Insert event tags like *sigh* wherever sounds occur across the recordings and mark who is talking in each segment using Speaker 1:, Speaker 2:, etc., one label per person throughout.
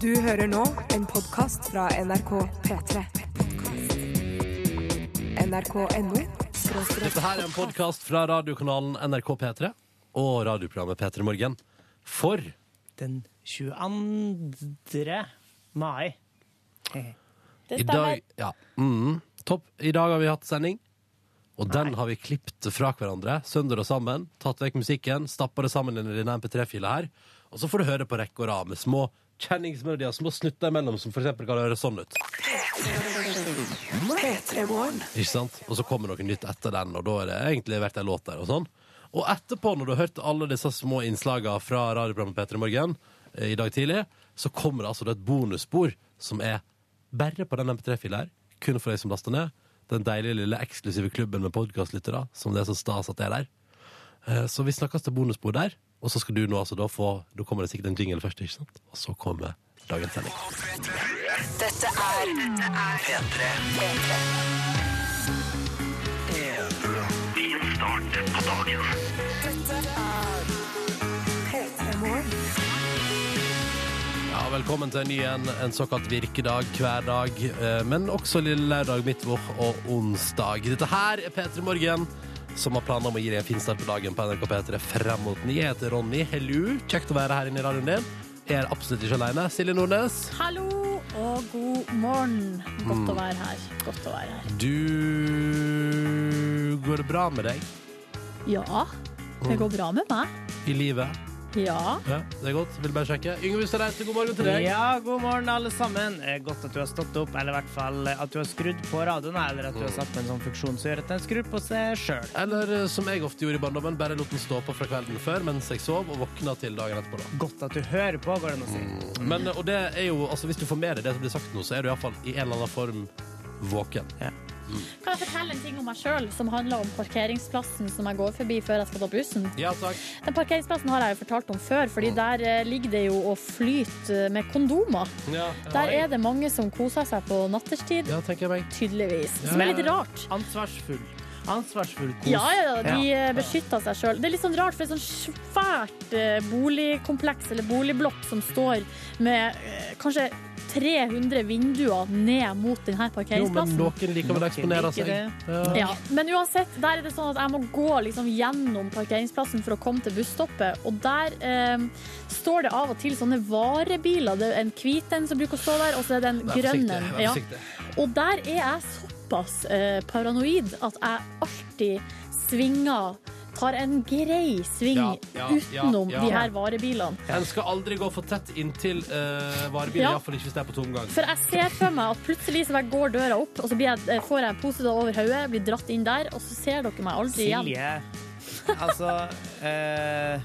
Speaker 1: Du hører nå en podkast fra NRK P3. NRK.no
Speaker 2: Dette her er en podkast fra radiokanalen NRK P3 og radioprogrammet P3 Morgen. For
Speaker 3: den 22. mai.
Speaker 2: i dag ja, mm, Topp. I dag har vi hatt sending, og den har vi klippet fra hverandre. Sønder og sammen. Tatt vekk musikken, stappa det sammen i denne MP3-fila her. Og så får du høre på rekke og rad med små kjenningsmelodier, små snutter imellom, som for eksempel kan høre sånn ut. Ikke sant? Og så kommer noe nytt etter den, og da er det egentlig vært en låt der. Og sånn. Og etterpå, når du har hørt alle disse små innslagene fra radioprogrammet Petter i morgen eh, i dag tidlig, så kommer det altså et bonusspor som er bare på den MP3-fila her, kun for deg som laster ned. Den deilige lille eksklusive klubben med podkastlyttere, som det er så stas at det er der. Eh, Så vi snakkes til bonusspor der, og så skal du nå altså da få Da kommer det sikkert en jingle først, ikke sant? Og så kommer dagens sending.
Speaker 1: Dette er P3 Morgen.
Speaker 2: Ja, velkommen til en ny en, en såkalt virkedag hver dag, eh, men også lille lørdag, midtvår og onsdag. Dette her er P3 Morgen, som har planer om å gi deg en fin start på dagen på NRK P3 frem mot ni. Jeg heter Ronny. Hello. Kjekt å være her inne i radioen din. Jeg er absolutt ikke alene. Silje Nordnes,
Speaker 4: Hallo og god morgen. Godt å være her. Godt å være her.
Speaker 2: du Går det bra med deg
Speaker 4: Ja, det går bra med meg.
Speaker 2: i livet?
Speaker 4: Ja.
Speaker 2: Ja, det er godt. Vil bare sjekke. Yngve Ustadreite, god morgen til deg.
Speaker 3: Ja, god morgen, alle sammen. Eh, Godt at du har stått opp, eller i hvert fall eh, at du har skrudd på radioen, eller at du har satt på en sånn funksjon som gjør at den skrur på seg sjøl.
Speaker 2: Eller eh, som jeg ofte gjorde i barndommen, bare lot den stå på fra kvelden før mens jeg sov, og våkna til dagen etterpå. da.
Speaker 3: Godt at du hører på, går det an å
Speaker 4: Mm.
Speaker 3: si.
Speaker 2: Men, og det er jo, altså Hvis du får med deg det som blir sagt nå, så er du iallfall i en eller annen form våken.
Speaker 4: Kan jeg fortelle en ting om meg sjøl som handler om parkeringsplassen som jeg går forbi før jeg skal ta bussen?
Speaker 2: Ja, takk.
Speaker 4: Den parkeringsplassen har jeg jo fortalt om før, fordi der eh, ligger det jo å flyte eh, med kondomer.
Speaker 2: Ja,
Speaker 4: Der er det mange som koser seg på natterstid,
Speaker 2: ja tenker jeg meg.
Speaker 4: tydeligvis. Som er litt rart.
Speaker 3: Ansvarsfull. Ansvarsfull kos.
Speaker 4: Ja, ja, ja, de eh, beskytter seg sjøl. Det er litt sånn rart, for det er sånn svært eh, boligkompleks eller boligblokk som står med eh, kanskje 300 vinduer ned mot denne
Speaker 2: Jo, men
Speaker 4: parkeringsplassen.
Speaker 2: noen liker vel å eksponere
Speaker 3: Noen liker
Speaker 2: seg. Ja.
Speaker 4: ja, men uansett, der er det sånn at jeg må gå liksom gjennom parkeringsplassen for å komme til busstoppet. Og der eh, står det av og til sånne varebiler. Det er en hvit en som bruker å stå der, og så er det en
Speaker 2: Vær
Speaker 4: grønn
Speaker 2: forsiktig.
Speaker 4: en.
Speaker 2: Vær
Speaker 4: Ja.
Speaker 2: forsiktig.
Speaker 4: Og der er jeg såpass eh, paranoid at jeg alltid svinger Tar en grei sving
Speaker 2: Ja, ja, ja,
Speaker 4: utenom
Speaker 2: ja.
Speaker 4: de her varebilene.
Speaker 2: En skal aldri gå for tett inntil uh, varebilen,
Speaker 4: Ja.
Speaker 2: iallfall ikke hvis det er på tomgang.
Speaker 4: For jeg ser for meg at plutselig så jeg går døra opp, og så blir jeg, eh, får jeg en pose da over hodet, blir dratt inn der, og så ser dere meg aldri igjen.
Speaker 3: Silje. Altså eh,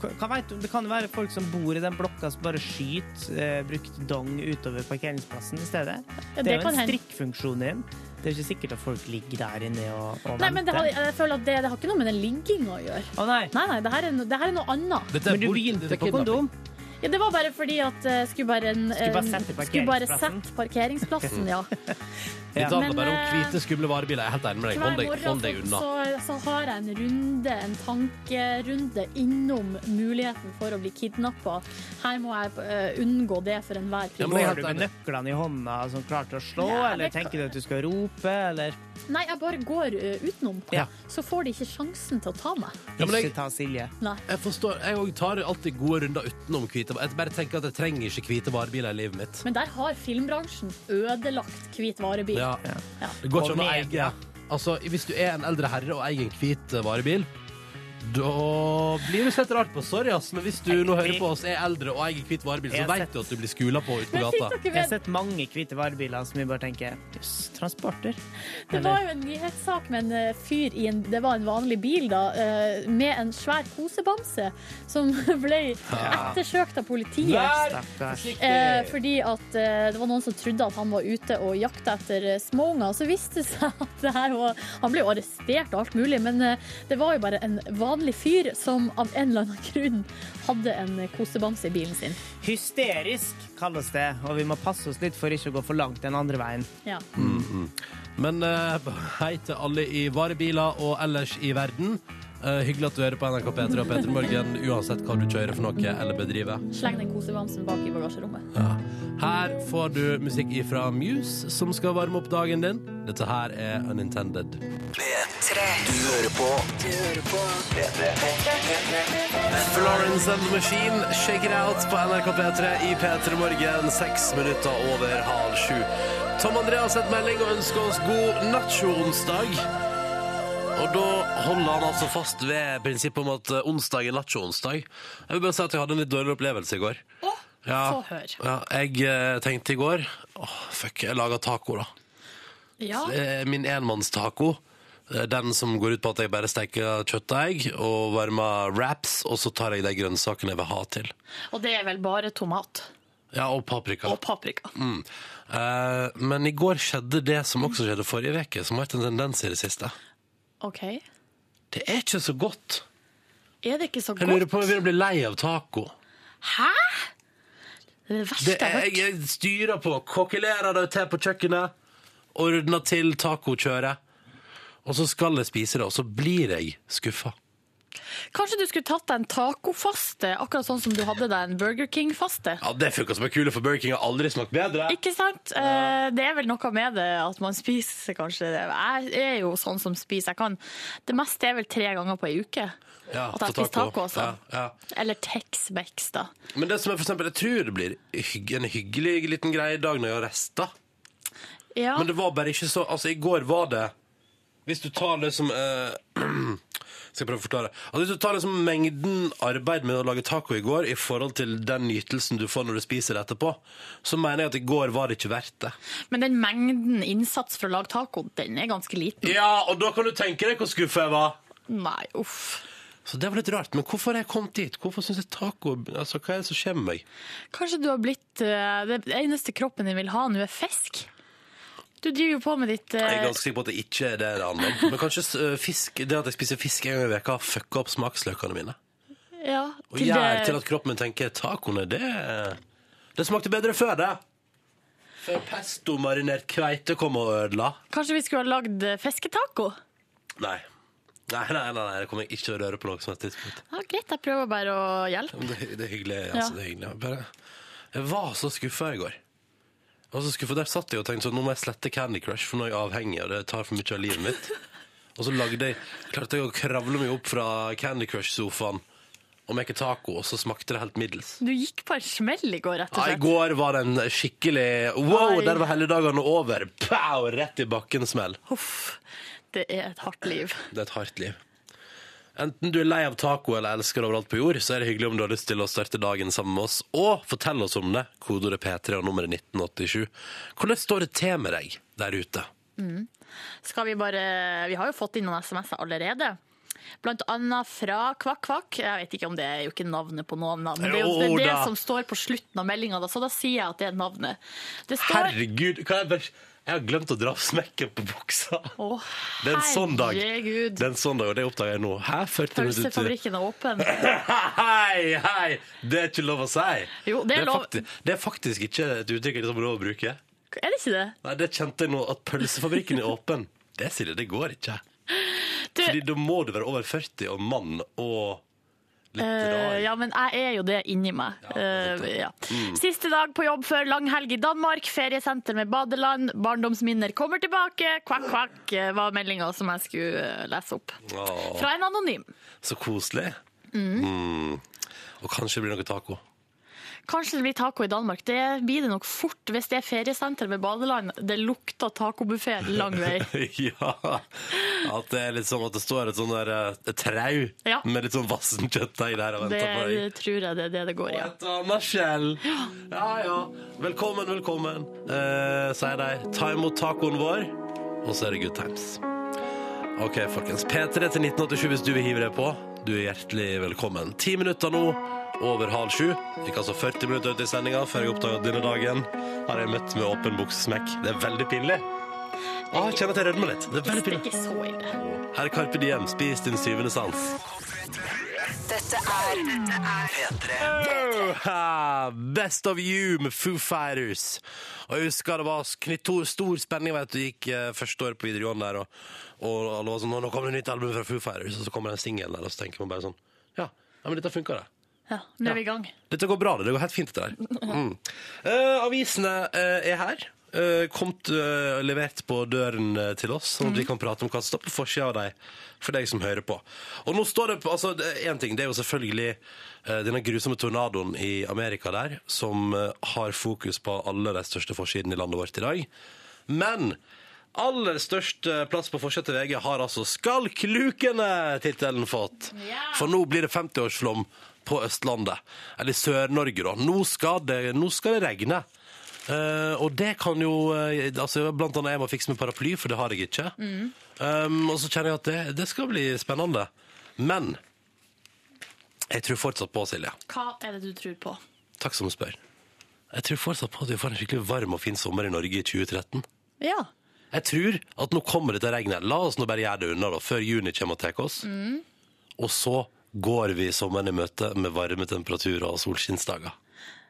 Speaker 3: hva- hva vet du? Det kan jo være folk som bor i den blokka som bare skyter eh, brukt dong utover parkeringsplassen i stedet.
Speaker 4: Ja,
Speaker 3: det
Speaker 4: det
Speaker 3: er jo
Speaker 4: kan
Speaker 3: en
Speaker 4: hende.
Speaker 3: strikkfunksjon din. Det er ikke sikkert at folk ligger der inne og, og
Speaker 4: Nei, men det har,
Speaker 3: venter.
Speaker 4: jeg føler at det, det har ikke noe med den ligginga å gjøre.
Speaker 3: Å nei.
Speaker 4: Nei, nei, det her er, no, det her er noe annet.
Speaker 2: Dette er
Speaker 3: Men du
Speaker 2: bort-
Speaker 3: begynte
Speaker 2: dette er
Speaker 3: på
Speaker 2: kidnapping.
Speaker 3: kondom.
Speaker 4: Ja, det var bare fordi at eh, skulle bare, en,
Speaker 3: Skulle bare
Speaker 4: en-
Speaker 3: sette
Speaker 4: skulle bare
Speaker 3: parkeringsplassen.
Speaker 4: sette parkeringsplassen. Ja.
Speaker 2: Vi
Speaker 3: Ja.
Speaker 2: taler
Speaker 4: Men,
Speaker 2: bare om
Speaker 4: eh,
Speaker 2: hvite, skumle varebiler. Jeg er helt enig med deg.
Speaker 4: Hver
Speaker 2: Hold deg, hold deg
Speaker 4: morgen
Speaker 2: unna.
Speaker 4: så, så har jeg en runde, en tankerunde, innom muligheten for å bli kidnappa. Her må jeg eh, unngå det for enhver pris.
Speaker 2: Ja, men jeg er
Speaker 3: Går
Speaker 2: helt
Speaker 3: du med
Speaker 2: enig.
Speaker 3: nøklene i hånda som klar til å slå,
Speaker 4: Nei,
Speaker 3: eller
Speaker 4: det kan-
Speaker 3: tenker du at du skal rope, eller
Speaker 4: Nei, jeg bare går eh, utenom.
Speaker 3: Ja.
Speaker 4: Så får de ikke sjansen til å ta meg.
Speaker 2: Ja, men jeg-
Speaker 3: ikke ta Silje?
Speaker 4: Nei.
Speaker 2: Jeg forstår, jeg også tar alltid gode runder utenom hvite Jeg bare tenker at jeg trenger ikke hvite varebiler i livet mitt.
Speaker 4: Men der har filmbransjen ødelagt hvit varebil.
Speaker 2: Ja.
Speaker 4: Ja.
Speaker 2: Det går ikke an å
Speaker 3: Og
Speaker 2: eie
Speaker 3: media.
Speaker 2: Altså, Hvis du er en eldre herre og eier en hvit eh, varebil, da blir du sett rart på. Sorry, ass, men hvis du nå hører på oss, er eldre og eier hvit varebil, så
Speaker 3: Jeg har
Speaker 2: veit
Speaker 3: sett-
Speaker 2: du at du blir skula på ute på
Speaker 4: Men fikk
Speaker 2: gata.
Speaker 4: dere
Speaker 3: Jeg har
Speaker 4: med
Speaker 3: sett mange hvite varebiler som vi bare tenker Jøss, transporter.
Speaker 4: Det var jo en nyhetssak med en eh, fyr i en, det var en vanlig bil da, eh, med en svær kosebamse som *laughs* ble ettersøkt av politiet.
Speaker 3: Stakkars.
Speaker 4: Eh, fordi at eh, det var noen som trodde at han var ute og jakta etter eh, småunger. Så viste *laughs* det seg at det her var Han ble jo arrestert og alt mulig, men eh, det var jo bare en vanlig fyr som av en eller annen grunn hadde en kosebamse i bilen sin.
Speaker 3: Hysterisk kalles det, og vi må passe oss litt for ikke å gå for langt den andre veien.
Speaker 4: Ja.
Speaker 2: Men eh, hei til alle i varebiler og ellers i verden. Eh, hyggelig at du hører på NRK P3 og P3 Morgen, uansett hva du kjører for noe eller bedriver.
Speaker 5: Sleng den kosebamsen bak i bagasjerommet.
Speaker 2: Ja. Her får du musikk ifra Muse, som skal varme opp dagen din. Dette her er Unintended. Florence and the Machine, Shake It Out på NRK P3 i P3 Morgen, seks minutter over halv sju. Tom André har sett melding og ønsker oss god nacho-onsdag. Og da holder han altså fast ved prinsippet om at eh, onsdag er nacho-onsdag. Jeg vil bare si at jeg hadde en litt dårlig opplevelse i går. Ja,
Speaker 5: Få høre.
Speaker 2: ja, jeg eh, tenkte i går Åh, fuck, jeg laget taco da
Speaker 5: Ja,
Speaker 2: Eh, Min enmannstaco eh, Den som går ut på at jeg bare steker kjøtt og egg Og varmer wraps Og så tar jeg de grønnsakene jeg vil ha til
Speaker 4: Og det er vel bare tomat
Speaker 2: Ja, og paprika
Speaker 4: og paprika.
Speaker 2: Eh, Men i går skjedde det som også skjedde forrige veke Som har vært en tendens i det siste
Speaker 4: OK. Er
Speaker 2: Det er ikke så godt
Speaker 4: det ikke så
Speaker 2: Jeg lurer
Speaker 4: godt?
Speaker 2: på om jeg begynner å bli lei av taco
Speaker 4: Hæ?! Det er det verste
Speaker 2: det er,
Speaker 4: jeg har hørt.
Speaker 2: Jeg styrer på, kokkelerer det til på kjøkkenet, ordner til tacokjøret, og så skal jeg spise det, og så blir jeg skuffa.
Speaker 4: Kanskje du skulle tatt deg en tacofaste, akkurat sånn som du hadde deg en Burger King-faste.
Speaker 2: Ja, det funka som en kule for Burger King, har aldri smakt bedre.
Speaker 4: Ikke sant? Eh, Det er vel noe med det at man spiser kanskje det. Jeg er jo sånn som spiser. Jeg kan. Det meste er vel tre ganger på ei uke.
Speaker 2: Ja,
Speaker 4: at jeg
Speaker 2: for
Speaker 4: spiser taco også.
Speaker 2: Ja, ja.
Speaker 4: Eller Tex-Mex, da.
Speaker 2: Men det som er for eksempel, jeg tror det blir hygg, en hyggelig liten greie i dag når jeg har rester.
Speaker 4: Ja.
Speaker 2: Men det var bare ikke så Altså, i går var det Hvis du tar liksom eh, *clears throat* Skal jeg prøve å forklare. Altså, hvis du tar liksom mengden arbeid med å lage taco i går i forhold til den nytelsen du får når du spiser det etterpå, så mener jeg at i går var det ikke verdt det.
Speaker 4: Men den mengden innsats for å lage taco, den er ganske liten.
Speaker 2: Ja, og da kan du tenke deg hvor skuffa jeg var.
Speaker 4: Nei, uff.
Speaker 2: Så det var litt rart. Men hvorfor har jeg kommet dit? Hvorfor syns jeg taco Altså, hva er det som skjer med meg?
Speaker 4: Kanskje du har blitt eh, Det eneste kroppen din vil ha nå, er fisk. Du driver jo på med ditt eh,
Speaker 2: Jeg er ganske sikker på at det ikke er det det handler om. Men kanskje eh, fisk, det at jeg spiser fisk en gang i veka, fucker opp smaksløkene mine.
Speaker 4: ja, eh,
Speaker 2: Og gjør til at kroppen min tenker tacoene, det Det smakte bedre før, det. Før pestomarinert kveite kom og ødela.
Speaker 4: Kanskje vi skulle ha lagd eh, fisketaco?
Speaker 2: Nei. Nei, nei, nei, nei, det kommer jeg ikke til å røre på noe som helst tidspunkt.
Speaker 4: Ja, greit, jeg prøver bare å hjelpe.
Speaker 2: Det, det er hyggelig. altså,
Speaker 4: Ja.
Speaker 2: det er hyggelig. Jeg Bare, jeg var så skuffa i går. Jeg var så skuffet. Der satt jeg og tenkte sånn, nå må jeg slette Candy Crush, for nå er jeg avhengig, og det tar for mye av livet
Speaker 4: *laughs*
Speaker 2: mitt. Og så lagde jeg, klarte jeg å kravle meg opp fra Candy Crush-sofaen og make taco, og så smakte det helt middels.
Speaker 4: Du gikk på en smell i går, rett og
Speaker 2: Ja, I
Speaker 4: slett.
Speaker 2: går var det en skikkelig Wow,
Speaker 4: Oi.
Speaker 2: der var helligdagene over! Pow, rett i bakken-smell.
Speaker 4: Huff. Det er et hardt liv.
Speaker 2: Det er et hardt liv. Enten du er lei av taco eller elsker overalt på jord, så er det hyggelig om du har lyst til å starte dagen sammen med oss og fortelle oss om det. Kodeordet P3 og nummeret 1987. Hvordan står det til med deg der ute?
Speaker 4: Skal vi bare Vi har jo fått inn noen SMS-er allerede. Blant annet fra Kvakk Kvakk. Jeg vet ikke om det er jo ikke navnet på noen navn. Det er jo det,
Speaker 2: Jo
Speaker 4: er det
Speaker 2: da.
Speaker 4: som står på slutten av meldinga, så da sier jeg at det er navnet. Det står
Speaker 2: Herregud, kan jeg bare Jeg har glemt å dra av smekken på buksa.
Speaker 4: Å,
Speaker 2: Det er en sånn dag.
Speaker 4: Herregud.
Speaker 2: Det er en sånn dag, og det oppdager jeg nå. Hæ? 40 minutter til.
Speaker 4: Pølsefabrikken er åpen.
Speaker 2: *laughs* Hei, hei! Det er ikke lov å si.
Speaker 4: Jo, det er lov.
Speaker 2: fakti- det er faktisk ikke et uttrykk jeg ikke får lov å bruke.
Speaker 4: Er det ikke det?
Speaker 2: Nei, Det kjente jeg nå, at pølsefabrikken er åpen. Det sier jeg, det går ikke.
Speaker 4: Du,
Speaker 2: Fordi da må du være over 40 og mann og litt rar.
Speaker 4: Eh, ja, men jeg er jo det inni meg. Eh, ja. Siste dag på jobb før langhelg i Danmark, feriesenter med badeland, barndomsminner kommer tilbake, kvakk, kvakk, eh, var meldinga som jeg skulle eh, lese opp.
Speaker 2: Åh,
Speaker 4: Fra en anonym.
Speaker 2: så koselig. Mm. Og kanskje det blir noe taco. *laughs*
Speaker 4: Kanskje det blir taco i Danmark. Det blir det nok fort hvis det er feriesenter med badeland. Det lukter tacobuffé lang *laughs* vei.
Speaker 2: ja. At det er litt sånn at det står et sånn der eh, et trau
Speaker 4: Ja.
Speaker 2: med litt sånn vassen kjøttdeig der og
Speaker 4: Det
Speaker 2: venter på deg.
Speaker 4: tror jeg det er det det går i. Ja.
Speaker 2: Et annet skjell. Ja, ja. Velkommen, velkommen, eh, sier de. Ta imot tacoen vår, og så er det good times. OK, folkens. P3 til 1987 hvis du vil hive deg på. Du er hjertelig velkommen. Ti minutter nå over halv sju. Gikk altså 40 minutter ut i sendinga før jeg oppdaga denne dagen. Har jeg møtt med åpen buksesmekk. Det er veldig pinlig. Å, jeg kjenner at jeg rødmer litt. Det er veldig
Speaker 4: Det er
Speaker 2: pinlig.
Speaker 4: ikke så ille.
Speaker 2: Herr Carpe Diem, spis din syvende sans. Ah, Best of you med Foo Fighters. Og jeg husker det var knyttor, stor spenning vet du, gikk eh, første året på videregående der, og, og alle var sånn «Nå- 'Nå kommer det nytt album fra Foo Fighters', og så kommer den singelen der, og så tenker man bare sånn Ja, ja men dette funker, det.
Speaker 4: Ja, nå er vi i gang.
Speaker 2: Dette går bra, det. Det går helt fint, dette der. Mm. Eh, avisene eh, er her. Eh, Komt eh, levert på døren eh, til oss, sånn at vi kan prate om hva som står på forsida av dem. For deg som hører på. Og nå står det på, altså, det er en ting, det er jo selvfølgelig eh, denne grusomme tornadoen i Amerika der, som eh, har fokus på alle de største forsidene i landet vårt i dag. Men aller største plass på forsida til VG har altså 'Skalklukene'-tittelen fått. For nå blir det 50-årsflom på Østlandet. Eller Sør-Norge, da. Nå skal det, nå skal det regne. Eh, og det kan jo eh, altså, Blant annet jeg må fikse med paraply, for det har jeg ikke. Um, og så kjenner jeg at det, det skal bli spennende. Men jeg tror fortsatt på, Silje.
Speaker 4: Hva er det du tror på?
Speaker 2: Takk som spør. Jeg tror fortsatt på at vi får en skikkelig varm og fin sommer i Norge i 2013.
Speaker 4: Ja.
Speaker 2: Jeg tror at nå kommer dette regnet. La oss nå bare gjøre det unna da, før juni kommer og tar oss. Og så går vi sommeren i møte med varme temperaturer og solskinnsdager.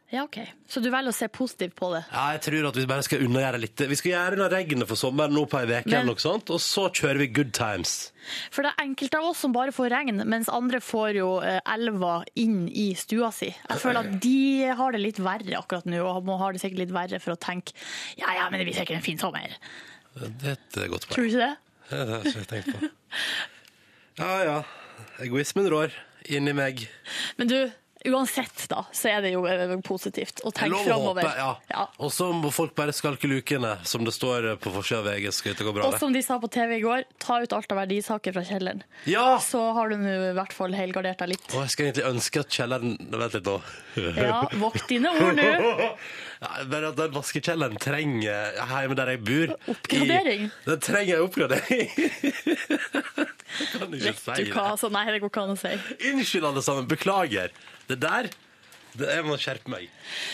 Speaker 4: Ja, OK. Så du velger å se positivt på det?
Speaker 2: Ja, jeg tror at vi bare skal unnagjøre litt. Vi skal gjøre unna regnet for sommeren nå på ei uke,
Speaker 4: Men-
Speaker 2: eller noe sånt, og så kjører vi good times.
Speaker 4: For det er enkelte av oss som bare får regn, mens andre får jo eh, elva inn i stua si. Jeg føler at de har det litt verre akkurat nå, og må ha det sikkert litt verre for å tenke ja ja, men det blir sikkert en fin sommer.
Speaker 2: Det er et eh, godt poeng.
Speaker 4: Tror du ikke det?
Speaker 2: Det har jeg ikke tenkt *laughs* på. Ja, ja. Egoismen rår inni meg.
Speaker 4: Men du, uansett da, så er det jo eh, positivt å tenke
Speaker 2: Lov å håpe,
Speaker 4: framover.
Speaker 2: ja. Og så må folk bare skalke lukene, som det står på forsida av VG. Skal det gå bra,
Speaker 4: Og
Speaker 2: det?
Speaker 4: som de sa på TV i går, ta ut alt av verdisaker fra kjelleren.
Speaker 2: Ja!
Speaker 4: Så har du nå i hvert fall helgardert deg litt.
Speaker 2: Og jeg skal egentlig ønske at kjelleren Vent litt nå.
Speaker 4: Ja, vokt dine ord nå.
Speaker 2: Ja, Bare at den vaskekjelleren trenger hjemme der jeg bor
Speaker 4: Oppgradering.
Speaker 2: i- Den trenger en oppgradering. Jeg kan ikke
Speaker 4: Vet
Speaker 2: si
Speaker 4: du hva,
Speaker 2: det.
Speaker 4: altså, nei, det går ikke an å si.
Speaker 2: Unnskyld, alle sammen. Beklager. Det der det, Jeg må skjerpe meg.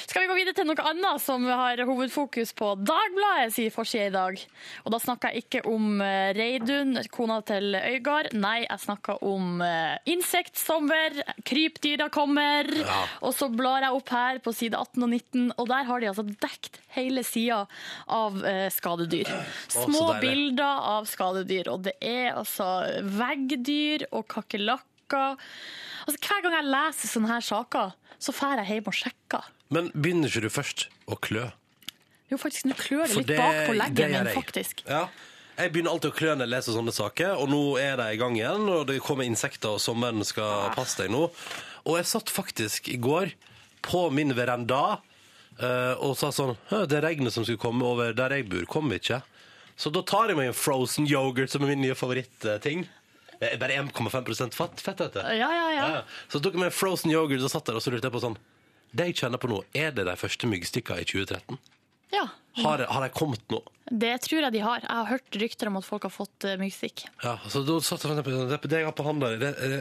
Speaker 4: Skal vi gå videre til noe annet som har hovedfokus på Dagbladet sier forside i dag? Og da snakker jeg ikke om eh, Reidun, kona til Øygard. Nei, jeg snakker om eh, insektsommer, krypdyra kommer.
Speaker 2: Ja.
Speaker 4: Og så blar jeg opp her på side 18 og 19, og der har de altså dekt hele sida av eh, skadedyr.
Speaker 2: så
Speaker 4: Små
Speaker 2: deilig.
Speaker 4: bilder av skadedyr, og det er altså veggdyr og kakerlakker. Altså, hver gang jeg leser sånne her saker, så drar jeg hjem og sjekker.
Speaker 2: Men begynner ikke du først å klø?
Speaker 4: Jo, faktisk, nå klør det
Speaker 2: For
Speaker 4: litt bak på
Speaker 2: det
Speaker 4: leggen
Speaker 2: gjør
Speaker 4: min,
Speaker 2: jeg.
Speaker 4: faktisk.
Speaker 2: Ja. Jeg begynner alltid å klø når jeg leser sånne saker, og nå er de i gang igjen. Og det kommer insekter, og sommeren skal
Speaker 4: Ah.
Speaker 2: passe deg nå. Og jeg satt faktisk i går på min veranda eh, og sa sånn «Hø, Det regnet som skulle komme over der jeg bor, kom ikke. Så da tar jeg meg en frozen yoghurt, som er min nye favorittting. Det er Bare 1,5 fatt. Fett, heter det.
Speaker 4: Ja, ja, ja.
Speaker 2: Ja, ja. Så tok jeg meg en frozen yoghurt og satt der og så lurte jeg på sånn Det jeg kjenner på nå, er det de første myggstikkene i 2013?
Speaker 4: ja.
Speaker 2: Har, har de kommet nå?
Speaker 4: Det tror jeg de har. Jeg har hørt rykter om at folk har fått eh, myggstikk.
Speaker 2: Ja, så da satt jeg og tenkte på det- det jeg har på hånda, er det, er det,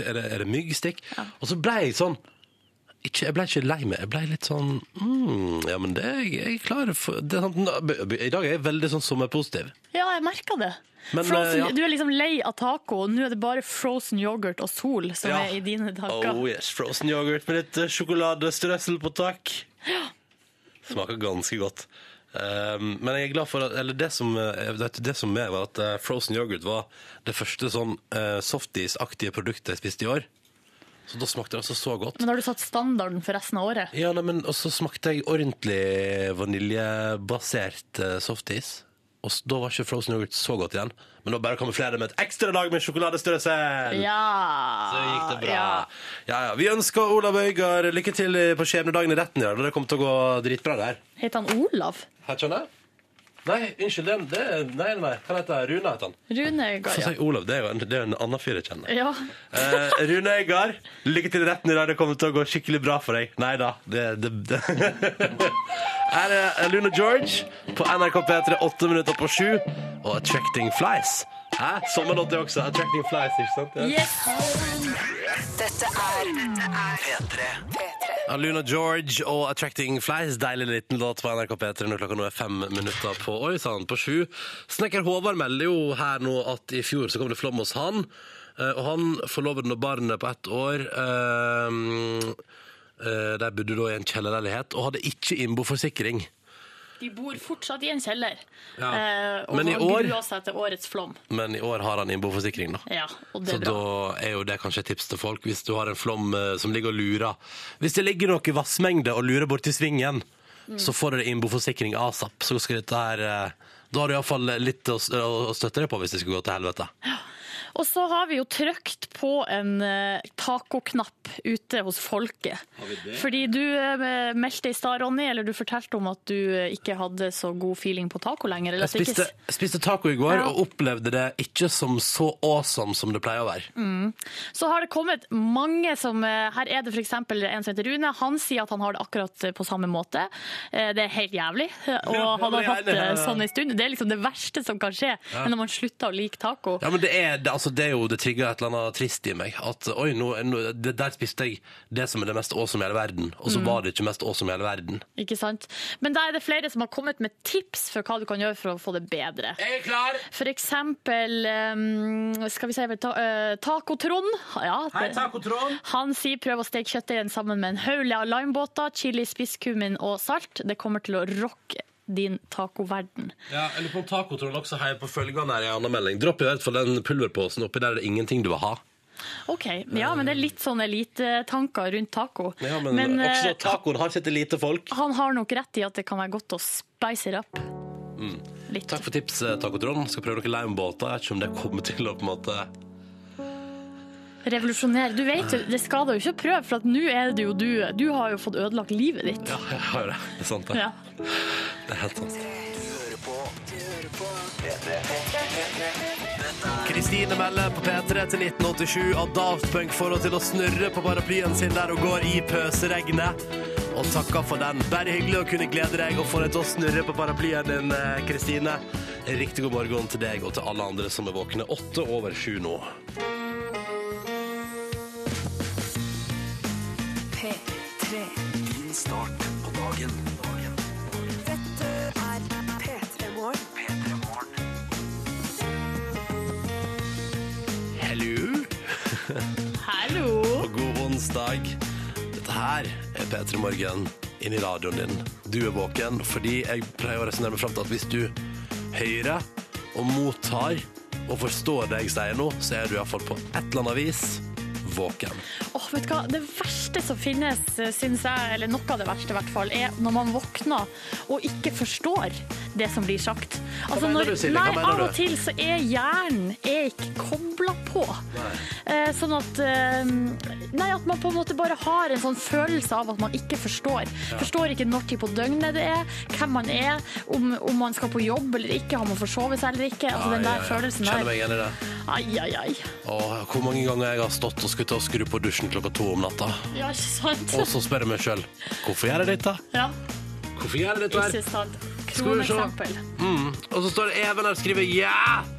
Speaker 2: er det, er det myggstikk? Og så ble jeg sånn ikke, Jeg ble ikke lei meg, jeg ble litt sånn mm, Ja, men det er jeg jeg er klar for det er sånn, I dag er jeg veldig sånn sommerpositiv.
Speaker 4: Ja, jeg merker det.
Speaker 2: Men,
Speaker 4: frozen,
Speaker 2: eh, ja.
Speaker 4: Du er liksom lei av taco, og nå er det bare frozen yoghurt og sol som
Speaker 2: Ja.
Speaker 4: er i dine dager.
Speaker 2: Oh yes, frozen yoghurt med litt eh, sjokoladestrøssel på tak. Smaker ganske godt. Um, men jeg er glad for at Eller det som, eh, vet, du, det som er, var at eh, frozen yoghurt var det første sånn eh, softis-aktige produktet jeg spiste i år. Så da smakte det altså så godt.
Speaker 4: Men da har du satt standarden for resten av året.
Speaker 2: Ja, nei, men Og så smakte jeg ordentlig vaniljebasert eh, softis. Og s- da var ikke frozen yoghurt så godt igjen. Men det var bare å kamuflere med et ekstra lag med sjokoladestrøssel!
Speaker 4: Ja!
Speaker 2: Så gikk det bra. Ja.
Speaker 4: Ja.
Speaker 2: Ja, Vi ønsker Olav Øygard lykke til på skjebnedagen i retten. Ja. Det kommer til å gå dritbra der.
Speaker 4: Heter han Olav?
Speaker 2: Her skjønner jeg. Nei, unnskyld. Det, er- det, er- nei, nei, nei. Han heter Rune. heter han.
Speaker 4: Rune
Speaker 2: *laughs*
Speaker 4: Øygard,
Speaker 2: Så
Speaker 4: ja.
Speaker 2: sier Olav, det er jo en, det er jo en annen fyr jeg kjenner.
Speaker 4: ja.
Speaker 2: Eh, Rune Øygard, lykke til i retten i dag. Det kommer til å gå skikkelig bra for deg. Nei da. Det, det, det. *laughs* Her er Luna George på NRK P3 åtte minutter på sju. Og Attracting Flies. Hæ? Sommerlåt det også. Attracting Flies, ikke sant? Ja.
Speaker 4: Yes.
Speaker 6: Dette er P3.
Speaker 2: Ja, Luna George og Attracting Flies. Deilig liten låt på NRK P3 når klokka nå er fem minutter på Oi sann, på sju. Snekker Håvard melder jo her nå at i fjor så kom det flom hos han. Eh, Og han, forloveden og barnet på ett år eh, eh, De bodde da i en kjellerleilighet og hadde ikke innboforsikring.
Speaker 4: De bor fortsatt i en kjeller.
Speaker 2: Ja.
Speaker 4: Eh, og
Speaker 2: Men i
Speaker 4: han
Speaker 2: år-
Speaker 4: gruer seg til årets flom.
Speaker 2: Men i år har han innboforsikring, da.
Speaker 4: Ja, og det
Speaker 2: Så
Speaker 4: er bra.
Speaker 2: da er jo det kanskje et tips til folk hvis du har en flom eh, som ligger og lurer. Hvis det ligger noe i vassmengde og lurer borti svingen,
Speaker 4: Mm.
Speaker 2: så får dere innboforsikring ASAP. Så skal dette her eh, Da har du iallfall litt å s- å å støtte deg på hvis det skulle gå til helvete.
Speaker 4: Og så har vi jo trykt på en eh, tacoknapp ute hos folket. Fordi du eh, meldte i stad, Ronny, eller du fortalte om at du eh, ikke hadde så god feeling på taco lenger. Eller
Speaker 2: Jeg
Speaker 4: at det ikke-
Speaker 2: spiste, jeg spiste taco i går
Speaker 4: Ja.
Speaker 2: og opplevde det ikke som så awesome som det pleier å være.
Speaker 4: Mm. Så har det kommet mange som eh, Her er det f.eks. en som heter Rune. Han sier at han har det akkurat eh, på samme måte. Eh, Det er helt jævlig. eh, Og
Speaker 2: Ja, men
Speaker 4: han har
Speaker 2: jeg er
Speaker 4: hatt
Speaker 2: enig.
Speaker 4: det sånn en stund. Det er liksom det verste som kan skje. Men når man slutter å like taco
Speaker 2: Ja, men det er, det, altså, det er jo det trigger et eller annet trist i meg. At oi, nå, nå, det, der spiste jeg det som er det mest awesome i hele verden, og
Speaker 4: Mm.
Speaker 2: så var det ikke mest awesome i hele verden.
Speaker 4: Ikke sant? Men da er det flere som har kommet med tips for hva du kan gjøre for å få det bedre.
Speaker 2: Jeg er klar!
Speaker 4: For eksempel eh, Skal vi se ta, eh, Taco-Trond. Ja, det-
Speaker 2: Tacotron!
Speaker 4: Han sier prøv å steke kjøttdeigen sammen med en haule av limebåter, chili, spisskummin og salt. Det kommer til å rocke din tacoverden.
Speaker 2: Ja, eller på om Tacotron også heier på følgende her i en annen melding. Dropp i hvert fall den pulverposen oppi der er det ingenting du vil ha.
Speaker 4: OK. Ja, men det er litt sånn elitetanker rundt taco.
Speaker 2: Ja, men,
Speaker 4: eh,
Speaker 2: også tacoen har sitt lite folk.
Speaker 4: han har nok rett i at det kan være godt å spice it up. Litt.
Speaker 2: Mm. Takk for tips, eh, Tacotron. Skal prøve noen limebåter. Jeg vet ikke om det kommer til å på en måte
Speaker 4: Revolusjonere. Du vet, jo, det skader jo ikke å prøve, for at nå er det jo du. Du har jo fått ødelagt livet ditt.
Speaker 2: Ja, jeg har jo det. Det er sant, det.
Speaker 4: Ja.
Speaker 2: Det er helt sant. Kristine melder på P3 til 1987 at Daft Punk får henne til å snurre på paraplyen sin der hun går i pøseregnet. Og takker for den. Bare hyggelig å kunne glede deg og få deg til å snurre på paraplyen din, eh, Kristine. Riktig god morgen til deg og til alle andre som er våkne. Åtte over sju nå.
Speaker 6: P3. Din start på dagen.
Speaker 1: Dette er P3 Morgen.
Speaker 2: Hello.
Speaker 4: Hallo!
Speaker 2: og god onsdag. Dette her er P3 Morgen inn i radioen din. Du er våken fordi jeg pleier å resonnere meg fram til at hvis du hører og mottar og forstår det jeg sier nå, så er du iallfall på et eller annet vis våken.
Speaker 4: Åh, vet du hva? Det verste som finnes, eh, synes jeg, eller noe av det verste i hvert fall, er når man våkner og ikke forstår det som blir sagt. Altså,
Speaker 2: mener
Speaker 4: når-
Speaker 2: du, Silje? Hva
Speaker 4: Nei,
Speaker 2: mener
Speaker 4: av
Speaker 2: du?
Speaker 4: og til så er hjernen er ikke koblet på. Eh, sånn at, eh, nei, at man på en måte bare har en sånn følelse av at man ikke forstår. Forstår ikke når tid på døgnet det er, hvem man er, om, om man skal på jobb eller ikke, har man forsovet seg eller ikke. Altså, den der følelsen der.
Speaker 2: Kjenner meg igjen i det.
Speaker 4: Ai, ai, ai.
Speaker 2: Åh, hvor mange ganger jeg har stått og skulle til å skru på dusjen klokka to om natta,
Speaker 4: Ja, ikke
Speaker 2: og
Speaker 4: sant?
Speaker 2: så spør jeg meg sjøl hvorfor gjør jeg dette?
Speaker 4: *laughs* Ja.
Speaker 2: Hvorfor gjør jeg dette? her?
Speaker 4: Ikke sant.
Speaker 2: Skal vi se.
Speaker 4: Kroneksempel.
Speaker 2: Mm. Og så står det Even her og skriver ja!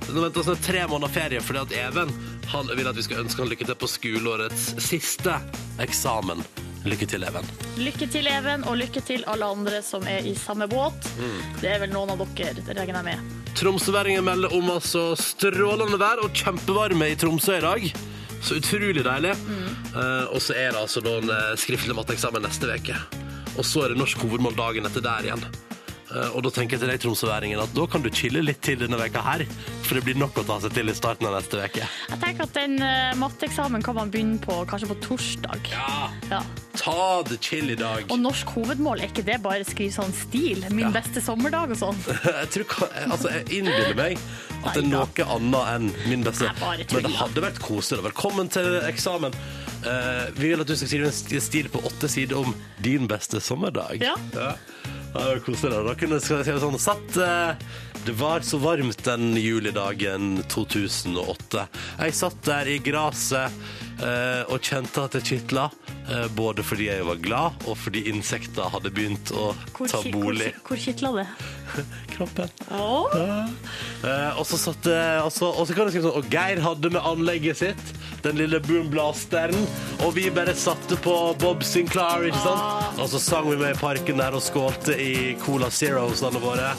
Speaker 2: Nå venter vi tre måneder ferie fordi at Even han vil at vi skal ønske han lykke til på skoleårets siste eksamen. Lykke til, Even.
Speaker 4: Lykke til, Even, og lykke til alle andre som er i samme båt.
Speaker 2: Mm.
Speaker 4: Det er vel noen av dere, regner jeg med.
Speaker 2: Tromsøværingen melder om altså strålende vær og kjempevarme i Tromsø i dag. Så utrolig deilig. Eh, og så er det altså noen eh, skriftlig matteeksamen neste uke. Og så er det norsk hovedmål dagen etter der igjen. Eh, og da tenker jeg til deg, tromsøværingen, at da kan du chille litt til denne veka her. For det blir nok å ta seg til i starten av neste uke.
Speaker 4: Jeg tenker at den eh, matteeksamen kan man begynne på kanskje på torsdag.
Speaker 2: Ja.
Speaker 4: Ja.
Speaker 2: Ta det chill i dag.
Speaker 4: Og norsk hovedmål, er ikke det bare skriv sånn stil? Min beste sommerdag og
Speaker 2: *laughs*
Speaker 4: sånn?
Speaker 2: Jeg, tror, ikke- altså, jeg innbiller meg at det er noe annet enn min beste.
Speaker 4: Jeg bare tuller.
Speaker 2: Men det hadde vært koselig. Velkommen til eksamen. Eh, vi vil at du skal skrive en sti- stil på åtte sider om din beste sommerdag.
Speaker 4: Ja.
Speaker 2: Det hadde vært koselig. Da, da kunne skal jeg skrive sånn Satt eh, Det var så varmt den julidagen 2008. Jeg satt der i gresset eh, og kjente at det kitla. eh, Både fordi jeg var glad, og fordi insekter hadde begynt å
Speaker 4: Hvor,
Speaker 2: ta
Speaker 4: ki- hvor,
Speaker 2: bolig.
Speaker 4: ki- hvor kitla det?
Speaker 2: Kroppen.
Speaker 4: Åh.
Speaker 2: Eh, og så satt eh, og så, og så kan du skrive sånn Og Geir hadde med anlegget sitt Den lille boomblasteren Og vi bare satte på Bob Sinclair Ikke sant? Og så sang vi med i parken der Og skålte i Cola Zeros alle våre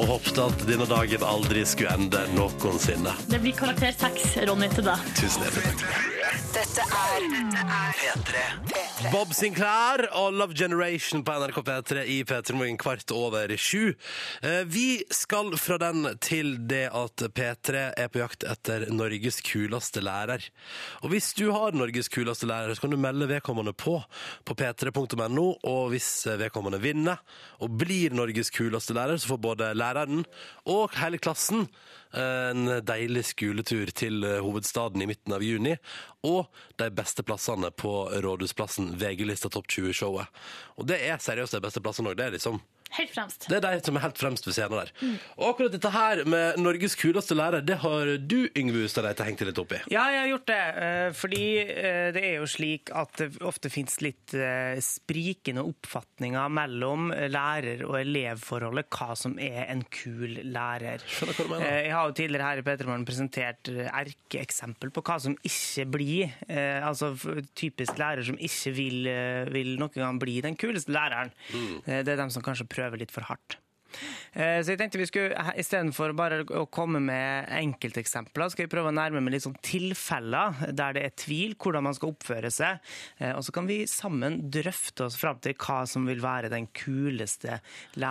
Speaker 2: og håpte at denne dagen aldri skulle ende noensinne.
Speaker 4: Det blir karakter seks, Ronny, til deg.
Speaker 2: Tusen hjertelig takk. Bob Sinclair og Love Generation på NRK P3 i P3 Morgen kvart over sju. Eh, Vi skal fra den til det at P3 er på jakt etter Norges kuleste lærer. Og hvis du har Norges kuleste lærer, så kan du melde vedkommende på på p3.no. Og hvis vedkommende vinner og blir Norges kuleste lærer, så får både læreren og hele klassen eh, en deilig skoletur til eh, hovedstaden i midten av juni, og de beste plassene på Rådhusplassen, VG-lista Topp 20-showet. Og det er seriøst de beste plassene òg. Det er liksom
Speaker 4: Helt fremst.
Speaker 2: det er de som er helt fremst ved scenen der. Og akkurat dette her med Norges kuleste lærer, det har du, Yngve Hustad Reite, hengt deg litt opp i.
Speaker 3: Ja, jeg har gjort det. eh, Fordi eh, det er jo slik at det ofte finnes litt eh, sprikende oppfatninger mellom eh, lærer- og elevforholdet, hva som er en kul lærer.
Speaker 2: Skjønner hva du mener.
Speaker 3: Eh, Jeg har jo tidligere her i Petermann presentert eh, erkeeksempel på hva som ikke blir. eh, Altså f- typisk lærer som ikke vil, eh, vil noen gang bli den kuleste læreren.
Speaker 2: Mm.
Speaker 3: Eh, Det er dem som kanskje prøver litt for hardt. Eh, Så jeg tenkte vi skulle, he- Istedenfor bare å komme med enkelteksempler, skal jeg prøve å nærme meg litt sånn tilfeller der det er tvil, hvordan man skal oppføre seg. Eh, Og så kan vi sammen drøfte oss fram til hva som vil være den kuleste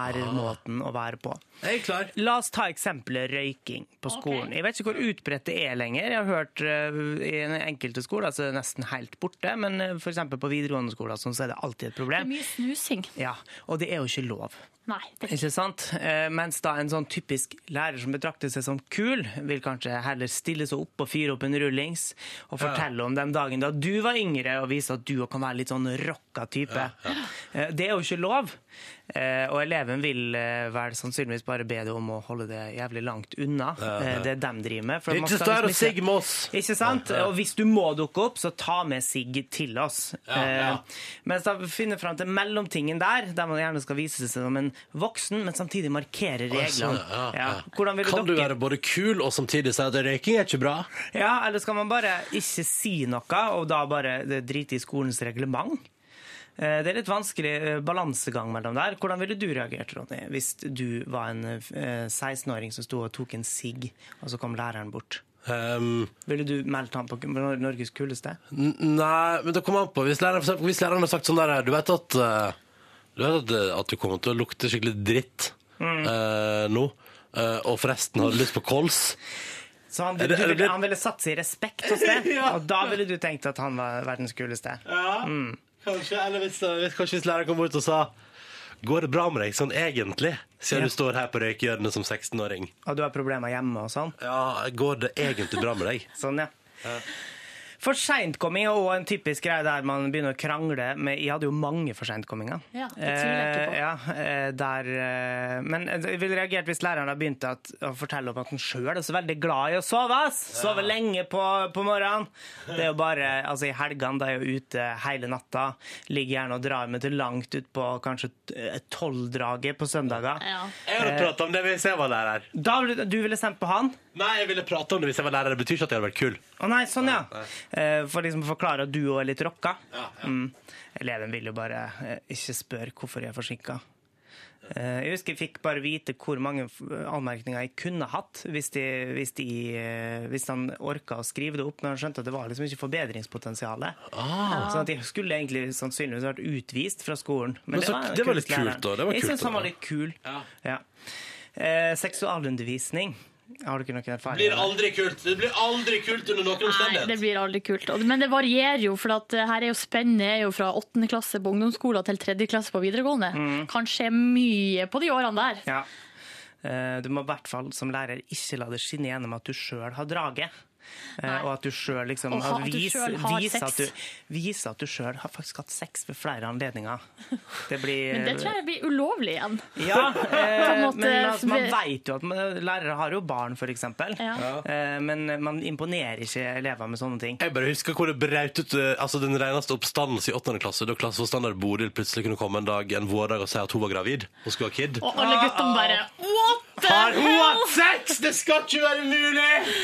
Speaker 3: lærermåten å være på.
Speaker 2: Jeg er klar.
Speaker 3: La oss ta eksempelet røyking på skolen. Jeg vet ikke hvor utbredt det er lenger. Jeg har hørt eh, i en- enkelte skoler så er det nesten helt borte, men eh, for eksempel på videregående skoler sånn, så er det alltid et
Speaker 4: Det er
Speaker 3: problem.
Speaker 4: mye snusing.
Speaker 3: Ja, Og det er jo ikke lov.
Speaker 4: Nei, det er ikke
Speaker 3: Ikke sant? Eh, Mens da en sånn typisk lærer som betrakter seg som kul, vil kanskje heller stille seg opp og fyre opp en rullings og fortelle om den dagen da du var yngre og vise at du òg kan være litt sånn rocka type. Eh, Det er jo ikke lov. Eh, Og eleven vil eh, vel sannsynligvis bare be deg om å holde det jævlig langt unna. Eh, Det er dem driver med. for man
Speaker 2: Ikke
Speaker 3: skal
Speaker 2: stå her og
Speaker 3: liksom
Speaker 2: sigg med oss!
Speaker 3: ikke sant? Og hvis du må dukke opp, så ta med sigg til oss.
Speaker 2: Ja, ja.
Speaker 3: Eh, mens da finner fram til mellomtingen der, der man gjerne skal vise seg som en voksen, men samtidig markere
Speaker 2: Sånn,
Speaker 3: reglene.
Speaker 2: ja, ja.
Speaker 3: Hvordan vil
Speaker 2: Kan du
Speaker 3: dere
Speaker 2: være både kul og samtidig si at røyking er ikke bra?
Speaker 3: Ja, eller skal man bare ikke si noe, og da bare drite i skolens reglement? Eh, Det er litt vanskelig eh, balansegang mellom der. Hvordan ville du reagert, Ronny, hvis du var en eh, 16-åring som sto og tok en sigg, og så kom læreren bort?
Speaker 2: Um,
Speaker 3: Ville du meldt han på Norges kuleste?
Speaker 2: N- Nei, men det kommer an på. Hvis læreren, for eksempel- hvis læreren har sagt sånn der Du vet at, eh, du, vet at, eh, at du kommer til å lukte skikkelig dritt eh, nå. eh, og forresten, har du lyst på kols?
Speaker 3: Så han,
Speaker 2: Er det- er
Speaker 3: du,
Speaker 2: det
Speaker 3: ville,
Speaker 2: blitt-
Speaker 3: han ville satt seg i respekt
Speaker 2: *laughs*
Speaker 3: hos deg, og da ville du tenkt at han var verdens kuleste.
Speaker 2: Ja, kanskje. Eller hvis, eh, hvis, kanskje hvis læreren kom bort og sa Går det bra med deg sånn egentlig, siden du
Speaker 3: Ja.
Speaker 2: står her på røykehjørnet som 16-åring?
Speaker 3: Og du har problemer hjemme og sånn.
Speaker 2: Ja, går det egentlig bra med deg?
Speaker 3: Sånn, ja. For seintkomming er også en typisk greie der man begynner å krangle. Med, jeg hadde jo mange for seintkomminger.
Speaker 4: Ja, det tviler jeg ikke på.
Speaker 3: Eh, ja, eh, der, eh, men jeg ville reagert hvis læreren hadde begynt at, å fortelle om at han sjøl er så veldig glad i å sove. ass. Sove lenge på, på morgenen. Det er jo bare, altså I helgene da er jeg jo ute hele natta. Ligger gjerne og drar meg til langt utpå kanskje eh, tolvdraget på søndager.
Speaker 4: ja.
Speaker 2: Jeg hadde prata om det hvis jeg var lærer.
Speaker 3: Da, ville- du ville sendt på han?
Speaker 2: Nei, jeg ville prate om det hvis jeg var lærer. Det betyr ikke at jeg hadde vært kul.
Speaker 3: Å nei, sånn ja. Eh, For liksom å forklare at du òg er litt rocka. Mm. Eleven vil jo bare eh, ikke spørre hvorfor jeg er forsinka. Eh, Jeg husker jeg fikk bare vite hvor mange f- anmerkninger jeg kunne hatt hvis, de, hvis, de, eh, hvis han orka å skrive det opp, men han skjønte at det var liksom ikke forbedringspotensial.
Speaker 2: Ah.
Speaker 3: Sånn at jeg skulle egentlig sannsynligvis vært utvist fra skolen.
Speaker 2: Men så- det var litt kult da, det var
Speaker 3: jeg
Speaker 2: kult
Speaker 3: syns han
Speaker 2: da.
Speaker 3: var litt kul. Ja. Eh, seksualundervisning. Har dere noen erfaringer? med det?
Speaker 2: aldri kult. Det blir aldri kult under noen
Speaker 4: Nei, det blir aldri kult. Og- Men det varierer jo, for at eh, her er jo spennet er jo fra åttende klasse på ungdomsskolen til tredje klasse på videregående.
Speaker 3: Mm.
Speaker 4: Kan skje mye på de årene der.
Speaker 3: Ja. Eh, Du må i hvert fall som lærer ikke la det skinne gjennom at du sjøl har drage. Eh,
Speaker 4: Nei.
Speaker 3: Og at du sjøl liksom
Speaker 4: Og ha- at du
Speaker 3: vis-
Speaker 4: selv har
Speaker 3: viser
Speaker 4: sex.
Speaker 3: at du, viser at du sjøl har faktisk hatt sex ved flere
Speaker 4: *laughs*
Speaker 3: anledninger. Det blir
Speaker 4: Men det tror jeg blir ulovlig igjen. *laughs*
Speaker 3: Ja, eh,
Speaker 4: måte-
Speaker 3: men altså, man veit jo at man, lærere har jo barn, f.eks.
Speaker 4: Ja.
Speaker 3: Eh, men man imponerer ikke elever med sånne ting.
Speaker 2: Jeg bare husker hvor det braut ut eh, altså den reneste oppstandelse i 8. klasse, da klasseforstander Bodil plutselig kunne komme en dag en vårdag og si at hun var gravid og skulle ha kid.
Speaker 4: Og alle guttene bare What?!
Speaker 2: har hun hatt sex?! Det skal ikke være mulig!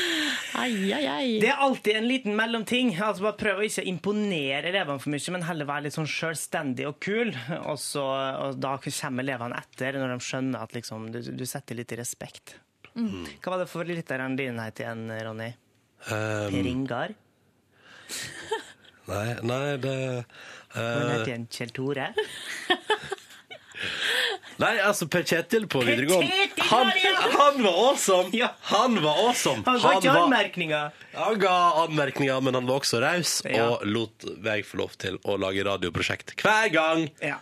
Speaker 4: Ai, ai, ai.
Speaker 3: Det er alltid en liten mellomting. Altså bare Prøv å ikke imponere elevene for mye, men heller være litt sånn selvstendig og kul. Og, så, og da kommer elevene etter, når de skjønner at liksom, du, du setter litt i respekt. Hva var det for lytteren din het igjen, Ronny?
Speaker 2: Um,
Speaker 3: Per Ingar?
Speaker 2: nei, nei, det
Speaker 3: Hun
Speaker 2: eh,
Speaker 3: het igjen Kjell Tore? *laughs*
Speaker 2: Nei, altså, Per Kjetil på videregående
Speaker 3: Kjetil,
Speaker 2: han,
Speaker 3: Maria!
Speaker 2: han var awesome!
Speaker 3: Ja.
Speaker 2: Han var awesome!
Speaker 3: Han ga ikke anmerkninger!
Speaker 2: Han ga anmerkninger, men han var også raus
Speaker 3: Ja.
Speaker 2: og lot meg få lov til å lage radioprosjekt hver gang.
Speaker 3: Ja.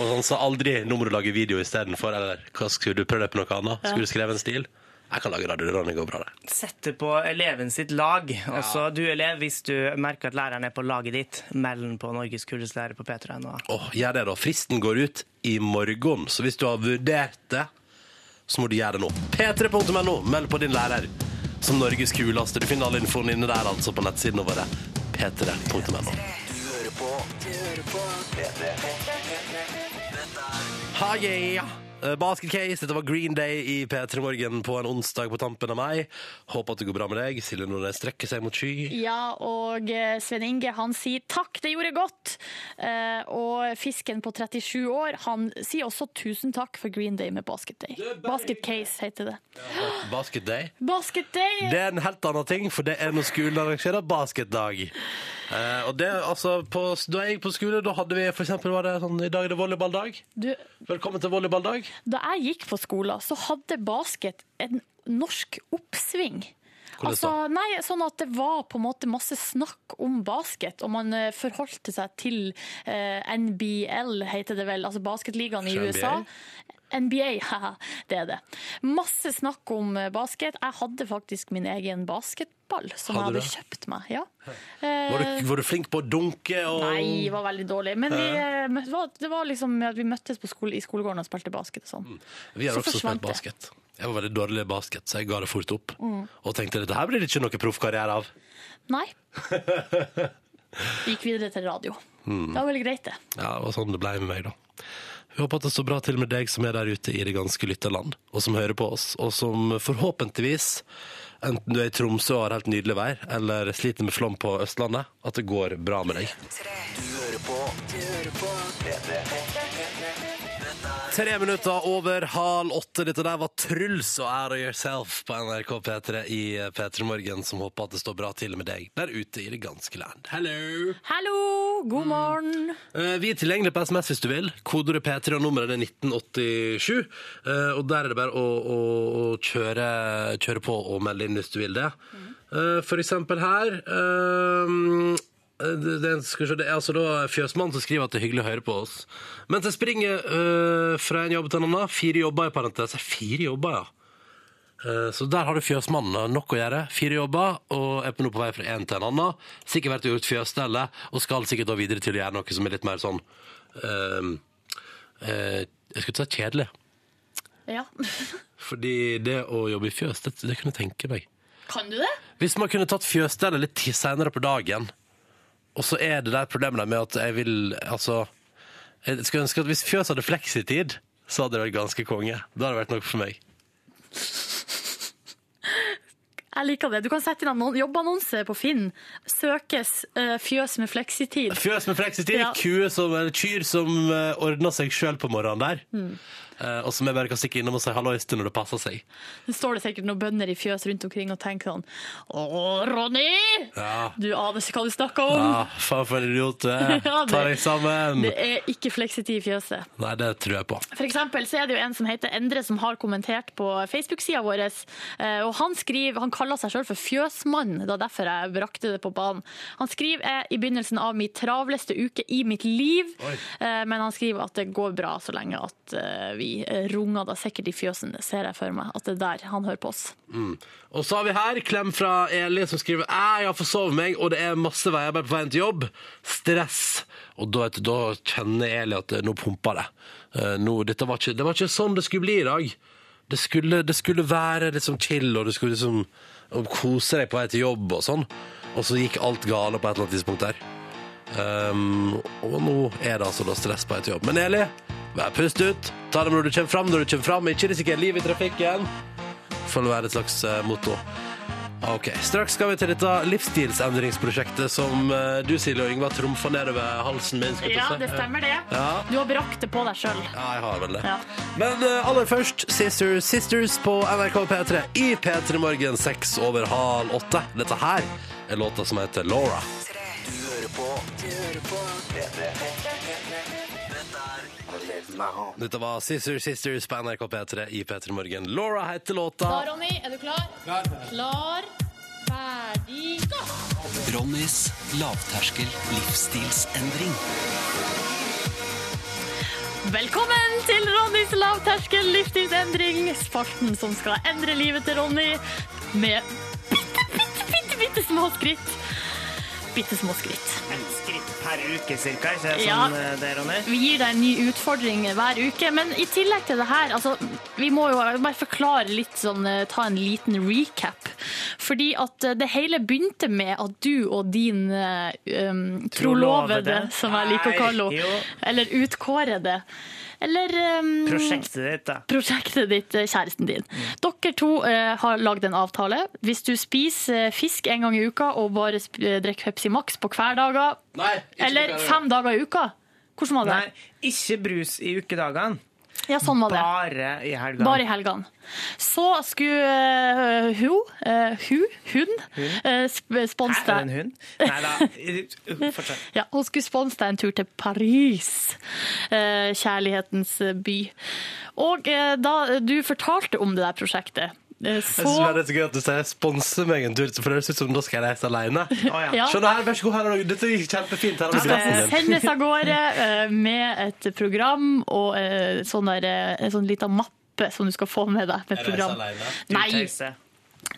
Speaker 2: Og han sa aldri 'nå må du lage video istedenfor', eller 'hva skulle du prøve deg på noe annet'? Skulle du skrevet en stil? Jeg kan lage radio, det går bra, det.
Speaker 3: Sette på eleven sitt lag. Altså, du elev, hvis du merker at læreren er på laget ditt, meld den på Norges kuleste lærer på p3.no.
Speaker 2: Åh, gjør det, da. Fristen går ut i morgen, så hvis du har vurdert det, så må du gjøre det nå. p3.no, meld på din lærer som Norges kuleste. Du finner all infoen inne der, altså, på nettsiden vår. p3.no.
Speaker 6: Du hører på Du hører på P3
Speaker 2: Ha, yeah. Eh, Basket Case, dette var Green Day i P3 Morgen på en onsdag på tampen av meg. Håper at det går bra med deg. Silje Nordnes strekker seg mot sky.
Speaker 4: Ja, og eh, Svein Inge han sier takk, det gjorde godt. Eh, og fisken på 37 år han sier også tusen takk for Green Day med Basket Day. Basket Case heter det.
Speaker 2: Basket Day.
Speaker 4: Basket Day!
Speaker 2: Det er en helt annen ting, for det er når skolen arrangerer basketdag. Eh, og det, altså, på, da jeg gikk på skole, da hadde vi for eksempel, var det sånn, i dag er det volleyballdag.
Speaker 4: Du,
Speaker 2: Velkommen til volleyballdag.
Speaker 4: da jeg gikk på skolen, så hadde basket en norsk oppsving.
Speaker 2: Hvordan
Speaker 4: altså, nei, sånn at det var på en måte masse snakk om basket, og man eh, forholdte seg til eh, NBL, heter det vel, altså basketligaen i
Speaker 2: Ikke
Speaker 4: USA.
Speaker 2: NBA?
Speaker 4: NBA, *laughs* haha, det er det. Masse snakk om eh, basket. Jeg hadde faktisk min egen basketball som
Speaker 2: Hadde
Speaker 4: jeg hadde kjøpt meg. Ja. Eh,
Speaker 2: Var du, var du flink på å dunke? Og...
Speaker 4: Nei, var veldig dårlig. Men vi, eh, mø- var- det var liksom at vi møttes på skole, i skolegården og spilte basket og sånn.
Speaker 2: Vi har
Speaker 4: Så
Speaker 2: også
Speaker 4: forsvant
Speaker 2: spilt basket. Jeg var veldig dårlig i basket, så jeg ga det fort opp.
Speaker 4: Mm.
Speaker 2: Og tenkte dette her blir det ikke noe proffkarriere av.
Speaker 4: Nei. Gikk videre til radio.
Speaker 2: Hmm.
Speaker 4: Det var veldig greit, det.
Speaker 2: Ja, det var sånn det ble med meg, da. Vi håper at det står bra til med deg som er der ute i det ganske lytterland, og som hører på oss, og som forhåpentligvis, enten du er i Tromsø og har helt nydelig vær, eller sliter med flom på Østlandet, at det går bra med deg.
Speaker 6: Du hører på Du hører på P3
Speaker 2: Tre minutter over halv åtte. Dette der var Truls og Out of Yourself på NRK P3 i P3 Morgen, som håper at det står bra til med deg der ute i det ganske land. Hello!
Speaker 4: Hallo, god
Speaker 2: Hmm.
Speaker 4: morgen.
Speaker 2: Eh, Vi er tilgjengelige på SMS hvis du vil. Kodeordet P3 og nummeret er 1987. Eh, Og der er det bare å, å, å kjøre, kjøre på og melde inn hvis du vil det. Eh, For eksempel her ehm, det, det, skal vi se, det er altså da Fjøsmann som skriver at det er hyggelig å høre på oss. Mens jeg springer eh, fra en jobb til en annen. Fire jobber i parentes. Fire jobber, ja. Eh, Så der har du fjøsmannen. har Nok å gjøre. Fire jobber, og er nå på vei fra en til en annen. Sikkert vært og gjort fjøsstellet, og skal sikkert da videre til å gjøre noe som er litt mer sånn ehm, eh, Jeg skulle ikke si kjedelig,
Speaker 4: Ja.
Speaker 2: fordi det å jobbe i fjøs, det, det kunne jeg tenke meg.
Speaker 4: Kan du det?
Speaker 2: Hvis man kunne tatt fjøsstellet litt ti- senere på dagen, og så er det der problemet der med at jeg vil Altså, jeg skulle ønske at hvis fjøs hadde fleksitid, så hadde det vært ganske konge. Da hadde det vært noe for meg.
Speaker 4: Jeg liker det. Du kan sette inn annon jobbannonse på Finn. Søkes eh, fjøs med fleksitid.
Speaker 2: Fjøs med fleksitid,
Speaker 4: Ja.
Speaker 2: kue som, eller kyr som eh, ordner seg sjøl på morgenen der.
Speaker 4: Mm.
Speaker 2: Eh, og som jeg bare kan stikke innom og si hallois til når det passer seg.
Speaker 4: Så står det sikkert noen bønder i fjøs rundt omkring og tenker sånn Å, Ronny!
Speaker 2: Ja.
Speaker 4: Du aner ikke hva du snakker om.
Speaker 2: Ja, faen for en idiot du er.
Speaker 4: *laughs* Ja, det-
Speaker 2: Ta deg sammen!
Speaker 4: Det er ikke fleksitid i fjøset.
Speaker 2: Nei, det tror jeg på.
Speaker 4: For eksempel så er det jo en som heter Endre som har kommentert på Facebook-sida vår. eh, Og han, skriver, han kaller seg sjøl for fjøsmann, det var derfor jeg brakte det på banen. Han skriver er i begynnelsen av min travleste uke i mitt liv,
Speaker 2: Oi.
Speaker 4: eh, men han skriver at det går bra så lenge at eh, vi eh, runger da sikkert i fjøsen, ser jeg for meg. At det er der han hører på oss.
Speaker 2: Og så har vi her klem fra Eli som skriver «Æ, Jeg har forsovet meg, og det er masse veiarbeid på veien til jobb. Stress. Og da, vet du, da kjenner Eli at eh, nå pumper det. Eh, Nå, dette var ikke, det var ikke sånn det skulle bli i dag. Det skulle, det skulle være liksom chill, og du skulle liksom og kose deg på vei til jobb og sånn. Og så gikk alt gale på et eller annet tidspunkt der. Ehm, og nå er det altså da stress på vei til jobb. Men Eli, Vær pust ut. Ta det når du kommer fram, når du kommer fram. Ikke risiker livet i trafikken. Får det være et slags eh, motto. Ok, Straks skal vi til dette livsstilsendringsprosjektet som eh, du, Silje og Yngvar, trumfa nedover halsen min. skulle jeg
Speaker 4: Ja,
Speaker 2: til å si.
Speaker 4: det stemmer det.
Speaker 2: Ja.
Speaker 4: Du har brakt det på deg sjøl.
Speaker 2: Ja, jeg har vel det.
Speaker 4: Ja.
Speaker 2: Men eh, aller først Sisters Sisters på NRK P3 i P3 Morgen seks over halv åtte. Dette her er låta som heter Laura. Dette var Sisters Sisters på NRK P3 i P3 Morgen. Laura heter låta.
Speaker 5: Da, Ronny, er du klar? Klar. ferdig, gå!
Speaker 6: Ronnys lavterskel livsstilsendring.
Speaker 4: Velkommen til Ronnys lavterskel livsstilsendring, spalten som skal endre livet til Ronny med bitte, bitte, bitte, bitte små skritt. Bitte små skritt.
Speaker 3: Et skritt per uke, cirka. Ikke sånn
Speaker 4: Ja.
Speaker 3: eh, det, Ronny?
Speaker 4: Vi gir deg en ny utfordring hver uke, men i tillegg til det her, altså, vi må jo bare forklare litt sånn, eh, ta en liten recap. Fordi at eh, det hele begynte med at du og din eh, um, trolovede,
Speaker 3: Trolovede.
Speaker 4: som jeg liker å kalle
Speaker 3: Nei,
Speaker 4: henne,
Speaker 3: jo.
Speaker 4: eller utkårede, eller um,
Speaker 3: Prosjektet ditt, da.
Speaker 4: prosjektet ditt, eh, kjæresten din. Dere to eh, har lagd en avtale. Hvis du spiser eh, fisk en gang i uka og bare sp- eh, drikker Pepsi Max på hverdager,
Speaker 2: Nei, ikke
Speaker 4: eller
Speaker 2: på hverdager.
Speaker 4: fem dager i uka, hvordan var det?
Speaker 3: Nei, ikke brus i ukedagene.
Speaker 4: Ja, sånn var det.
Speaker 3: Bare i helgene.
Speaker 4: Bare i helgene. Så skulle eh, hun, eh, hun, hun, eh, sp-
Speaker 3: Hæ,
Speaker 4: sponse
Speaker 3: er det en
Speaker 4: deg.
Speaker 3: hund? Nei da. *laughs* Fortsett.
Speaker 4: Ja, hun skulle sponse deg en tur til Paris, eh, kjærlighetens by. Og eh, da du fortalte om det der prosjektet, eh,
Speaker 2: Jeg synes bare
Speaker 4: så
Speaker 2: det er så gøy at du sier 'sponse meg en tur', for det høres ut som da skal jeg reise alene.
Speaker 3: Å ja.
Speaker 4: Ja.
Speaker 2: Skjønner her, vær så god, her er noe. Dette gikk kjempefint. Her har du
Speaker 4: skal
Speaker 2: billetten din.
Speaker 4: sendes av gårde eh, med et program og eh, sånn der, eh, en sånn liten mappe som du skal få med deg. Med
Speaker 2: Jeg reiser
Speaker 4: program.
Speaker 2: alene.
Speaker 3: Du
Speaker 4: Nei,
Speaker 3: tøyser.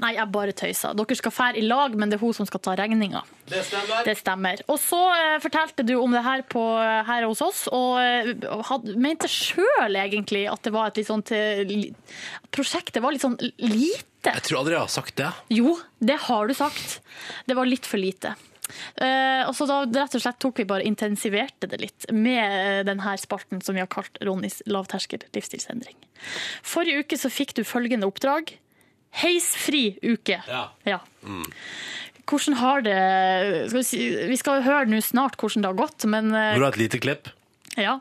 Speaker 4: nei, jeg bare tøyser. Dere skal fære i lag, men det er hun som skal ta regninga.
Speaker 2: Det stemmer.
Speaker 4: Det stemmer. Og så eh, fortalte du om det her, på, her hos oss, og eh, had, mente sjøl egentlig at det var et litt sånt eh, li- Prosjektet var litt sånn lite.
Speaker 2: Jeg tror aldri jeg har sagt det.
Speaker 4: Jo, det har du sagt. Det var litt for lite. Eh, og så da rett og slett tok vi bare intensiverte det litt med denne spalten som vi har kalt Ronnys lavterskel livsstilsendring. Forrige uke så fikk du følgende oppdrag. Heisfri uke.
Speaker 2: Ja.
Speaker 4: Hvordan har det skal vi, si, vi skal høre nå snart hvordan det har gått, men eh,
Speaker 2: Vil du ha et lite klipp?
Speaker 4: ja.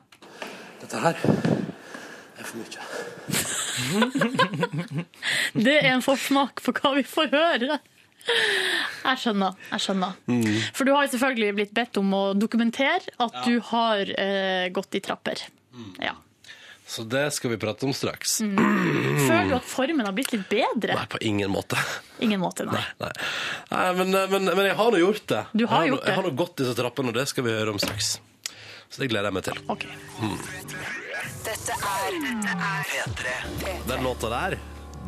Speaker 2: Dette her er for mye.
Speaker 4: *laughs* Det er en forsmak på hva vi får høre. Jeg skjønner. jeg skjønner.
Speaker 2: Mm.
Speaker 4: For du har jo selvfølgelig blitt bedt om å dokumentere at du har eh, gått i trapper. Ja.
Speaker 2: Så det skal vi prate om straks.
Speaker 4: Mm. Føler du at formen har blitt litt bedre?
Speaker 2: Nei, på ingen måte. *laughs*
Speaker 4: Ingen måte, nei.
Speaker 2: Nei, Nei men, eh, men, men jeg har nå gjort det.
Speaker 4: Du har
Speaker 2: jeg
Speaker 4: gjort det.
Speaker 2: Jeg har nå gått disse trappene, og det skal vi høre om straks. Så det gleder jeg meg til.
Speaker 4: Ok.
Speaker 2: Den låta der,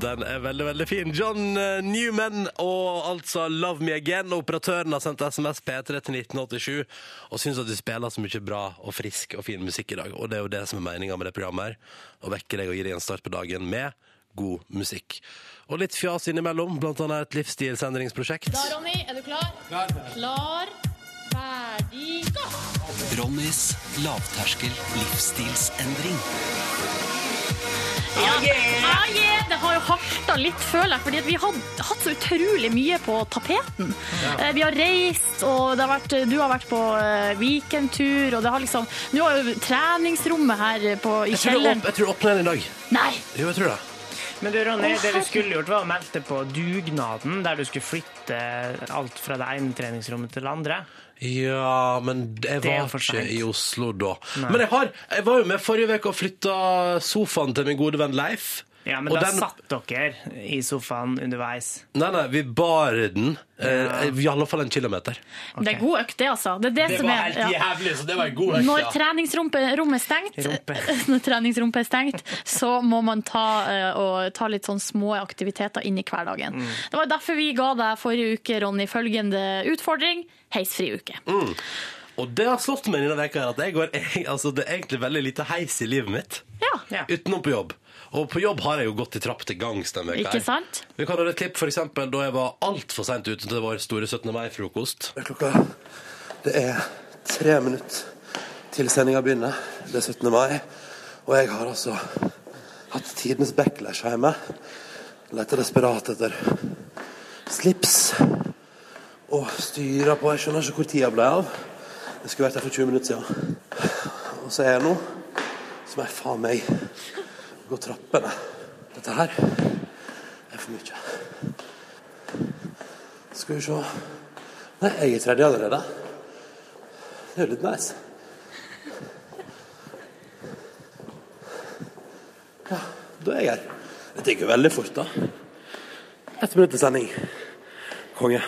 Speaker 2: den er veldig, veldig fin. John eh, Newman og altså Love Me Again. Operatøren har sendt SMS P3 til 1987 og syns at du spiller så mye bra og frisk og fin musikk i dag. Og det er jo det som er meninga med det programmet her. Å vekke deg og gi deg en start på dagen med god musikk. Og litt fjas innimellom, blant annet et livsstilsendringsprosjekt.
Speaker 5: Da, Ronny, er du klar? Klar. Klar, ferdig, gå!
Speaker 6: Ronnys lavterskel livsstilsendring.
Speaker 4: Ja. Ah, yeah. Det har jo harta litt, føler jeg, fordi at vi har hatt så utrolig mye på tapeten. Eh, Vi har reist, og det har vært, du har vært på eh, weekendtur, og det har liksom Nå har jo treningsrommet her eh, på, i
Speaker 2: Jeg tror det
Speaker 4: kjelleren
Speaker 2: åp- jeg tror det åpner igjen i dag.
Speaker 4: Nei!
Speaker 2: Jo, jeg tror det.
Speaker 3: Men du, Ronny,
Speaker 4: Å,
Speaker 3: det du
Speaker 4: herregud.
Speaker 3: skulle gjort, var å melde deg på dugnaden, der du skulle flytte alt fra det ene treningsrommet til det andre.
Speaker 2: Ja, men jeg
Speaker 3: Det er
Speaker 2: var
Speaker 3: for
Speaker 2: ikke
Speaker 3: sent.
Speaker 2: i Oslo da. Men jeg, har, jeg var jo med forrige uke og flytta sofaen til min gode venn Leif.
Speaker 3: Ja, men
Speaker 2: og
Speaker 3: da
Speaker 2: den-
Speaker 3: satt dere i sofaen underveis.
Speaker 2: Nei, nei, vi bar den eh, i alle fall en kilometer.
Speaker 4: Det er god økt, det, altså. Det er det, som er ja.
Speaker 2: jævlig, så det var en god
Speaker 4: Når treningsrommet er stengt,
Speaker 3: Rumpe.
Speaker 4: *laughs* når treningsrommet er stengt, så må man ta, eh, og ta litt sånn små aktiviteter inn i hverdagen. Det var derfor vi ga deg forrige uke, Ronny, følgende utfordring. Heisfri uke.
Speaker 2: Og det har slått meg denne veka her at jeg går, *laughs* altså, det er egentlig veldig lite heis i livet mitt.
Speaker 4: Ja.
Speaker 3: Ja.
Speaker 2: Utenom på jobb. Og på jobb har jeg jo gått i trapp til gangs denne veka. her.
Speaker 4: Ikke sant?
Speaker 2: Vi kan høre et klipp for eksempel da jeg var altfor seint ute til vår store 17. mai-frokost.
Speaker 7: Det er klokka Det er tre minutter til sendinga begynner. Det er 17. mai.
Speaker 2: Og jeg har altså hatt tidenes backlash hjemme. Leter desperat etter slips. Og styrer på. Jeg skjønner ikke hvor tida ble av. Det skulle vært der for 20 minutter siden. Og så er jeg nå som er faen meg gå trappene. Dette her er for mye. Skal vi se Nei, jeg er tredje allerede. Det er jo litt nice. Da er jeg her. Dette gikk jo veldig fort, da. Ett minutt til sending. Konge.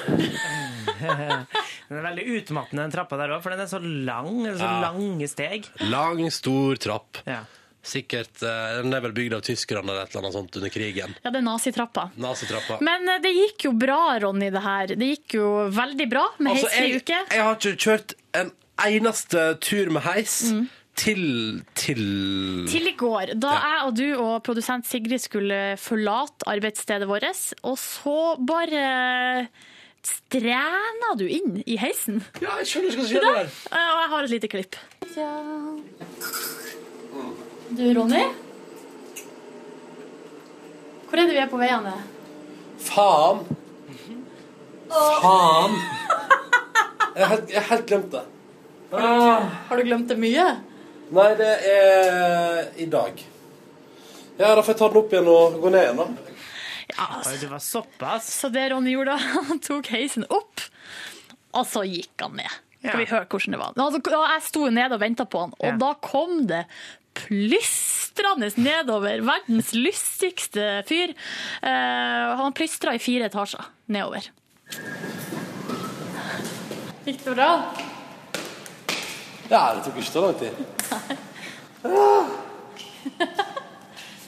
Speaker 3: Den er veldig utmattende, den trappa der òg, for den er så lang. det er Så
Speaker 2: Ja.
Speaker 3: lange steg.
Speaker 2: Lang, stor trapp.
Speaker 3: Ja.
Speaker 2: Sikkert eh, Den er vel bygd av tyskerne eller et eller annet sånt under krigen.
Speaker 4: Ja, det er nazitrappa.
Speaker 2: Nazitrappa.
Speaker 4: Men eh, det gikk jo bra, Ronny, det her. Det gikk jo veldig bra med
Speaker 2: Altså,
Speaker 4: heisfri
Speaker 2: jeg,
Speaker 4: uke.
Speaker 2: jeg har ikke kjørt en eneste tur med heis til til
Speaker 4: Mm. Til i går, da
Speaker 2: Ja.
Speaker 4: jeg og du og produsent Sigrid skulle forlate arbeidsstedet vårt, og så bare strena du inn i heisen.
Speaker 2: Ja, jeg skjønner ikke hva som skjer der.
Speaker 4: Eh, Og jeg har et lite klipp. Du, Ronny? Hvor er det vi er på vei, Anne?
Speaker 2: Faen! Faen! Jeg har helt- jeg har helt glemt det.
Speaker 4: Har du glemt det mye?
Speaker 2: Nei, det er i dag. Ja, da får jeg ta den opp igjen og gå ned igjen, da. altså,
Speaker 3: Oi, det var såpass.
Speaker 4: Så det Ronny gjorde *laughs* da, han tok heisen opp, og så gikk han ned. Skal
Speaker 3: Ja.
Speaker 4: vi høre hvordan det var? Altså, og jeg sto jo nede og venta på han, og
Speaker 3: Ja.
Speaker 4: da kom det plystrende nedover. Verdens lystigste fyr. Eh, han plystra i fire etasjer nedover. Gikk det bra?
Speaker 2: Ja, det tok ikke så lang tid.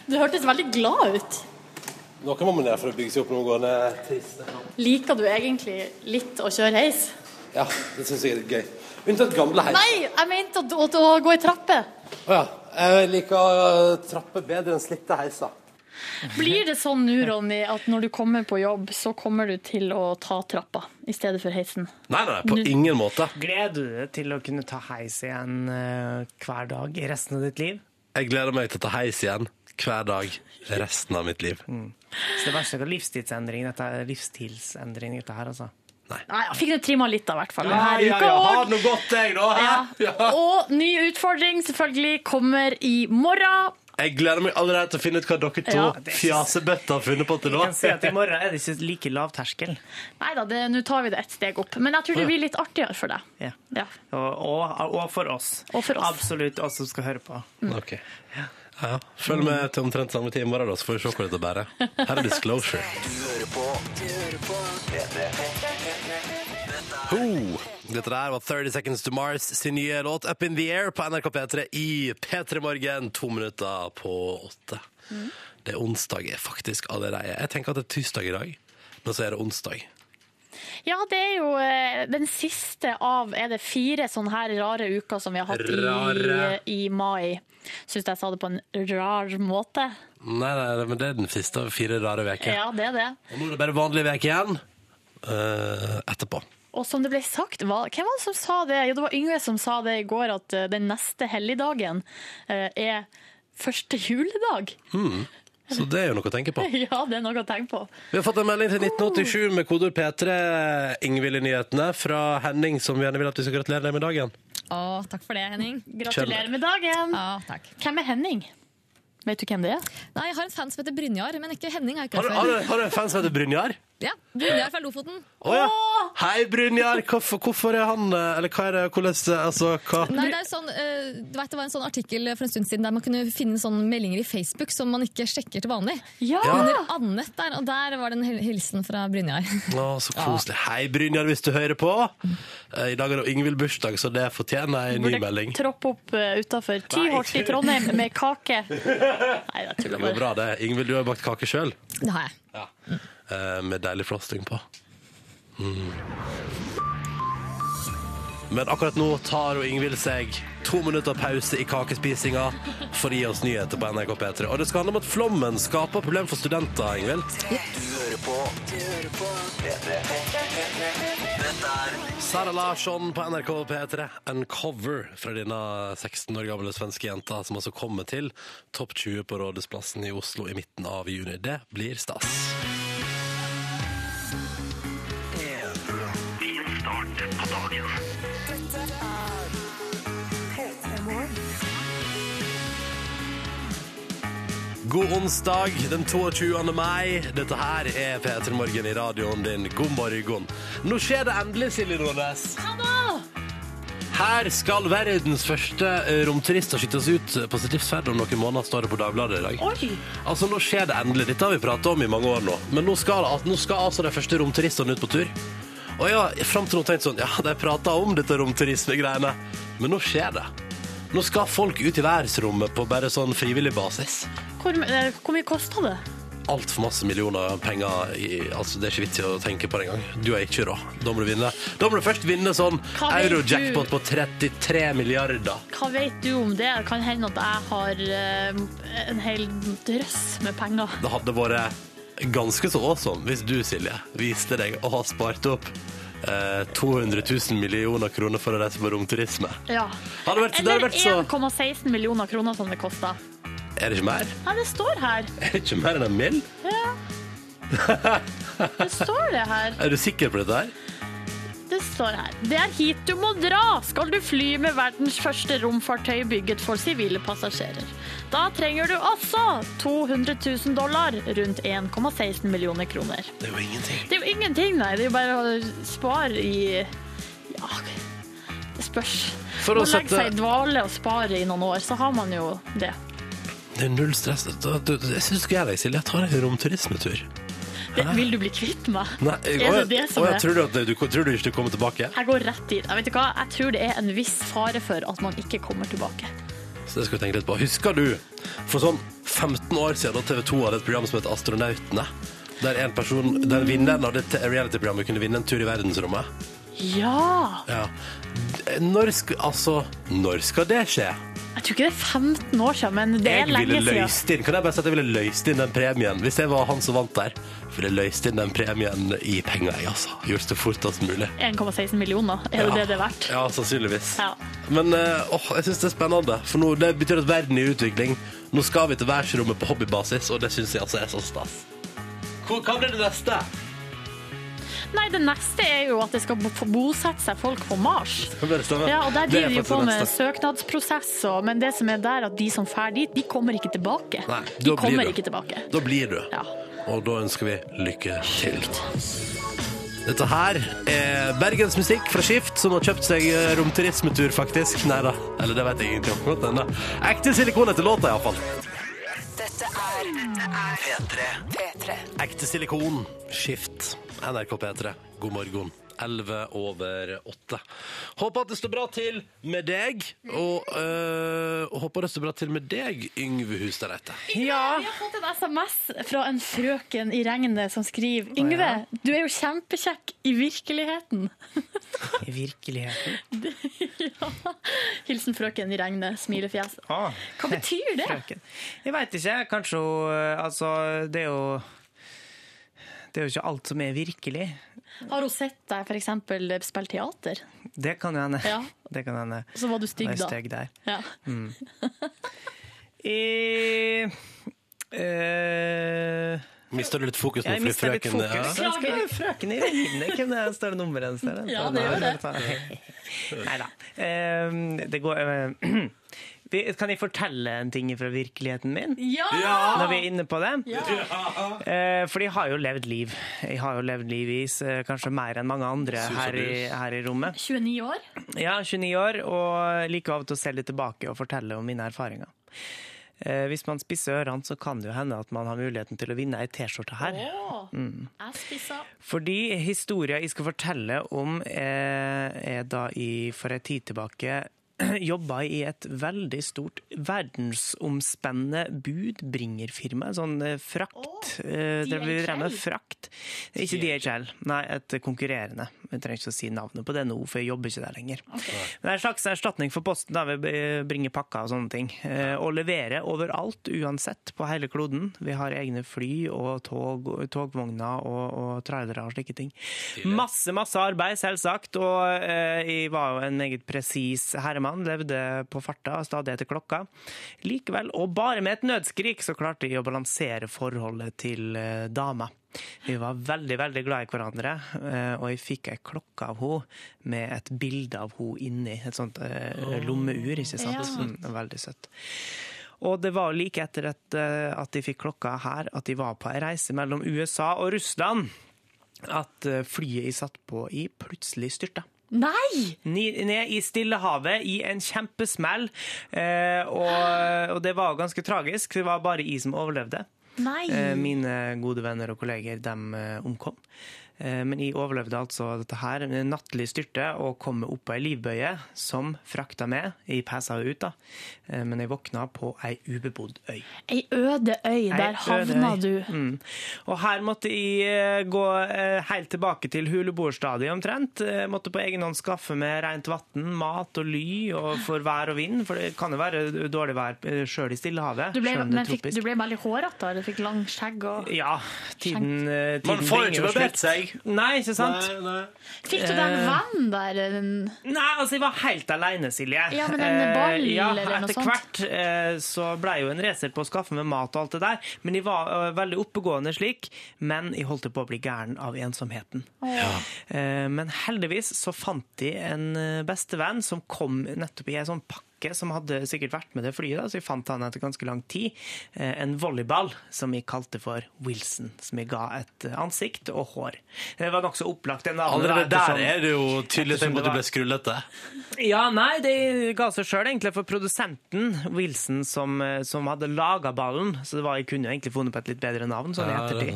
Speaker 4: Du hørtes veldig glad ut.
Speaker 2: Noe må man gjøre for å bygge seg opp når man går ned trist.
Speaker 4: Liker du egentlig litt å kjøre heis?
Speaker 2: Ja, det syns jeg er litt gøy. Unntatt gamle heis.
Speaker 4: Nei, jeg mente å, å, å gå i trapper.
Speaker 2: Å ja. Jeg liker øh, trapper bedre enn slitte heiser.
Speaker 4: Blir det sånn nå, Ronny, at når du kommer på jobb, så kommer du til å ta trappa i stedet for heisen?
Speaker 2: Nei, nei, på ingen måte.
Speaker 3: Gleder du deg til å kunne ta heis igjen eh, hver dag i resten av ditt liv?
Speaker 2: Jeg gleder meg til å ta heis igjen hver dag resten av mitt liv.
Speaker 3: Så det verste er ikke livsstilsendring, dette er livsstilsendring, dette her, altså.
Speaker 4: Nei, jeg fikk nå trimma litt, da, i hvert fall. Denne uka
Speaker 2: ha
Speaker 4: og-
Speaker 2: det noe godt, jeg, da! hæ? Ja.
Speaker 4: Og ny utfordring selvfølgelig kommer i morgen.
Speaker 2: Jeg gleder meg allerede til å finne ut hva dere to
Speaker 4: Ja.
Speaker 2: fjasebøtter har funnet på til nå.
Speaker 3: Jeg kan si at i morgen er det ikke like lav terskel.
Speaker 4: Nei da, det- nå tar vi det ett steg opp. Men jeg tror det blir litt artigere for deg.
Speaker 3: Ja.
Speaker 4: Ja.
Speaker 3: Og, og, og for oss.
Speaker 4: Og for oss.
Speaker 3: Absolutt, oss som skal høre på.
Speaker 2: Ok. Ja, ja. Følg med til omtrent samme tid i morgen, da, så får vi se hvor dette bærer. Her er Disclosure. Ho! Dette der var 30 Seconds to Mars sin nye låt Up in the Air på NRK P3 i P3 Morgen, to minutter på åtte. Det er onsdag er faktisk allerede. Jeg tenker at det er tirsdag i dag, men så er det onsdag.
Speaker 4: ja, det er jo eh, den siste av Er det fire sånne her rare uker som vi har hatt
Speaker 2: Rare.
Speaker 4: i, i mai? Syns jeg sa det på en rar måte.
Speaker 2: Nei, nei, nei, men det er den siste av fire rare uker.
Speaker 4: Ja, det er det.
Speaker 2: Og nå er det bare vanlig uke igjen. eh, etterpå.
Speaker 4: Og som det ble sagt, hva, hvem var det som sa det? Jo, det var Yngve som sa det i går, at eh, den neste helligdagen eh, er første juledag. *laughs*
Speaker 2: Så det er jo noe å tenke på.
Speaker 4: Ja, det er noe å tenke på.
Speaker 2: Vi har fått en melding til 1987 med kodord P3, Ingvild i nyhetene, fra Henning, som gjerne vil at vi skal gratulere deg med dagen.
Speaker 7: Å, takk for det, Henning.
Speaker 4: Gratulerer med dagen!
Speaker 7: Ja, takk.
Speaker 4: Hvem er Henning? Vet du hvem det er?
Speaker 7: Nei, jeg har en fan som heter Brynjar, men ikke Henning. er ikke
Speaker 2: Har du,
Speaker 7: det
Speaker 2: har
Speaker 7: før.
Speaker 2: du, har du en fan som heter Brynjar?
Speaker 7: Ja, Brynjar fra Lofoten.
Speaker 2: Å ja. Hei, Brynjar! Hvorfor, hvorfor er han eh, Eller hva er det, hvordan Altså, hva
Speaker 7: Nei, det, er jo sånn, eh, du vet, det var en sånn artikkel for en stund siden der man kunne finne sånne meldinger i Facebook som man ikke sjekker til vanlig.
Speaker 4: Ja!
Speaker 7: Under Annette der, og der var det en hil- hilsen fra Brynjar.
Speaker 2: Å, så koselig. Hei, Brynjar, hvis du hører på. Eh, I dag er det Ingvild bursdag, så det fortjener en ny melding.
Speaker 4: Burde troppe opp uh, utafor Tyholt i Trondheim
Speaker 2: *laughs*
Speaker 4: med kake. Nei, jeg
Speaker 2: Det
Speaker 4: tuller
Speaker 2: går
Speaker 4: bare.
Speaker 2: bra, det. Ingvild, du har bakt kake sjøl,
Speaker 7: Det har jeg.
Speaker 2: Eh, med deilig frosting på. Mm. Men akkurat nå tar og Ingvild seg to minutter pause i kakespisinga for å gi oss nyheter på NRK P3. Og det skal handle om at flommen skaper problem for studenter, Ingvild.
Speaker 6: Du hører på Du hører på P3. Dette er
Speaker 2: Sara Larsson på NRK P3. Uncover fra denne 16 år gamle svenske jenta som altså kommer til topp 20 på Rådhusplassen i Oslo i midten av juni. Det blir stas. God onsdag den 22. mai. Dette her er P3 Morgen i radioen din. God morgen. Nå skjer det endelig, Silje Nordnes. Her skal verdens første eh, romturister skytes ut på sitt livs ferd om noen måneder, står det på Dagbladet i dag. Altså, nå skjer det endelig. Dette har vi pratet om i mange år nå. Men nå skal, at- nå skal altså de første romturistene ut på tur. Og jeg har frem til nå tenkt sånn, ja, de pratet om dette romturisme-greiene. Men nå skjer det. Nå skal folk ut i verdensrommet på bare sånn frivillig basis
Speaker 4: Hvor, eh, hvor mye kosta det?
Speaker 2: altfor masse millioner penger i, altså Det er ikke vits i å tenke på det engang. Du er ikke råd. Da må du vinne. Da må du først vinne sånn
Speaker 4: Hva vet
Speaker 2: euro-jackpot
Speaker 4: du?
Speaker 2: på 33 milliarder.
Speaker 4: Hva vet du om det? Det kan hende at jeg har eh, en hel drøss med penger.
Speaker 2: Det hadde vært ganske så awesome hvis du, Silje, viste deg å ha spart opp eh, 200 000 millioner kroner for å reise på romturisme.
Speaker 4: Ja.
Speaker 2: Hadde vært, det hadde
Speaker 4: Eller
Speaker 2: vært så
Speaker 4: 1,16 millioner kroner som det kosta.
Speaker 2: Er det ikke mer?
Speaker 4: Nei, det står her.
Speaker 2: Er det ikke mer enn en mill?
Speaker 4: Ja. Det står det her.
Speaker 2: Er du sikker på dette her?
Speaker 4: Det står her. Det er hit du må dra skal du fly med verdens første romfartøy bygget for sivile passasjerer. Da trenger du altså 200 000 dollar, rundt 1,16 millioner kroner.
Speaker 2: Det er jo ingenting.
Speaker 4: Det er jo ingenting, nei. Det er jo bare å spare i Ja, det spørs.
Speaker 2: For
Speaker 4: å
Speaker 2: å
Speaker 4: legge
Speaker 2: sette-
Speaker 4: seg i dvale og spare i noen år, så har man jo det.
Speaker 2: Det er null stress. Da- du- Jeg syns du skal gjøre deg, Silje. Jeg tar en romturismetur.
Speaker 4: det vil du bli kvitt meg?
Speaker 2: Nei,
Speaker 4: er det det som
Speaker 2: åja,
Speaker 4: er
Speaker 2: Tror du, at du, tror du ikke du kommer tilbake?
Speaker 4: Jeg går rett i det. Vet du hva? Jeg tror det er en viss fare for at man ikke kommer tilbake.
Speaker 2: Så det skal jeg tenke litt på. Husker du for sånn 15 år siden da TV 2 hadde et program som het Astronautene? Der en person, der vinneren av dette reality-programmet kunne vinne en tur i verdensrommet.
Speaker 4: Ja!
Speaker 2: Ja. D- Når skal, altså, når skal det skje?
Speaker 4: Jeg tror ikke det er 15 år siden, men det
Speaker 2: Jeg
Speaker 4: er lenge
Speaker 2: ville
Speaker 4: siden.
Speaker 2: løst inn, kan jeg bare si at jeg ville løst inn den premien, hvis jeg var han som vant der. For jeg løste inn den premien i penger, jeg altså. Gjort det fortest mulig.
Speaker 4: 1,16 millioner, er jo det det er verdt.
Speaker 2: Ja, sannsynligvis.
Speaker 4: Ja.
Speaker 2: Men eh, åh, jeg syns det er spennende, for nå, det betyr at verden er i utvikling. Nå skal vi til verdensrommet på hobbybasis, og det syns jeg altså er så stas. Hvor- Hva blir det neste?
Speaker 4: Nei, det neste er jo at det skal bo- bosette seg folk på Mars.
Speaker 2: Hva blir det stemmer?
Speaker 4: Ja, og der
Speaker 2: Det er
Speaker 4: driver de jo
Speaker 2: faktisk
Speaker 4: på
Speaker 2: det
Speaker 4: med
Speaker 2: neste.
Speaker 4: søknadsprosess, og, men det som er der, at de som fær dit, de kommer ikke tilbake.
Speaker 2: Nei, da
Speaker 4: de
Speaker 2: blir
Speaker 4: kommer
Speaker 2: du.
Speaker 4: ikke tilbake.
Speaker 2: Da blir du.
Speaker 4: Ja.
Speaker 2: Og da ønsker vi lykke til. Dette her er Bergens Musikk fra Skift, som har kjøpt seg eh, romturismetur, faktisk. Nei da, eller det vet jeg egentlig om. Godt hende. Ekte silikon etter låta, iallfall.
Speaker 6: P3.
Speaker 2: Ekte silikon, skift, NRK P3, god morgen. 11 over 8. Håper at det står bra til med deg, og øh, håper det står bra til med deg, Yngve Hustad Reite.
Speaker 3: Ah.
Speaker 4: Vi har fått en SMS fra en frøken i regnet som skriver Yngve, du er jo kjempekjekk i virkeligheten.
Speaker 3: I virkeligheten.
Speaker 4: Hilsen frøken i regnet, smilefjes.
Speaker 3: Ah,
Speaker 4: Hva betyr det?
Speaker 3: frøken. Jeg veit ikke. Kanskje hun eh, Altså, det er jo Det er jo ikke alt som er virkelig.
Speaker 4: Har hun sett deg for eksempel spille teater?
Speaker 3: Det kan jo hende.
Speaker 4: Ja.
Speaker 3: Det kan hende.
Speaker 4: Og så var du stygg
Speaker 3: Jeg er
Speaker 4: da.
Speaker 3: stygg der.
Speaker 4: Ja.
Speaker 3: I, eh,
Speaker 2: Mister du litt fokus eh? nå?
Speaker 3: jeg
Speaker 2: fordi
Speaker 3: mista litt
Speaker 2: frøken-
Speaker 3: fokus.
Speaker 2: Ja.
Speaker 3: Jeg skal være Frøken i regnet, hvem er det større nummer enn større?
Speaker 4: Ja, det gjør
Speaker 3: Nei da. Eh, det går eh, *clears throat* vi- Kan jeg fortelle en ting fra virkeligheten min? Når vi er inne på det? Eh, for jeg har jo levd liv. Jeg har jo levd liv i eh, kanskje mer enn mange andre
Speaker 2: Sus og
Speaker 3: her i,
Speaker 2: dus.
Speaker 3: her i rommet.
Speaker 4: 29 år?
Speaker 3: Ja, 29 år, og liker av og til å se litt tilbake og fortelle om mine erfaringer. Eh, hvis man spisser ørene, så kan det jo hende at man har muligheten til å vinne ei T-skjorte her.
Speaker 4: Å, jeg spissa.
Speaker 3: Fordi historien jeg skal fortelle om, er, er da jeg for ei tid tilbake *clears throat* jobba i et veldig stort verdensomspennende budbringerfirma. Sånn eh, frakt. eh, det vi drev med
Speaker 4: DHL.
Speaker 3: frakt. Ikke DHL, nei, et konkurrerende Jeg trenger ikke å si navnet på det nå, for jeg jobber ikke der lenger. Men det er en slags erstatning for Posten, da vi eh, bringer pakker og sånne ting. eh, Og leverer overalt, uansett, på hele kloden. Vi har egne fly og tog, togvogner og, og trailere og slike ting. Masse, masse arbeid, selvsagt. Og eh, jeg var jo en meget presis herremann, levde på farta, stadig etter klokka. Likevel, og bare med et nødskrik, så klarte jeg å balansere forholdet til eh, dama. Vi var veldig veldig glad i hverandre, eh, og jeg fikk ei klokke av henne med et bilde av henne inni. Et sånt eh, lommeur, ikke sant. Mm, veldig søtt. Og det var like etter at, eh, at de fikk klokka her, at de var på ei reise mellom USA og Russland, at eh, flyet jeg satt på i, plutselig styrta.
Speaker 4: Nei!
Speaker 3: Ni- ned i Stillehavet i en kjempesmell. Eh, og, og det var ganske tragisk. Det var bare jeg som overlevde.
Speaker 4: Nei!
Speaker 3: Eh, mine gode venner og kolleger de eh, omkom. Eh, men jeg overlevde altså dette her. en Nattlig styrte og kom meg opp på ei livbøye som frakta meg. Jeg pæsa jo ut, da. Eh, men jeg våkna på ei ubebodd øy.
Speaker 4: Ei øde øy, der havna
Speaker 3: Ødøy.
Speaker 4: du.
Speaker 3: Mm. Og her måtte jeg eh, gå eh, helt tilbake til huleboerstadiet omtrent. Eh, Måtte på egen hånd skaffe med rent vann, mat og ly og for vær og vind, for det kan jo være dårlig vær eh, sjøl i Stillehavet.
Speaker 4: Du ble,
Speaker 3: selv om det er
Speaker 4: men fikk,
Speaker 3: tropisk.
Speaker 4: du ble veldig hårete. Du fikk lang skjegg og
Speaker 3: Ja, tiden, eh, tiden
Speaker 2: Man får jo
Speaker 3: bringer
Speaker 2: ikke
Speaker 3: jo
Speaker 2: barbert
Speaker 3: slutt.
Speaker 2: seg.
Speaker 3: Nei, ikke sant?
Speaker 2: Nei, nei.
Speaker 4: Fikk du
Speaker 3: Eh.
Speaker 4: deg en venn der? en-
Speaker 3: Nei, altså jeg var helt alene, Silje.
Speaker 4: Ja, men en ball
Speaker 3: Eh, ja,
Speaker 4: eller noe
Speaker 3: Etter
Speaker 4: sånt?
Speaker 3: hvert eh, så ble jeg jo en racer på å skaffe meg mat og alt det der. Men jeg var eh, veldig oppegående slik, men jeg holdt på å bli gæren av ensomheten. Eh, men heldigvis så fant jeg en eh, bestevenn som kom nettopp i en sånn pakke som hadde sikkert vært med det flyet, da, så jeg fant han etter ganske lang tid. Eh, En volleyball som jeg kalte for Wilson, som jeg ga et eh, ansikt og hår. Det var nokså opplagt. det navnet, da,
Speaker 2: Allerede der
Speaker 3: ettersom-
Speaker 2: er det jo tydelig tegn på at du ble skrullete.
Speaker 3: ja, nei, det ga seg sjøl, egentlig, for produsenten, Wilson, som, eh, som hadde laga ballen Så det var, jeg kunne jo egentlig funnet på et litt bedre navn, sånn i
Speaker 2: Ja, det-
Speaker 3: ettertid.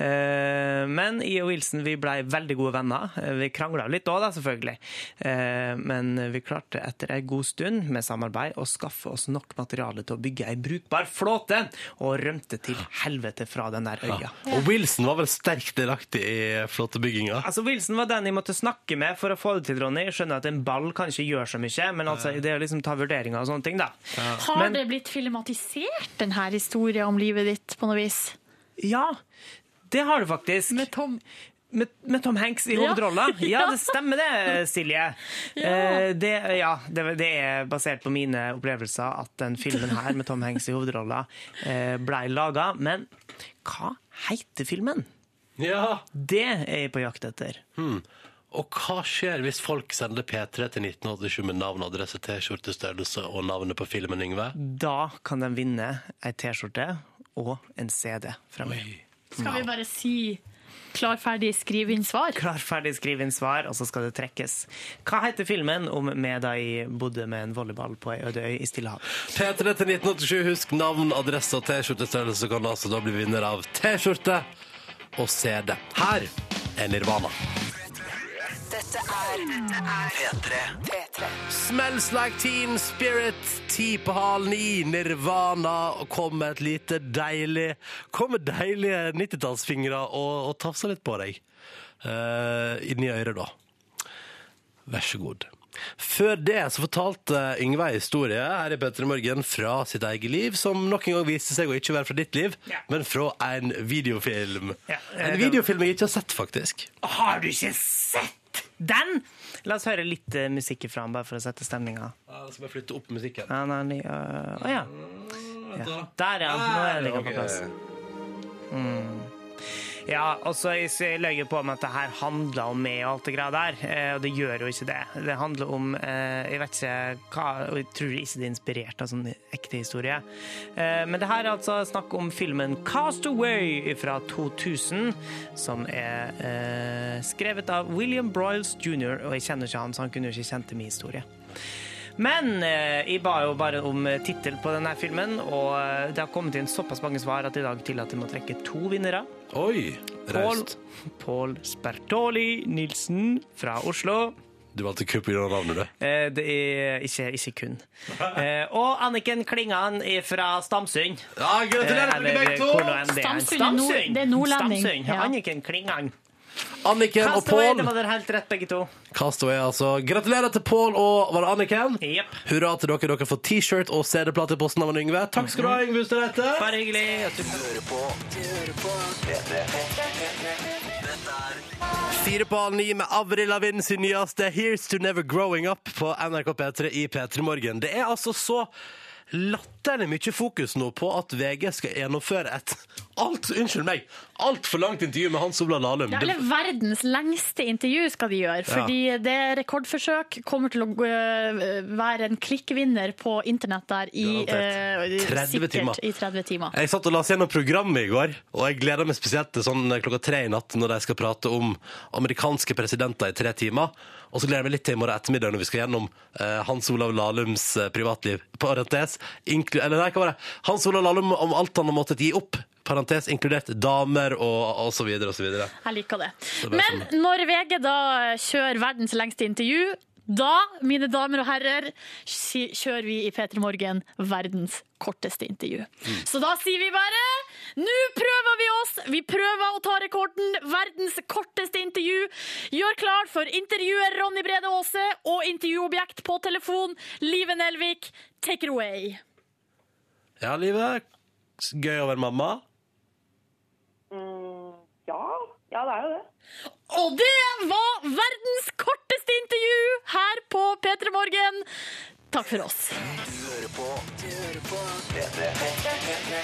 Speaker 3: Eh, men jeg og Wilson vi blei veldig gode venner. Eh, Vi krangla litt òg, da, selvfølgelig. Eh, men vi klarte etter ei god stund med samarbeid å skaffe oss nok materiale til å bygge ei brukbar flåte, og rømte til helvete fra den der øya.
Speaker 2: Og Wilson var vel sterkt delaktig i flåtebygginga.
Speaker 3: Altså, Wilson var den jeg måtte snakke med for å få det til, Ronny. Jeg skjønner at en ball kan ikke gjøre så mye, men altså, det er å liksom ta vurderinger og sånne ting, da.
Speaker 4: Har
Speaker 3: Men-
Speaker 4: det blitt filmatisert, denne historien om livet ditt, på noe vis?
Speaker 3: Ja, det har du faktisk.
Speaker 4: Med Tom
Speaker 3: Med, med Tom Hanks i
Speaker 4: Ja.
Speaker 3: hovedrolla?
Speaker 4: *laughs*
Speaker 3: Ja,
Speaker 4: Ja.
Speaker 3: det stemmer det, Silje. Eh, det, ja, det, det er basert på mine opplevelser at den filmen her med Tom Hanks i hovedrolla eh, blei laga. Men hva heter filmen?
Speaker 2: Ja.
Speaker 3: Det er jeg på jakt etter.
Speaker 2: Og hva skjer hvis folk sender P3 til 1987 med navn, adresse, T-skjortestørrelse og navnet på filmen, Yngve?
Speaker 3: Da kan de vinne ei T-skjorte og en CD fra meg.
Speaker 4: Skal vi bare si klar, ferdig, skriv inn svar?
Speaker 3: Klar, ferdig, skriv inn svar, og så skal det trekkes. Hva heter filmen om meg da jeg bodde med en volleyball på ei øde øy i Stillehavet?
Speaker 2: P3 til 1987. Husk navn, adresse og T-skjortestørrelse, så kan du altså da bli vinner av T-skjorte og CD. Her er Nirvana.
Speaker 6: Dette er P3. P3.
Speaker 2: Smells like teen spirit, ti på halv ni, Nirvana, og kom med et lite deilig Kom med deilige 90-tallsfingre og, og tafsa litt på deg. Eh, inni øret, da. Vær så god. Før det så fortalte eh, Yngve en historie her i Petter i Morgen fra sitt eget liv, som nok en gang viste seg å ikke være fra ditt liv,
Speaker 3: Ja.
Speaker 2: men fra en videofilm.
Speaker 3: Ja, eh,
Speaker 2: en
Speaker 3: det-
Speaker 2: videofilm jeg ikke har sett, faktisk.
Speaker 3: Har du ikke sett den?! La oss høre litt eh, musikk ifra han, bare for å sette stemninga.
Speaker 2: Jeg skal bare flytte opp musikken.
Speaker 3: Han er ny- øh, Å ja. ja. Der, ja. Nå er den på plass. Ja, og så jeg s- jeg løy jo på med at det her handler om meg og alt det greia der, eh, og det gjør jo ikke det. Det handler om eh, Jeg vet ikke hva og Jeg tror ikke det er inspirert av sånn ekte historie. Eh, Men det her er altså snakk om filmen 'Castaway' fra 2000, som er eh, skrevet av William Broyles jr., og jeg kjenner ikke han, så han kunne jo ikke kjent til min historie. Men eh, jeg ba jo bare om eh, tittel på denne filmen, og eh, det har kommet inn såpass mange svar at i dag tillater jeg meg å trekke to vinnere.
Speaker 2: Oi!
Speaker 3: Pål
Speaker 2: Raust.
Speaker 3: Pål Spertoli Nilsen fra Oslo.
Speaker 2: Du valgte kupp i grunn av navnet, du.
Speaker 3: Eh, Det er ikke, ikke
Speaker 2: *laughs*
Speaker 3: kun. Eh, Og Anniken Klingan fra Stamsund.
Speaker 2: Ja, gratulerer
Speaker 3: Eh,
Speaker 2: med begge
Speaker 3: eller hvor nå enn
Speaker 2: to!
Speaker 3: det er.
Speaker 4: Stamsund er nord- det er nordlending,
Speaker 3: Stamsund.
Speaker 4: ja.
Speaker 3: Anniken Klingan.
Speaker 2: Anniken og
Speaker 3: Castaway,
Speaker 2: Pål.
Speaker 3: det var dere helt rett, begge to.
Speaker 2: Castaway, altså. Gratulerer til Pål og var det Anniken.
Speaker 3: Jepp.
Speaker 2: Hurra til dere. Dere får T-shirt og CD-plate i posten av en Yngve. Takk skal du ha, Yngve Ustadreite.
Speaker 3: Bare hyggelig. og tusen-
Speaker 6: Hører på. Hører på. Dette dette er
Speaker 2: Fire på halv ni med Avril Lavigne sin nyeste Here's to Never Growing Up på NRK P3 i P3 Morgen. Det er altså så latterlig mye fokus nå på at VG skal gjennomføre et alt, unnskyld meg, altfor langt intervju med Hans Olav Lahlum.
Speaker 4: Ja, eller verdens lengste intervju skal de gjøre. Fordi det rekordforsøk kommer til å øh, være en klikkvinner på internett der i,
Speaker 2: Garantert.
Speaker 4: øh,
Speaker 2: 30
Speaker 4: sikkert
Speaker 2: timer.
Speaker 4: i 30 timer.
Speaker 2: Jeg satt og las gjennom programmet i går, og jeg gleder meg spesielt til sånn klokka tre i natt når de skal prate om amerikanske presidenter i tre timer. Og så gleder jeg meg litt til i morgen ettermiddag når vi skal gjennom eh, Hans Olav Lahlums eh, privatliv. Parentes, inklu eller nei, hva var det? Hans Olav Lahlum om alt han har måttet gi opp. Parentes inkludert damer og, og så videre og så videre.
Speaker 4: Jeg liker det.
Speaker 2: det er sånn.
Speaker 4: Men når VG da kjører verdens lengste intervju, da, mine damer og herrer, si- kjører vi i P3 Morgen verdens korteste intervju.
Speaker 2: Mm.
Speaker 4: Så da sier vi bare nå prøver vi oss! Vi prøver å ta rekorden. Verdens korteste intervju. Gjør klart for intervjuer Ronny Brede Aase og intervjuobjekt på telefon, Live Nelvik. Take it away.
Speaker 2: Ja, livet. Gøy å være mamma.
Speaker 8: Ja, ja det er jo det.
Speaker 4: Og det var verdens korteste intervju her på P3 Morgen. Takk for oss.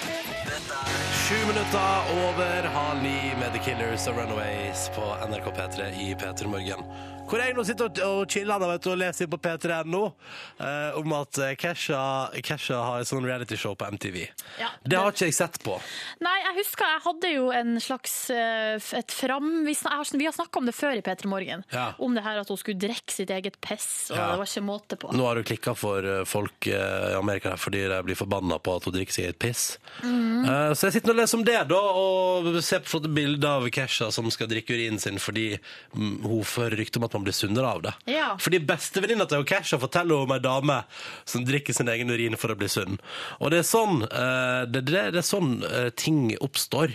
Speaker 2: Sju minutter over halv ni med The Killers og Runaways på NRK P3 i P3 Morgen. Hvor jeg nå sitter og- og chiller da, vet du, og leser på P3.no eh, om at eh, Kesha, Kesha har et sånn realityshow på MTV.
Speaker 4: Ja.
Speaker 2: Det har ikke jeg sett på.
Speaker 4: Nei, jeg husker jeg hadde jo en slags eh, f- et fram... Vi, snak, jeg har- vi har snakka om det før i P3 Morgen.
Speaker 2: Ja.
Speaker 4: Om det her at hun skulle drikke sitt eget piss, og
Speaker 2: Ja.
Speaker 4: det var ikke måte på.
Speaker 2: Nå har du klikka for eh, folk eh, i Amerika der, fordi de blir forbanna på at hun drikker seg i et piss.
Speaker 4: Mhm.
Speaker 2: Eh, Så jeg sitter og leser om det, da, og ser på flotte bilder av Kesha som skal drikke urinen sin fordi mm, hun fører rykte om at man blir sunnere av det.
Speaker 4: Ja.
Speaker 2: Fordi bestevenninna til Kesha forteller om ei dame som drikker sin egen urin for å bli sunn. Og det er sånn, eh, det, det, det er sånn eh, ting oppstår.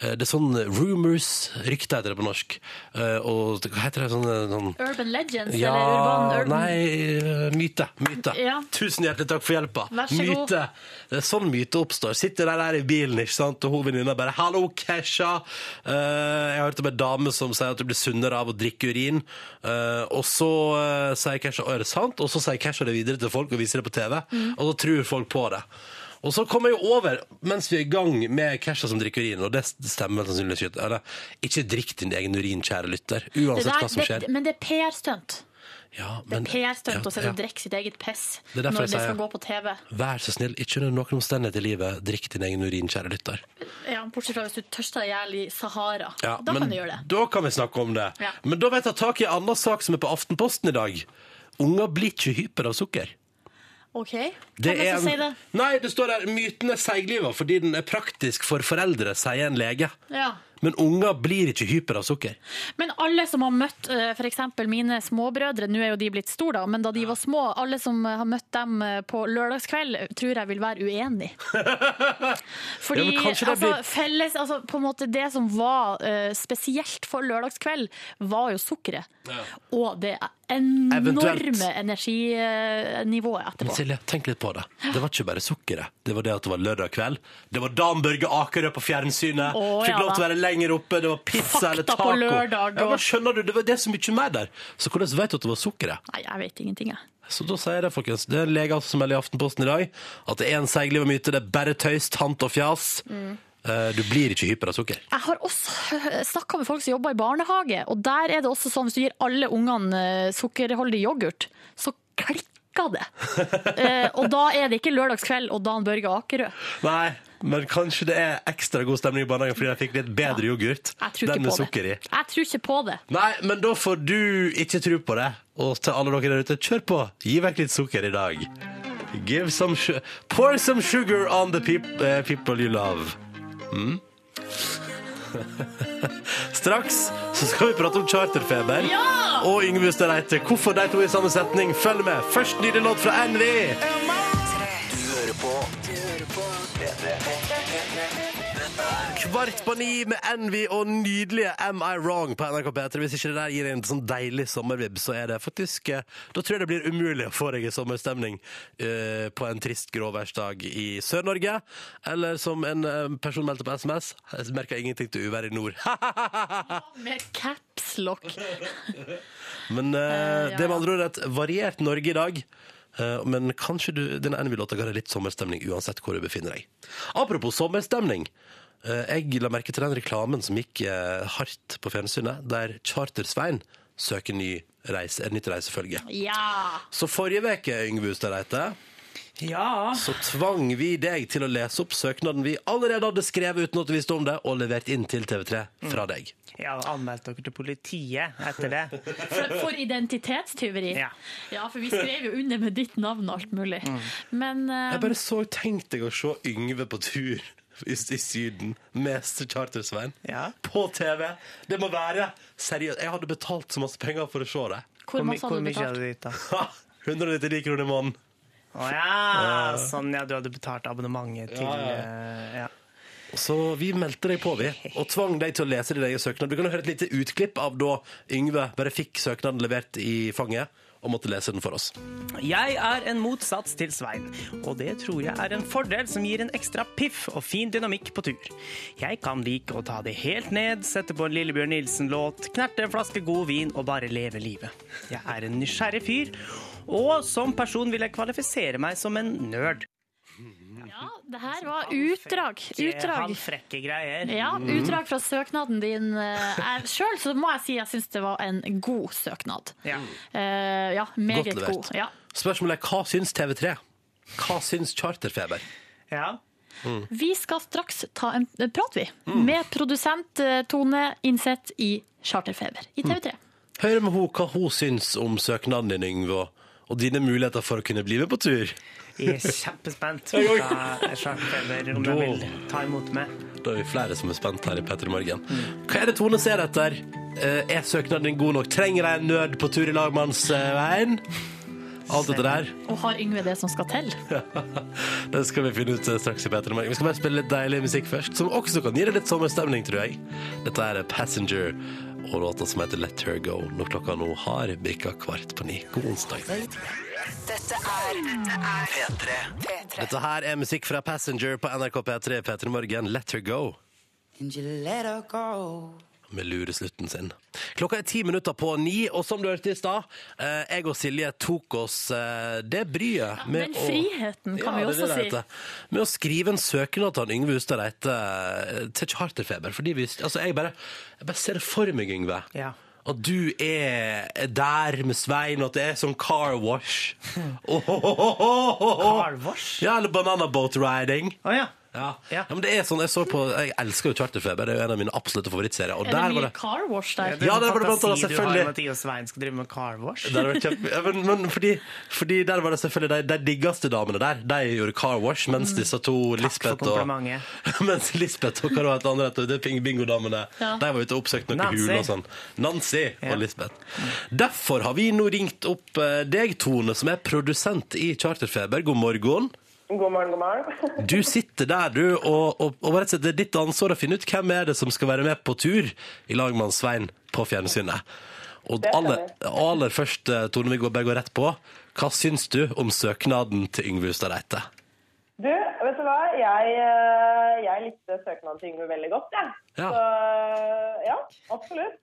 Speaker 2: Eh, Det er sånn rumors, rykter heter det på norsk. Eh, Og hva heter det? Sånn, sånn
Speaker 4: Urban Legends, eller Urban Urban
Speaker 2: Nei, eh, myte. myte.
Speaker 4: Ja.
Speaker 2: Tusen hjertelig takk for hjelpa.
Speaker 4: Vær så god.
Speaker 2: myte. Det er sånn myte oppstår. Sitter de der i bilen, ikke sant? og hun venninna bare 'Hallo, Kesha'. Eh, jeg har hørt om ei dame som sier at du blir sunnere av å drikke urin. Eh, og så eh, sier Kesha 'Å, er det sant?' Og så sier Kesha det videre til folk og viser det på TV,
Speaker 4: Mm.
Speaker 2: og da tror folk på det. Og så kommer jeg jo over, mens vi er i gang med Kesha som drikker urin, og det stemmer sannsynligvis ikke. Eller, Ikke drikk din egen urin, kjære lytter,
Speaker 4: Det
Speaker 2: uansett
Speaker 4: der,
Speaker 2: hva som skjer.
Speaker 4: det, men det er PR-stunt.
Speaker 2: Ja,
Speaker 4: Det
Speaker 2: men-
Speaker 4: er PR-stunt å
Speaker 2: ja.
Speaker 4: sitte og drikke sitt eget piss
Speaker 2: Det er derfor
Speaker 4: når
Speaker 2: jeg
Speaker 4: det skal
Speaker 2: sier-
Speaker 4: gå på TV.
Speaker 2: Vær så snill, ikke under noen omstendighet i livet drikk din egen urin, kjære lytter.
Speaker 4: Ja, bortsett fra hvis du tørster deg i hjel i Sahara. da
Speaker 2: men
Speaker 4: kan du gjøre det.
Speaker 2: Da kan vi snakke om det.
Speaker 4: Ja.
Speaker 2: Men da vil jeg ta tak i en annen sak som er på Aftenposten i dag. Unger blir ikke hyper av sukker.
Speaker 4: OK? Hvem er det som sier det?
Speaker 2: Nei, det står der 'myten er seigliva fordi den er praktisk for foreldre', sier en lege.
Speaker 4: Ja.
Speaker 2: Men unger blir ikke hyper av sukker.
Speaker 4: Men alle som har møtt f.eks. mine småbrødre, nå er jo de blitt store, da, men da de var små, alle som eh, har møtt dem eh, på lørdagskveld, tror jeg vil være uenig.
Speaker 2: *laughs*
Speaker 4: Fordi
Speaker 2: Ja, men kanskje det
Speaker 4: altså,
Speaker 2: blir-
Speaker 4: felles, altså, på en måte det som var eh, spesielt for lørdagskveld, var jo sukkeret. Og det
Speaker 2: Eventuelt.
Speaker 4: enorme energinivået
Speaker 2: Men
Speaker 4: etterpå.
Speaker 2: Silje, tenk litt på det. Det var ikke bare sukkeret. Det var det at det var lørdag kveld. Det var Dan Børge Akerø på fjernsynet.
Speaker 4: Å,
Speaker 2: Fikk
Speaker 4: ja
Speaker 2: lov til å
Speaker 4: da.
Speaker 2: være lenger oppe. Det var pizza
Speaker 4: Fakta
Speaker 2: eller
Speaker 4: på
Speaker 2: taco.
Speaker 4: lørdag,
Speaker 2: ja,
Speaker 4: og-
Speaker 2: men skjønner du, det var det er så mye mer der. Så hvordan vet du at det var sukkeret?
Speaker 4: Nei, jeg vet ingenting, jeg.
Speaker 2: Så da sier jeg det, folkens. Det er en lege altså som melder i Aftenposten i dag at det er en seigliv myte. Det er bare tøys, tant og fjas.
Speaker 4: Mm.
Speaker 2: Eh, Du blir ikke hyper av sukker.
Speaker 4: Jeg har også *laughs* snakka med folk som jobber i barnehage, og der er det også sånn hvis du gir alle ungene eh, sukkerholdig yoghurt, så klikker
Speaker 2: *laughs*
Speaker 4: det. Eh, og da er det ikke lørdagskveld og Dan Børge Akerø.
Speaker 2: Nei, men kanskje det er ekstra god stemning i barnehagen fordi de fikk litt bedre yoghurt.
Speaker 4: Jeg tror
Speaker 2: Den
Speaker 4: ikke
Speaker 2: med
Speaker 4: på
Speaker 2: sukker
Speaker 4: det.
Speaker 2: i.
Speaker 4: Jeg tror ikke på det.
Speaker 2: Nei, men da får du ikke tro på det. Og til alle dere der ute, kjør på. Gi vekk litt sukker i dag. Give some su Pour some sugar on the peop eh, people you love. Mm? *laughs* Straks så skal vi prate om charterfeber. Og Yngve Ustad Reite. Hvorfor de to i samme setning? Følg med. Først nydelig låt fra NV.
Speaker 6: Du hører på. Du hører på. Dette dette- dette
Speaker 2: Kvart på ni med Envy og nydelige Am I Wrong på NRK P3. Hvis ikke det der gir en sånn deilig sommervibb, så er det faktisk eh, Da tror jeg det blir umulig å få deg i sommerstemning eh, på en trist gråværsdag i Sør-Norge. Eller som en eh, person meldte på SMS, jeg merker ingenting til uvær i nord. *laughs*
Speaker 4: Med capslock.
Speaker 2: Men eh, det er med andre ord et variert Norge i dag. Eh, men kanskje du, denne Envy-låta kan ha litt sommerstemning uansett hvor du befinner deg. Apropos sommerstemning. eh, jeg la merke til den reklamen som gikk eh, hardt på fjernsynet, der Charter-Svein søker ny reise, et nytt reisefølge.
Speaker 4: Ja!
Speaker 2: Så forrige uke, Yngve Hustad Reite,
Speaker 3: Ja.
Speaker 2: så tvang vi deg til å lese opp søknaden vi allerede hadde skrevet uten at du visste om det, og levert inn til TV3 fra deg.
Speaker 3: Jeg har anmeldt dere til politiet etter det.
Speaker 2: *laughs*
Speaker 4: For, for identitetstyveri.
Speaker 3: Ja. Mm.
Speaker 4: Ja, for vi skrev jo under med ditt navn og alt mulig. Men eh,
Speaker 2: Jeg bare så tenkt deg å se Yngve på tur i, i Syden med Charter-Svein
Speaker 3: Ja.
Speaker 2: på TV. Det må være seriøst. Jeg hadde betalt så masse penger for å se det.
Speaker 4: hvor
Speaker 3: my-
Speaker 4: masse hadde du
Speaker 3: mye
Speaker 4: betalt?
Speaker 3: hadde du gitt, da?
Speaker 2: Ha! 199 kroner i måneden.
Speaker 3: Å ja! Sånn, ja, du hadde betalt abonnementet til
Speaker 2: Ja, ja.
Speaker 3: eh, ja.
Speaker 2: Så vi meldte deg på, vi, og tvang deg til å lese din egen søknad. Du kan jo høre et lite utklipp av da Yngve bare fikk søknaden levert i fanget og måtte lese den for oss.
Speaker 3: Jeg er en motsats til Svein, og det tror jeg er en fordel som gir en ekstra piff og fin dynamikk på tur. Jeg kan like å ta det helt ned, sette på en Lillebjørn Nilsen-låt, knerte en flaske god vin og bare leve livet. Jeg er en nysgjerrig fyr, og som person vil jeg kvalifisere meg som en nerd.
Speaker 4: Ja, det her var utdrag.
Speaker 3: Han
Speaker 4: Utdrag.
Speaker 3: frekke greier.
Speaker 4: Ja,
Speaker 2: Mm.
Speaker 4: utdrag fra søknaden din. Sjøl så må jeg si jeg syns det var en god søknad.
Speaker 3: Ja.
Speaker 4: Eh, ja, meget
Speaker 2: levert.
Speaker 4: god. Ja.
Speaker 2: Spørsmålet er hva syns TV3? Hva syns Charterfeber?
Speaker 3: ja.
Speaker 4: Vi skal straks ta en en prat, vi.
Speaker 2: Mm.
Speaker 4: Med produsent eh, Tone Innseth i Charterfeber i TV3.
Speaker 2: Mm. Hør med henne hva hun syns om søknaden din, Yngve, og dine muligheter for å kunne bli med på tur.
Speaker 3: Jeg er kjempespent på hva Sjarkfeber om jeg vil ta imot meg.
Speaker 2: Da er vi flere som er spent her i Petter i morgen. Hva er det Tone ser etter? Eh, Er søknaden din god nok? Trenger jeg en nerd på tur i lagmannsveien? eh, Alt dette der. *laughs*
Speaker 4: Og har Yngve det som skal til?
Speaker 2: Det skal vi finne ut eh, straks i Petter i morgen. Vi skal bare spille litt deilig musikk først, som også kan gi deg litt sommerstemning, tror jeg. Dette er Passenger og låta som heter Let Her Go, når klokka nå har bikka kvart på ni. God onsdag.
Speaker 6: Dette er P3. P3.
Speaker 2: Dette her er musikk fra Passenger på NRK P3 P3 Morgen, Let Her Go. Med lureslutten sin. Klokka er ti minutter på ni, og som du hørte i stad, eh, jeg og Silje tok oss eh, det bryet
Speaker 4: Men friheten, kan
Speaker 2: det
Speaker 4: vi
Speaker 2: er det
Speaker 4: også
Speaker 2: det
Speaker 4: si.
Speaker 2: heter. Med å skrive en søknad til han Yngve Hustad Reite eh, til Charterfeber. Fordi vi, altså jeg, bare, jeg bare ser det for meg, Yngve.
Speaker 3: Ja.
Speaker 2: At du er der med Svein, og at det er sånn car wash. Oh, oh, oh, oh, oh, oh.
Speaker 3: Car wash?
Speaker 2: Ja, eller banana boat riding.
Speaker 3: Å ja.
Speaker 2: Ja.
Speaker 3: Ja.
Speaker 2: men det er sånn, Jeg så på, jeg elsker jo Charterfeber, det er jo en av mine absolutte favorittserier. Og
Speaker 4: Er det
Speaker 2: der var
Speaker 4: mye
Speaker 2: det
Speaker 4: car wash der?
Speaker 2: Ja, det var det blant annet,
Speaker 3: Fantasi du har
Speaker 2: selvfølgelig.
Speaker 3: om at jeg og Svein skal drive med car wash.
Speaker 2: der var det kjempe, ja, men, men fordi, fordi der var det selvfølgelig de, de diggeste damene der. De gjorde car wash, mens disse to Lisbeth og
Speaker 3: komplimentet.
Speaker 2: *laughs* Mens Lisbeth og hva det var et annet heter, det er bingodamene,
Speaker 4: Ja.
Speaker 2: de var ute og oppsøkte noen
Speaker 3: Nancy.
Speaker 2: huler og sånn. Nancy
Speaker 3: Ja.
Speaker 2: og Lisbeth. Derfor har vi nå ringt opp eh, deg, Tone, som er produsent i Charterfeber. God morgen.
Speaker 8: God morgen, god morgen.
Speaker 2: Du sitter der, du, og, og, og rett og slett, det er ditt ansvar å finne ut hvem er det som skal være med på tur i lag med han Svein på fjernsynet. Og
Speaker 8: Det
Speaker 2: aller,
Speaker 8: stemmer.
Speaker 2: aller først, eh, Tone, vi går begge rett på. Hva syns du om søknaden til Yngve Hustad Reite?
Speaker 8: *laughs* Du, vet du hva? Jeg, eh, jeg likte søknaden til Yngve veldig godt, jeg.
Speaker 2: Ja.
Speaker 8: Så eh, ja, absolutt.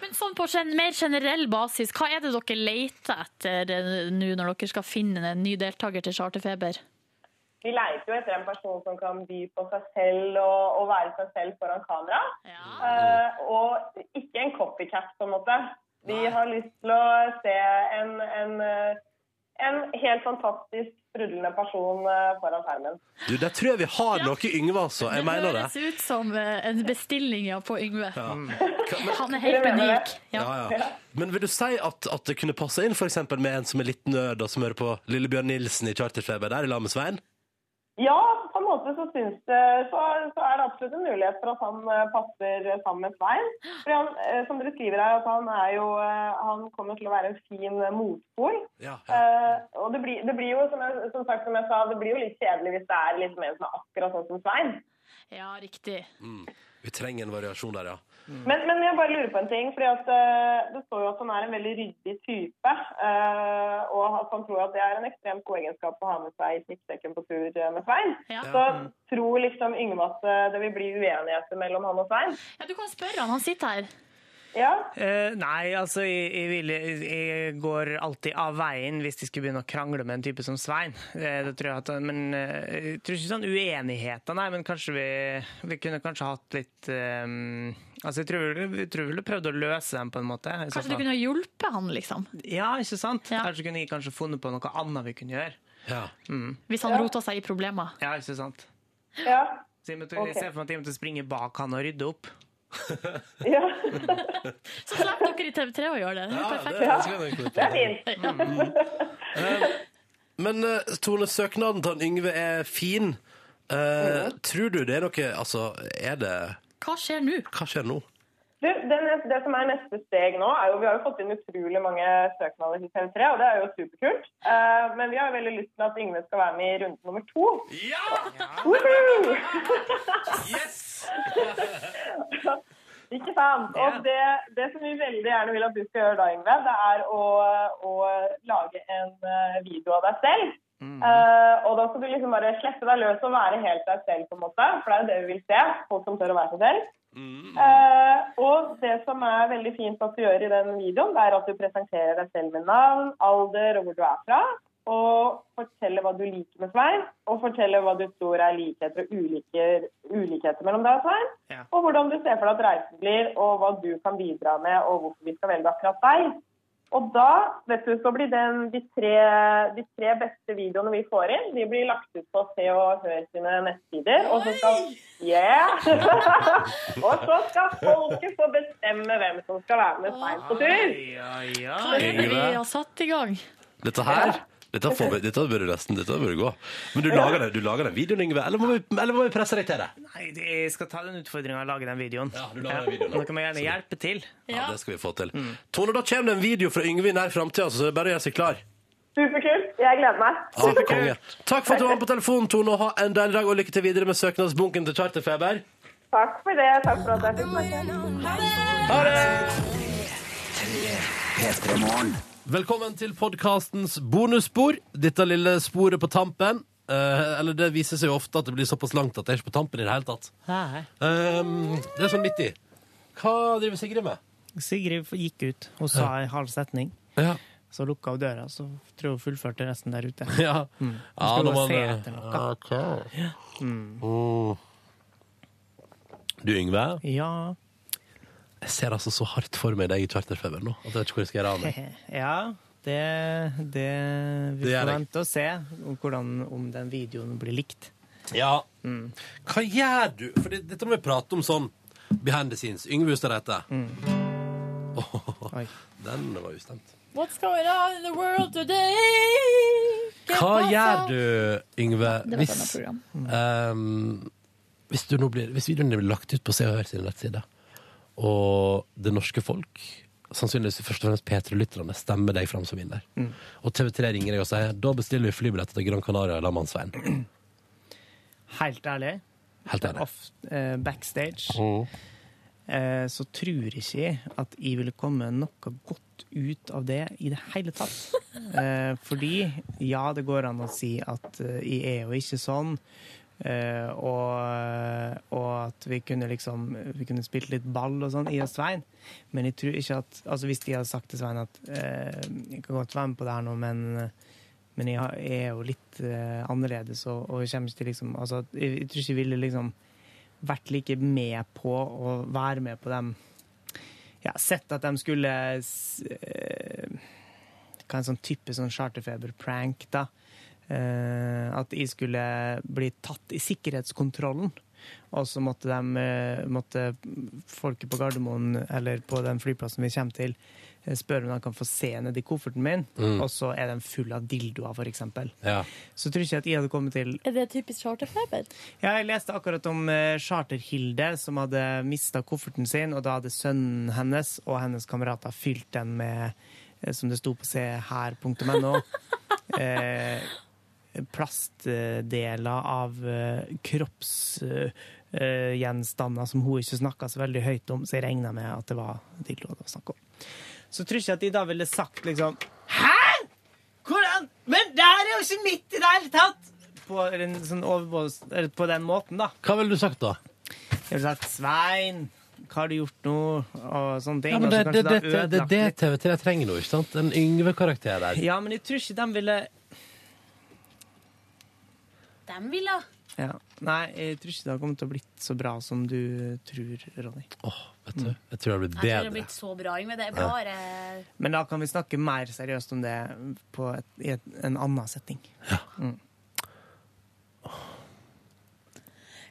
Speaker 4: Men sånn på gen mer generell basis, hva er det dere leter etter eh, nå når dere skal finne en ny deltaker til Charterfeber?
Speaker 8: Vi leiter jo etter en person som kan by på seg selv og, og være seg selv foran kamera.
Speaker 4: Ja.
Speaker 8: Eh, og ikke en copycat, på en måte. Vi har lyst til å se en, en, eh, en helt fantastisk sprudlende person eh, foran skjermen.
Speaker 2: Du, der tror jeg vi har noe Yngve, altså. Jeg mener det.
Speaker 4: høres ut som eh, en bestilling ja, på Yngve. *laughs* Han Mm. er
Speaker 8: Dere
Speaker 4: helt
Speaker 8: mener
Speaker 4: unik. Ja.
Speaker 2: Ja, ja. Men vil du si at, at det kunne passe inn for eksempel med en som er litt nerd, og som hører på Lillebjørn Nilsen i Charterfeber der i lag med Svein?
Speaker 8: Ja, på en måte så, syns det, så, så er det absolutt en mulighet for at han eh, passer sammen med Svein. For han, eh, som dere skriver her, at han, er jo, eh, han kommer til å være en fin eh, motpol.
Speaker 2: Ja, ja.
Speaker 8: Eh, og det blir, det blir jo, som, jeg, som sagt, som jeg sa, det blir jo litt kjedelig hvis det er litt mer som er akkurat sånn som Svein.
Speaker 4: Ja, riktig.
Speaker 2: Vi trenger en variasjon der, ja.
Speaker 8: Men, men jeg bare lurer på en ting, fordi at eh, det står jo at han er en veldig ryddig type, eh, og at han tror at det er en ekstremt god egenskap å ha med seg i snikksekken på tur eh, med Svein.
Speaker 4: Ja.
Speaker 8: Så tror liksom Yngve at eh, det vil bli uenigheter mellom han og Svein?
Speaker 4: Ja, du kan spørre han, han sitter her.
Speaker 8: Ja,
Speaker 3: Eh, nei, altså jeg, jeg, vil, jeg, jeg går alltid av veien hvis de skulle begynne å krangle med en type som Svein. Eh, det tror jeg at, men eh, jeg tror ikke sånn uenigheter, nei, men kanskje vi, vi kunne kanskje hatt litt eh, Altså jeg tror vel- jeg tror vel du prøvde å løse dem på en måte. i så
Speaker 4: Kanskje du
Speaker 3: fall.
Speaker 4: kunne hjulpet han, liksom.
Speaker 3: Ja, ikke sant?
Speaker 4: Ja.
Speaker 3: Kanskje kunne jeg kanskje funnet på noe annet vi kunne gjøre.
Speaker 2: ja.
Speaker 4: Hvis han rota seg i problemer.
Speaker 3: Ja, ikke sant?
Speaker 8: ja,
Speaker 3: Så jeg, måtte, jeg ser for meg at jeg måtte springe bak han og rydde opp.
Speaker 8: ja.
Speaker 4: Så slapp dere i TV3 å gjøre det. det. er
Speaker 2: Ja, det
Speaker 4: Perfekt.
Speaker 2: Mm. ønsker jeg egentlig.
Speaker 8: Det er fint.
Speaker 2: Men eh, Tone, søknaden til han Yngve er fin. Eh, Tror du det er noe Altså, er det
Speaker 4: Hva skjer nå?
Speaker 2: Hva skjer nå?
Speaker 8: Du, det, neste, det som er neste steg nå, er jo vi har jo fått inn utrolig mange søknader til TV3, og det er jo superkult. Eh, men vi har jo veldig lyst til at Yngve skal være med i runde nummer to. Woohoo! Ikke sant? Og
Speaker 3: Ja.
Speaker 8: det, det som vi veldig gjerne vil at du skal gjøre da, Yngve, det er å, å lage en eh, video av deg selv. Eh, og da skal du liksom bare slippe deg løs og være helt deg selv, på en måte. For det er jo det vi vil se. Folk som tør å være seg selv.
Speaker 2: Mm.
Speaker 8: Eh, og det som er veldig fint at du gjør i den videoen, det er at du presenterer deg selv med navn, alder og hvor du er fra. Og forteller hva du liker med Svein, og forteller hva du tror er likheter og uliker, ulikheter mellom deg og Svein.
Speaker 3: Ja.
Speaker 8: Og hvordan du ser for deg at reisen blir, og hva du kan bidra med, og hvorfor vi skal velge akkurat deg. Og da vet du, så blir den, de, tre, de tre beste videoene vi får inn, de blir lagt ut på Se og Hør sine nettsider. Og så skal, yeah. *laughs* og så skal folket få bestemme hvem som skal være med Svein på tur.
Speaker 3: Oi, oi,
Speaker 4: Hva
Speaker 3: oi.
Speaker 4: er det vi har satt i gang?
Speaker 2: Dette her dette, får vi, dette bør du nesten dette bør du gå. Men du lager, den- du lager den videoen, Yngve, eller må, vi, eller må vi presse deg til det?
Speaker 3: Nei, det- jeg skal ta den utfordringa og lage den videoen.
Speaker 2: Ja, du lager den videoen, da.
Speaker 3: Dere må gjerne hjelpe til.
Speaker 2: Ja, det skal vi få til. Tone, da kommer det en video fra Yngve i nær framtida, så det er bare å gjøre seg klar.
Speaker 8: Superkult. Jeg gleder meg.
Speaker 2: Ah, konge. Takk for at du var med på telefonen, Tone, og ha en deilig dag, og lykke til videre med søknadsbunken til Charterfeber.
Speaker 8: Takk for det. Takk for at jeg fikk snakke.
Speaker 2: Ha det! Velkommen til podkastens bonusspor. Dette lille sporet på tampen. Eh, eller det viser seg jo ofte at det blir såpass langt at det er ikke på tampen i det hele tatt.
Speaker 3: Nei.
Speaker 2: Um, det er sånn midt i. Hva driver Sigrid med?
Speaker 3: Sigrid gikk ut og sa en halv setning.
Speaker 2: Ja.
Speaker 3: Så lukka hun døra, så tror jeg hun fullførte resten der ute.
Speaker 2: *laughs* Ja,
Speaker 3: Skal
Speaker 2: når
Speaker 3: bare
Speaker 2: man-
Speaker 3: se etter noe.
Speaker 2: eh, Mm. Du, Yngve.
Speaker 3: Ja.
Speaker 2: Jeg ser altså så hardt for meg deg i charterfeber nå. At jeg vet ikke hvor jeg skal gjøre av
Speaker 3: *laughs*
Speaker 2: meg.
Speaker 3: ja det, det Vi
Speaker 2: Det gjør
Speaker 3: får
Speaker 2: jeg.
Speaker 3: vente og se om, hvordan, om den videoen blir likt.
Speaker 2: Ja.
Speaker 3: Mm.
Speaker 2: Hva gjør du? For det, dette må vi prate om sånn behind the scenes. Yngve Hustad heter
Speaker 3: Mm. Oi.
Speaker 2: Den var ustemt.
Speaker 4: What's going on in the world today?
Speaker 2: Hva gjør du, Yngve,
Speaker 5: Det var et annet
Speaker 2: hvis,
Speaker 5: program.
Speaker 2: ehm, hvis, du nå blir, hvis videoen din blir lagt ut på Se og Hør sin nettside, og det norske folk, sannsynligvis først og fremst P3-lytterne, stemmer deg fram som vinner, og TV3 ringer deg og sier da bestiller vi flybilletter til Gran Canaria eller Mannsveien.
Speaker 3: Helt ærlig,
Speaker 2: Helt ærlig.
Speaker 3: off, eh, backstage
Speaker 2: Mm.
Speaker 3: eh, så tror ikke jeg at jeg ville komme noe godt ut av det i det hele tatt. Eh, fordi ja, det går an å si at eh, jeg er jo ikke sånn. eh, og, eh, og at vi kunne liksom Vi kunne spilt litt ball og sånn, i og Svein. Men jeg tror ikke at Altså hvis de hadde sagt til Svein at eh, jeg kan godt være med på det her nå, men men jeg har- jeg er jo litt eh, annerledes og, og jeg kommer ikke til liksom altså, at- jeg, jeg tror ikke jeg ville liksom vært like med på å være med på dem. Ja, sett at de skulle s- eh, Hva er en sånn type sånn charterfeber-prank, da? Eh, at jeg skulle bli tatt i sikkerhetskontrollen. Og så måtte, de, eh, måtte folket på Gardermoen eller på den flyplassen vi kommer til, eh, spørre om de kan få se nedi kofferten min. Og så er den full av dildoer, f.eks.
Speaker 2: Mm, Ja.
Speaker 3: Så tror jeg ikke at jeg hadde kommet til
Speaker 4: Er det typisk charterfeber?
Speaker 3: ja, jeg leste akkurat om eh, Charter-Hilde som hadde mista kofferten sin, og da hadde sønnen hennes og hennes kamerater fylt
Speaker 4: *laughs*
Speaker 3: den med, eh, som det sto på seher.no, eh, plastdeler av kroppsgjenstander eh, som hun ikke snakka så veldig høyt om, så jeg regna med at det var dildoer det var snakk om. Så tror jeg ikke at de da ville sagt liksom Hæ?! Hvordan? Men det her er jo ikke mitt i det hele tatt! På, en sånn overbås, eller på den måten, da.
Speaker 2: Hva ville du sagt da?
Speaker 3: Jeg ville sagt sånn Svein, hva har du gjort nå? Og sånne ting.
Speaker 2: Ja, men
Speaker 3: og
Speaker 2: det,
Speaker 3: så
Speaker 2: det, det,
Speaker 3: kanskje da
Speaker 2: det, det,
Speaker 3: ødelagt
Speaker 2: det
Speaker 3: litt.
Speaker 2: TV3 trenger nå, ikke sant? En Yngve-karakter der.
Speaker 3: Ja, men jeg tror ikke de ville
Speaker 9: Dem vil ha.
Speaker 3: ja. Nei, jeg tror ikke det har kommet til å blitt så bra som du tror, Ronny.
Speaker 2: Åh, vet du, jeg tror det blir
Speaker 9: Jeg tror det har
Speaker 2: bedre.
Speaker 9: blitt så bra, Yngve. Det er bare
Speaker 3: Men da kan vi snakke mer seriøst om det på et, i et, en annen setting.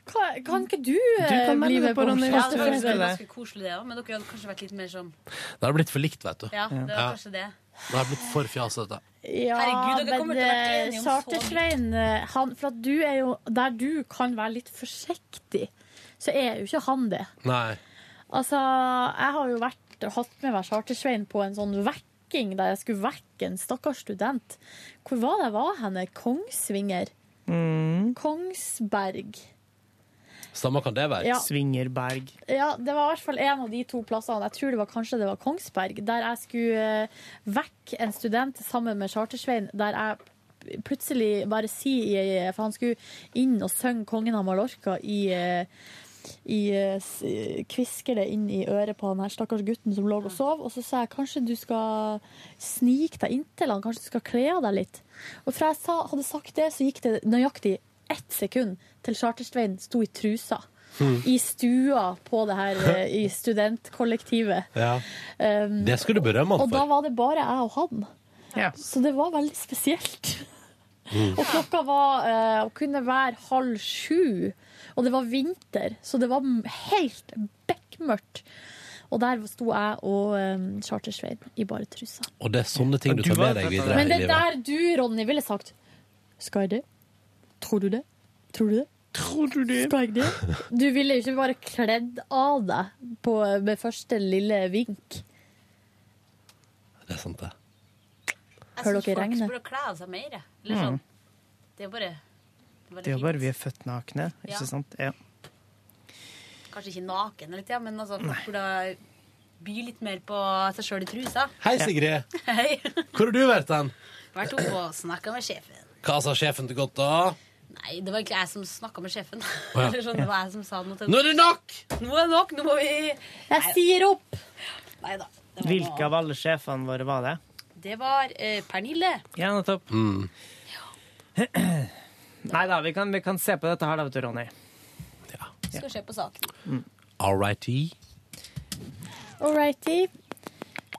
Speaker 4: Kan, kan ikke du,
Speaker 3: kan
Speaker 4: eh,
Speaker 3: melde
Speaker 4: bli
Speaker 3: deg
Speaker 4: med
Speaker 3: på
Speaker 4: på
Speaker 3: Ronny
Speaker 9: Ja,
Speaker 4: Årstad?
Speaker 9: det
Speaker 3: Røstad.
Speaker 9: var
Speaker 3: Røstad.
Speaker 9: kanskje ganske koselig, det òg, men dere hadde kanskje vært litt mer sånn
Speaker 2: Det har blitt for likt, vet du.
Speaker 9: Ja, det
Speaker 2: Ja.
Speaker 9: var kanskje det.
Speaker 2: Det har blitt for fjasete.
Speaker 4: Ja,
Speaker 9: Herregud, dere kommer
Speaker 4: men
Speaker 9: til å være
Speaker 4: eh,
Speaker 9: enige om så
Speaker 4: Charter-Svein, eh, han- for at du er jo Der du kan være litt forsiktig, så er jo ikke han det.
Speaker 2: Nei.
Speaker 4: Altså, jeg har jo vært, hatt med meg Charter-Svein på en sånn vekking der jeg skulle vekke en stakkars student. Hvor var det jeg var henne? Kongsvinger? Kongsberg?
Speaker 2: Stemmer kan det være?
Speaker 4: Ja,
Speaker 3: Svingerberg.
Speaker 4: ja, det var i hvert fall en av de to plassene. Jeg tror det var kanskje det var Kongsberg, der jeg skulle eh, vekke en student sammen med Charter-Svein, der jeg p- plutselig bare sier i- For han skulle inn og synge 'Kongen av Mallorca' i eh, i, eh, s- kvisker det inn i øret på han her stakkars gutten som lå og sov. Og så sa jeg kanskje du skal snike deg inntil han, kanskje du skal kle av deg litt. Og fra jeg sa, hadde sagt det, så gikk det nøyaktig ett sekund til Charterstvein sto i trusa. I stua på det her eh, i studentkollektivet.
Speaker 2: Ja.
Speaker 4: Um,
Speaker 2: Det skulle du berømme
Speaker 4: og
Speaker 2: han
Speaker 4: da
Speaker 2: for.
Speaker 4: var det bare jeg og han.
Speaker 3: Ja.
Speaker 4: Så det var veldig spesielt. Og klokka var eh, å kunne være halv sju, og det var vinter, så det var m- helt bekmørkt. Og der sto jeg og um, Charter-Svein i bare trusa.
Speaker 2: Og det er sånne ting du
Speaker 3: Du
Speaker 2: tar
Speaker 3: var
Speaker 2: med deg
Speaker 3: opptatt av
Speaker 2: videre
Speaker 4: Men
Speaker 2: i
Speaker 4: det
Speaker 2: livet.
Speaker 4: er der du, Ronny, ville sagt Skal jeg det? Tror du det? Tror du det? Skal jeg det? Du ville jo ikke bare kledd av deg på, med første lille vink.
Speaker 2: Det er sant, det.
Speaker 9: Jeg
Speaker 4: Hører
Speaker 9: syns
Speaker 4: dere
Speaker 9: folk
Speaker 4: regnet?
Speaker 9: burde kle av seg mer. jeg. Eller sånn. Det er jo bare det
Speaker 3: Mm. Det er
Speaker 9: fint.
Speaker 3: jo bare vi er født nakne, ikke
Speaker 9: Ja.
Speaker 3: sant? Ja.
Speaker 9: Kanskje ikke naken, hele tiden, men altså, folk burde by litt mer på seg sjøl i trusa. *laughs*
Speaker 2: Hei, Sigrid.
Speaker 9: Hei.
Speaker 2: Hvor har du vært hen?
Speaker 9: Vært oppe og snakka med sjefen.
Speaker 2: Hva sa sjefen til godt, da?
Speaker 9: Nei, det var egentlig jeg som snakka med sjefen.
Speaker 2: ja.
Speaker 9: *laughs* Eller sånn, det var jeg som sa noe til
Speaker 2: Nå er det nok!
Speaker 9: Nå er det nok! Nå må vi
Speaker 4: Jeg sier opp!
Speaker 9: Nei da. Det var,
Speaker 3: Hvilke av alle sjefene våre var det?
Speaker 9: Det var eh, Pernille.
Speaker 3: Ja, nettopp. *clears throat* Nei da, vi kan, vi kan se på dette her, da, vet du, Ronny.
Speaker 9: Skal se på saken.
Speaker 2: All righty.
Speaker 4: Alrighty.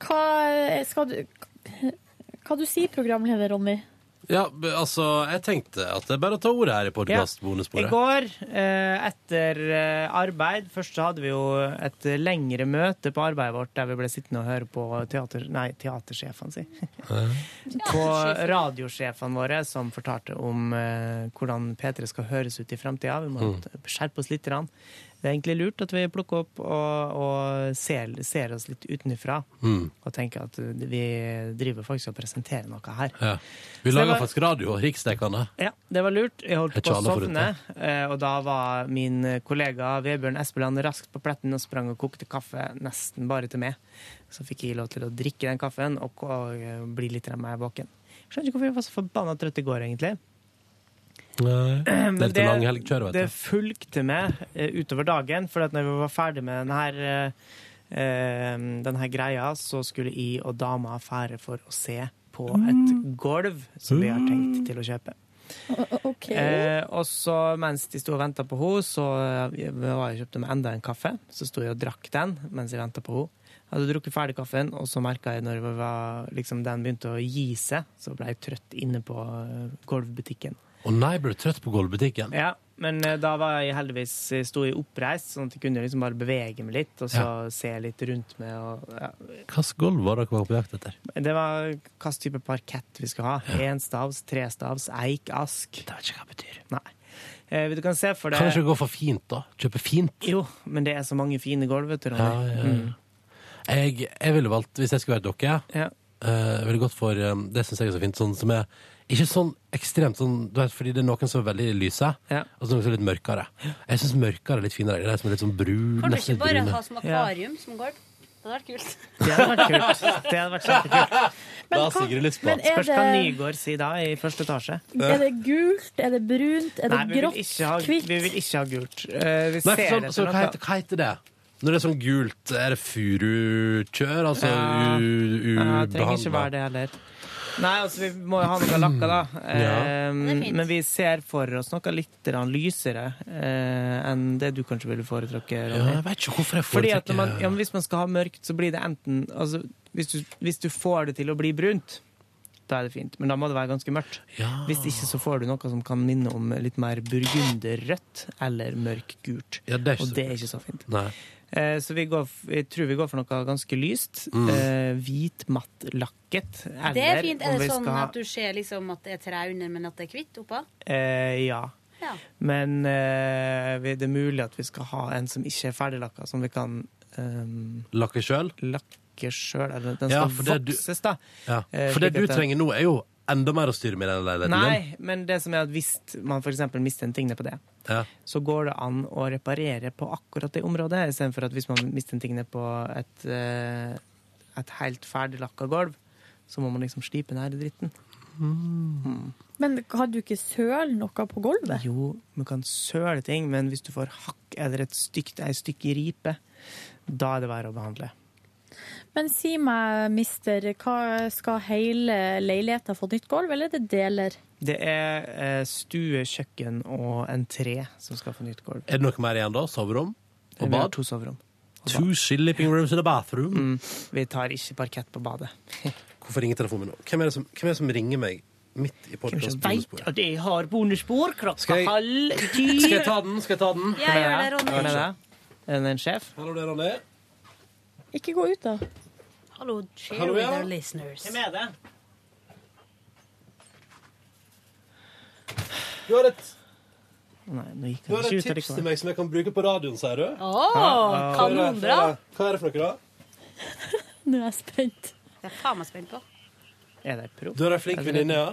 Speaker 4: Hva
Speaker 5: eh,
Speaker 4: skal du Hva du sier, programleder Ronny?
Speaker 2: Ja, b- altså, jeg tenkte at det er bare å ta ordet her i
Speaker 3: I
Speaker 2: podkast-bonusbordet.
Speaker 3: går, eh, etter eh, arbeid Først så hadde vi jo et lengre møte på arbeidet vårt der vi ble sittende og høre på teater... Nei, teatersjefene, si. på radiosjefene våre, som fortalte om eh, hvordan P3 skal høres ut i framtida. Vi må skjerpe oss litt. grann. Det er egentlig lurt at vi plukker opp og, og ser, ser oss litt utenfra. Og tenker at vi driver faktisk og presenterer noe her.
Speaker 2: Ja. Vi
Speaker 3: Så jeg
Speaker 2: lager
Speaker 3: var-
Speaker 2: faktisk radio, riksdekkende.
Speaker 3: Ja, det var lurt. Jeg holdt
Speaker 2: Jeg
Speaker 3: på å
Speaker 2: tjaler foruten,
Speaker 3: sovne, eh, og da var min eh, kollega Vebjørn Espeland raskt på pletten og sprang og kokte kaffe nesten bare til meg. Så fikk jeg lov til å drikke den kaffen og, og eh, bli litt grann mer våken. Skjønner ikke hvorfor jeg var så forbanna trøtt i går, egentlig.
Speaker 2: Nei. Det er litt
Speaker 3: det-
Speaker 2: lang helgkjør, vet du.
Speaker 3: Det fulgte med eh, utover dagen, for at når vi var ferdig med den her eh, eh, den her greia, så skulle jeg og dama fære for å se på et
Speaker 2: Mm.
Speaker 3: gulv som vi har tenkt til å kjøpe.
Speaker 4: OK.
Speaker 3: Eh, og så mens de sto og venta på henne, så eh, var jeg og kjøpte meg enda en kaffe. Så sto jeg og drakk den mens jeg venta på henne. Jeg hadde drukket ferdig kaffen, og så merka jeg når det var, liksom, den begynte å gi seg, så ble jeg trøtt inne på eh, gulvbutikken.
Speaker 2: Å nei, ble du trøtt på gulvbutikken?
Speaker 3: Ja, men eh, da var jeg heldigvis jeg sto jeg oppreist, sånn at jeg kunne liksom bare bevege meg litt og så se litt rundt meg. Og, ja.
Speaker 2: Hvilket gulv var dere var på jakt etter?
Speaker 3: Det var hva slags type parkett vi skulle ha. Enstavs, trestavs, eik, ask.
Speaker 2: Det vet ikke hva det betyr.
Speaker 3: Nei. Eh, du kan se for
Speaker 2: Kan
Speaker 3: deg
Speaker 2: jeg ikke gå for fint, da? Kjøpe fint?
Speaker 3: Jo, men det er så mange fine gulv, vet du.
Speaker 2: Ja,
Speaker 3: Ronny.
Speaker 2: ja, ja. Jeg, jeg ville valgt, hvis jeg skulle vært dere,
Speaker 3: Mm. Ja.
Speaker 2: eh, ville gått for eh, det syns jeg er så fint, sånn som er Ikke sånn ekstremt sånn du vet, Fordi det er noen som er veldig lyse,
Speaker 3: Ja.
Speaker 2: og så noen som er litt mørkere. Jeg syns mørkere er litt finere. Det er de som er litt sånn brun,
Speaker 9: Kan du ikke
Speaker 2: nesten litt
Speaker 9: bare
Speaker 2: brune.
Speaker 9: ha som akvarium som gård? Det hadde vært kult.
Speaker 3: Det hadde vært kult. Det hadde vært kjempekult.
Speaker 2: *laughs* Da
Speaker 5: hva-
Speaker 2: har Sigrid lyst på.
Speaker 5: men er
Speaker 3: Først kan
Speaker 5: det,
Speaker 3: Nygård si da, i første etasje.
Speaker 5: er det gult? Er det brunt? Er det
Speaker 3: Nei, vi vil
Speaker 5: grått?
Speaker 3: ikke ha,
Speaker 5: Hvitt?
Speaker 3: vi vil ikke ha gult. Eh, vi
Speaker 2: Nei,
Speaker 3: ser
Speaker 2: for sånn,
Speaker 3: etter
Speaker 2: så
Speaker 3: noe.
Speaker 2: hva, heter, hva heter det? Når det er sånn gult, er det furukjør? Altså
Speaker 3: Ja. Ja, det trenger ikke være
Speaker 2: ubehandla?
Speaker 3: det heller. Nei, altså vi må jo ha noe lakka,
Speaker 2: *clears throat*
Speaker 3: da. Eh,
Speaker 9: Det er fint.
Speaker 3: men vi ser for oss noe litt grann lysere eh, enn det du kanskje ville foretrekke,
Speaker 2: Ja,
Speaker 3: Ronny.
Speaker 2: jeg vet ikke hvorfor jeg
Speaker 3: Fordi at når man, ja,
Speaker 2: foretrekker
Speaker 3: men Hvis man skal ha mørkt, så blir det enten altså, hvis, du, hvis du får det til å bli brunt, da er det fint. Men da må det være ganske mørkt.
Speaker 2: Ja.
Speaker 3: Hvis ikke så får du noe som kan minne om litt mer burgunderrødt eller mørkgult.
Speaker 2: Ja, det er ikke
Speaker 3: Og
Speaker 2: så
Speaker 3: det er
Speaker 2: kult.
Speaker 3: ikke så fint.
Speaker 2: Nei.
Speaker 3: Eh, Så vi går, f- jeg tror vi går for noe ganske lyst.
Speaker 2: Mm.
Speaker 3: Eh, hvit, matt lakket. Eller
Speaker 9: Det er fint.
Speaker 3: om
Speaker 9: Er
Speaker 3: vi
Speaker 9: det
Speaker 3: skal
Speaker 9: sånn
Speaker 3: ha-
Speaker 9: at du ser liksom at det er tre under, men at det er hvitt oppå?
Speaker 3: eh, Ja.
Speaker 9: Ja.
Speaker 3: Men eh, vi- det er mulig at vi skal ha en som ikke er ferdiglakka, som vi kan ehm,
Speaker 2: Lakke sjøl?
Speaker 3: lakke sjøl. Eller den
Speaker 2: Ja,
Speaker 3: skal
Speaker 2: for det du-
Speaker 3: vokses, da.
Speaker 2: Ja.
Speaker 3: Eh,
Speaker 2: For det
Speaker 3: slik
Speaker 2: du
Speaker 3: at det-
Speaker 2: trenger nå, er jo enda mer å styre med i den leiligheten din.
Speaker 3: Nei, men det som er at hvis man f.eks. mister en tingne på det,
Speaker 2: Ja.
Speaker 3: så går det an å reparere på akkurat det området, istedenfor at hvis man mister en tingne på et, eh, et helt ferdiglakka gulv, så må man liksom slipe den her dritten.
Speaker 5: Men kan du ikke søle noe på gulvet?
Speaker 3: Jo, man kan søle ting, men hvis du får hakk eller et stygt, ei stykke ripe, da er det verre å behandle.
Speaker 5: Men si meg, mister, hva skal hele leiligheten få nytt gulv, eller er det deler?
Speaker 3: Det er eh, stue, kjøkken og entré som skal få nytt gulv.
Speaker 2: Er det noe mer igjen da? Soverom? Og
Speaker 3: Vi har
Speaker 2: bad?
Speaker 3: to soverom.
Speaker 2: Two sleeping rooms in a
Speaker 3: Mm.
Speaker 2: bathroom.
Speaker 3: Vi tar ikke parkett på badet.
Speaker 2: Hvorfor ringer telefonen min nå? Hvem er det som, hvem er det som ringer meg midt i podkast-bonusbordet?
Speaker 3: at jeg har bonusbord klokka
Speaker 2: Skal jeg-
Speaker 3: halv ti.
Speaker 2: Skal jeg ta den? Skal jeg ta den?
Speaker 9: Ja, gjør det, Ronny.
Speaker 3: Hvem er det? Er det en sjef?
Speaker 2: Hallo, det er Ronny.
Speaker 5: Ikke gå ut, da.
Speaker 9: Hallo, share
Speaker 2: Hallo,
Speaker 9: with
Speaker 2: ja.
Speaker 9: our listeners.
Speaker 3: er det?
Speaker 2: Du har et,
Speaker 3: Nei, nå gikk
Speaker 2: du
Speaker 3: han
Speaker 2: har
Speaker 3: ikke
Speaker 2: et tips
Speaker 3: ut
Speaker 2: til
Speaker 3: allikevel.
Speaker 2: meg som jeg kan bruke på radioen, sier du?
Speaker 9: Å, kanonbra!
Speaker 2: Hva er det for noe, da?
Speaker 5: Nå er jeg spent.
Speaker 9: Det er jeg faen meg spent på.
Speaker 3: Er det proff?
Speaker 2: Du er ei flink venninne, ja?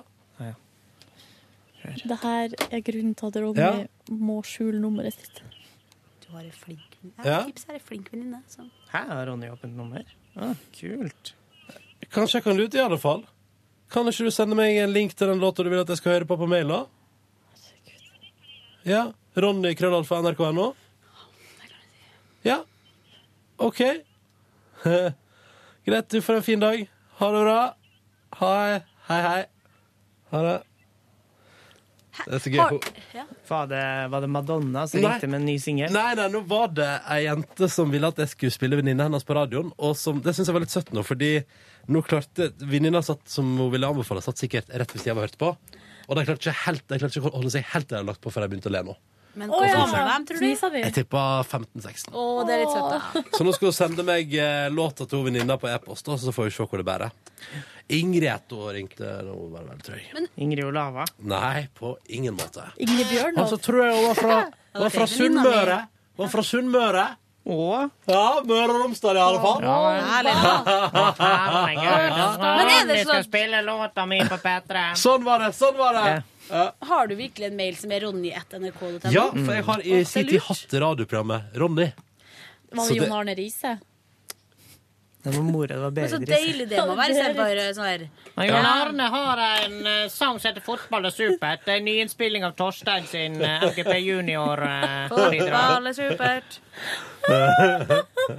Speaker 5: Det her er grunnen til at Ronny
Speaker 2: Ja.
Speaker 5: må skjule nummeret sitt.
Speaker 9: Du har en flink venninne.
Speaker 2: Ja.
Speaker 9: Ja. Tips er en flink venninne. så-
Speaker 3: Hæ, har Ronny åpent nummer? Ah, kult.
Speaker 2: Kanskje jeg kan lute, i alle fall. Kan ikke du sende meg en link til den låta du vil at jeg skal høre på på mail, da? Ja. Ronny Krøllalfa NRK.no. Ja. OK. *laughs* Greit, du får en fin dag. Ha det bra. Hei. Hei, hei. Ha det. Det er så gøy.
Speaker 9: Har-
Speaker 2: Hun-
Speaker 9: Ja.
Speaker 3: Var det, var det Madonna som
Speaker 2: Nei.
Speaker 3: ringte med en ny singel?
Speaker 2: Nei, nei, nå var det ei jente som ville at jeg skulle spille venninna hennes på radioen. Og som, det syns jeg var litt søtt nå, fordi nå klarte venninna satt som hun ville anbefale, satt sikkert rett ved siden av og hørte på. Og de klarte ikke helt, de klarte ikke å holde seg helt der de hadde lagt på før jeg begynte å le nå.
Speaker 9: Men hvor gammel var de, tror du?
Speaker 5: Fnisa vi?
Speaker 2: Jeg tippa 15-16.
Speaker 9: Å, det er litt søtt, da.
Speaker 2: Så nå skal hun sende meg eh, låta til hun venninna på e-post, og så får vi se hvor det bærer. Ingrid het hun ringte nå, var det vel, tror jeg.
Speaker 3: Ingrid Olava?
Speaker 2: Nei, på ingen måte.
Speaker 5: Ingrid
Speaker 2: Og
Speaker 3: Altså,
Speaker 2: så
Speaker 5: Bjørnov.
Speaker 2: Altså, tror jeg hun var fra, var fra
Speaker 9: venninna mi.
Speaker 2: Sunnmøre. Var fra Sunnmøre.
Speaker 3: Åh,
Speaker 2: Ja, Møre og Romsdal i alle fall. *laughs*
Speaker 9: Men er det sånn
Speaker 3: altså. spille låta mi på P3.
Speaker 2: *laughs* Sånn var det! sånn var det
Speaker 9: Har du virkelig en mail som er ronny1nrk.no?
Speaker 2: Ja, for jeg har i
Speaker 9: Mm.
Speaker 2: sin tid hatt radioprogrammet Ronny.
Speaker 5: Var det
Speaker 2: så det-
Speaker 5: Jon Arne Riise?
Speaker 3: Det var mora, det var
Speaker 9: Men så
Speaker 3: Berit.
Speaker 9: deilig det må være. Istedenfor sånn her
Speaker 3: Men Jon Arne har en eh, sang som heter 'Fotball er supert'. Det er en nyinnspilling av Torstein sin eh, MGP eh, junior-bidrag.
Speaker 9: Fotball er supert.
Speaker 2: Ja,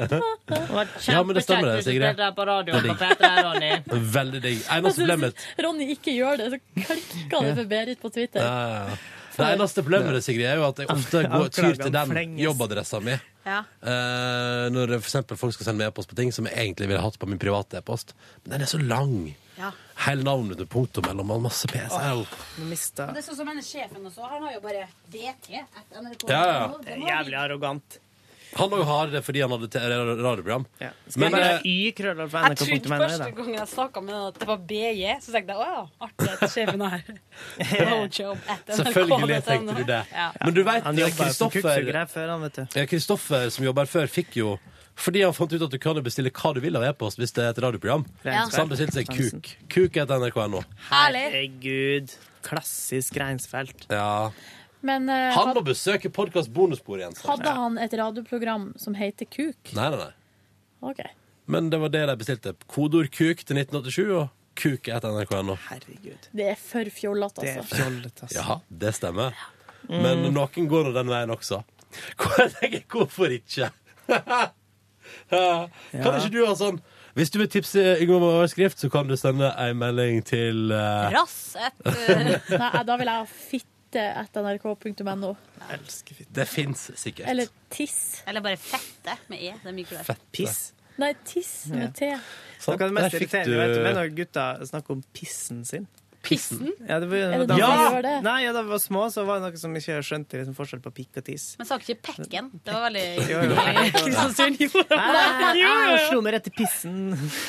Speaker 2: men det stemmer det, Sigrid.
Speaker 3: på radioen
Speaker 2: Det er
Speaker 3: på P3, Ronny.
Speaker 2: Veldig digg. Eneste
Speaker 3: *laughs*
Speaker 2: problemet mitt
Speaker 5: Ronny, ikke gjør det, så klikka det for Berit på Twitter.
Speaker 2: Ja, ja. Det eneste problemet med det, Sigrid, er jo at jeg ofte går tyr til den jobbadressa mi.
Speaker 9: Ja.
Speaker 2: Eh, når det for eksempel folk skal sende meg e-post på ting som jeg egentlig ville hatt på min private e-post. Men den er så lang.
Speaker 9: Ja.
Speaker 2: Hele navnet til punktum mellom og masse PC.
Speaker 3: Mista.
Speaker 9: Det er sånn som denne sjefen også. Han har jo bare DT.
Speaker 2: Ja, ja.
Speaker 3: Jævlig arrogant.
Speaker 2: Han òg har det fordi han hadde te- radioprogram.
Speaker 3: Ja.
Speaker 2: Men,
Speaker 3: Skal jeg gjøre
Speaker 2: eh,
Speaker 3: y krøllalf
Speaker 9: Jeg trodde
Speaker 3: nrk.no?
Speaker 9: første
Speaker 3: da?
Speaker 9: gang jeg snakka med henne at det var BJ, så tenkte jeg å ja, artig at sjefen er
Speaker 2: *laughs*
Speaker 9: blowjob at NRK.no.
Speaker 2: Selvfølgelig tenkte du det.
Speaker 9: Ja.
Speaker 2: Men du veit,
Speaker 3: Han jobba som
Speaker 2: Kristoffer
Speaker 3: kukksuger her før, han, vet du.
Speaker 2: Ja, Kristoffer, som jobber her før, fikk jo fordi han fant ut at du kan jo bestille hva du vil av e-post hvis det er et radioprogram.
Speaker 3: Ja.
Speaker 2: Så han bestilte seg kuk. Kuk er et NRK.no.
Speaker 9: Herlig.
Speaker 3: Herregud. Klassisk Reinsfelt.
Speaker 2: Ja.
Speaker 5: Men eh,
Speaker 2: Han
Speaker 5: had-
Speaker 2: må besøke podkast bonusbord igjen. sa han.
Speaker 5: hadde han et radioprogram som heter Kuk?
Speaker 2: Nei, nei, nei.
Speaker 5: Ok.
Speaker 2: Men det var det de bestilte. Kodeord kuk til 1987 og kuk er et NRK.no.
Speaker 3: Herregud.
Speaker 5: Det er for fjollete,
Speaker 3: Det er
Speaker 5: altså.
Speaker 3: fjollete, altså.
Speaker 2: Ja, det stemmer. Men noen går nå den veien også. Hvor- Jeg tenker, hvorfor ikke? *laughs* kan ikke du ha sånn Hvis du vil tipse Yngve om en overskrift, så kan du sende ei melding til eh,
Speaker 9: Rass
Speaker 2: *laughs*
Speaker 9: et eh,
Speaker 5: Nei, da vil jeg ha fitte etter nrk.no.
Speaker 3: Jeg elsker fitte.
Speaker 2: Det fins sikkert.
Speaker 5: Eller tiss.
Speaker 9: Eller bare fette med E. Det er mye kulere.
Speaker 3: Piss.
Speaker 5: Nei, tiss med T.
Speaker 2: Sånn.
Speaker 3: Noe av det mest
Speaker 2: Der fikk
Speaker 3: irriterende jeg vet, det er når gutta snakker om pissen sin.
Speaker 2: Pissen?
Speaker 3: Ja, det var,
Speaker 5: Er det
Speaker 3: da,
Speaker 5: de
Speaker 3: ja!
Speaker 5: som gjør det?
Speaker 3: Nei, ja, da vi var små, så var det noe som ikke skjønte liksom, forskjell på pikk og
Speaker 5: *laughs*
Speaker 3: tiss.
Speaker 9: Men sa ikke pekken. Det var veldig
Speaker 3: Jo, jo.
Speaker 9: Kristiansund gjorde det.
Speaker 3: Jeg slo meg rett i pissen.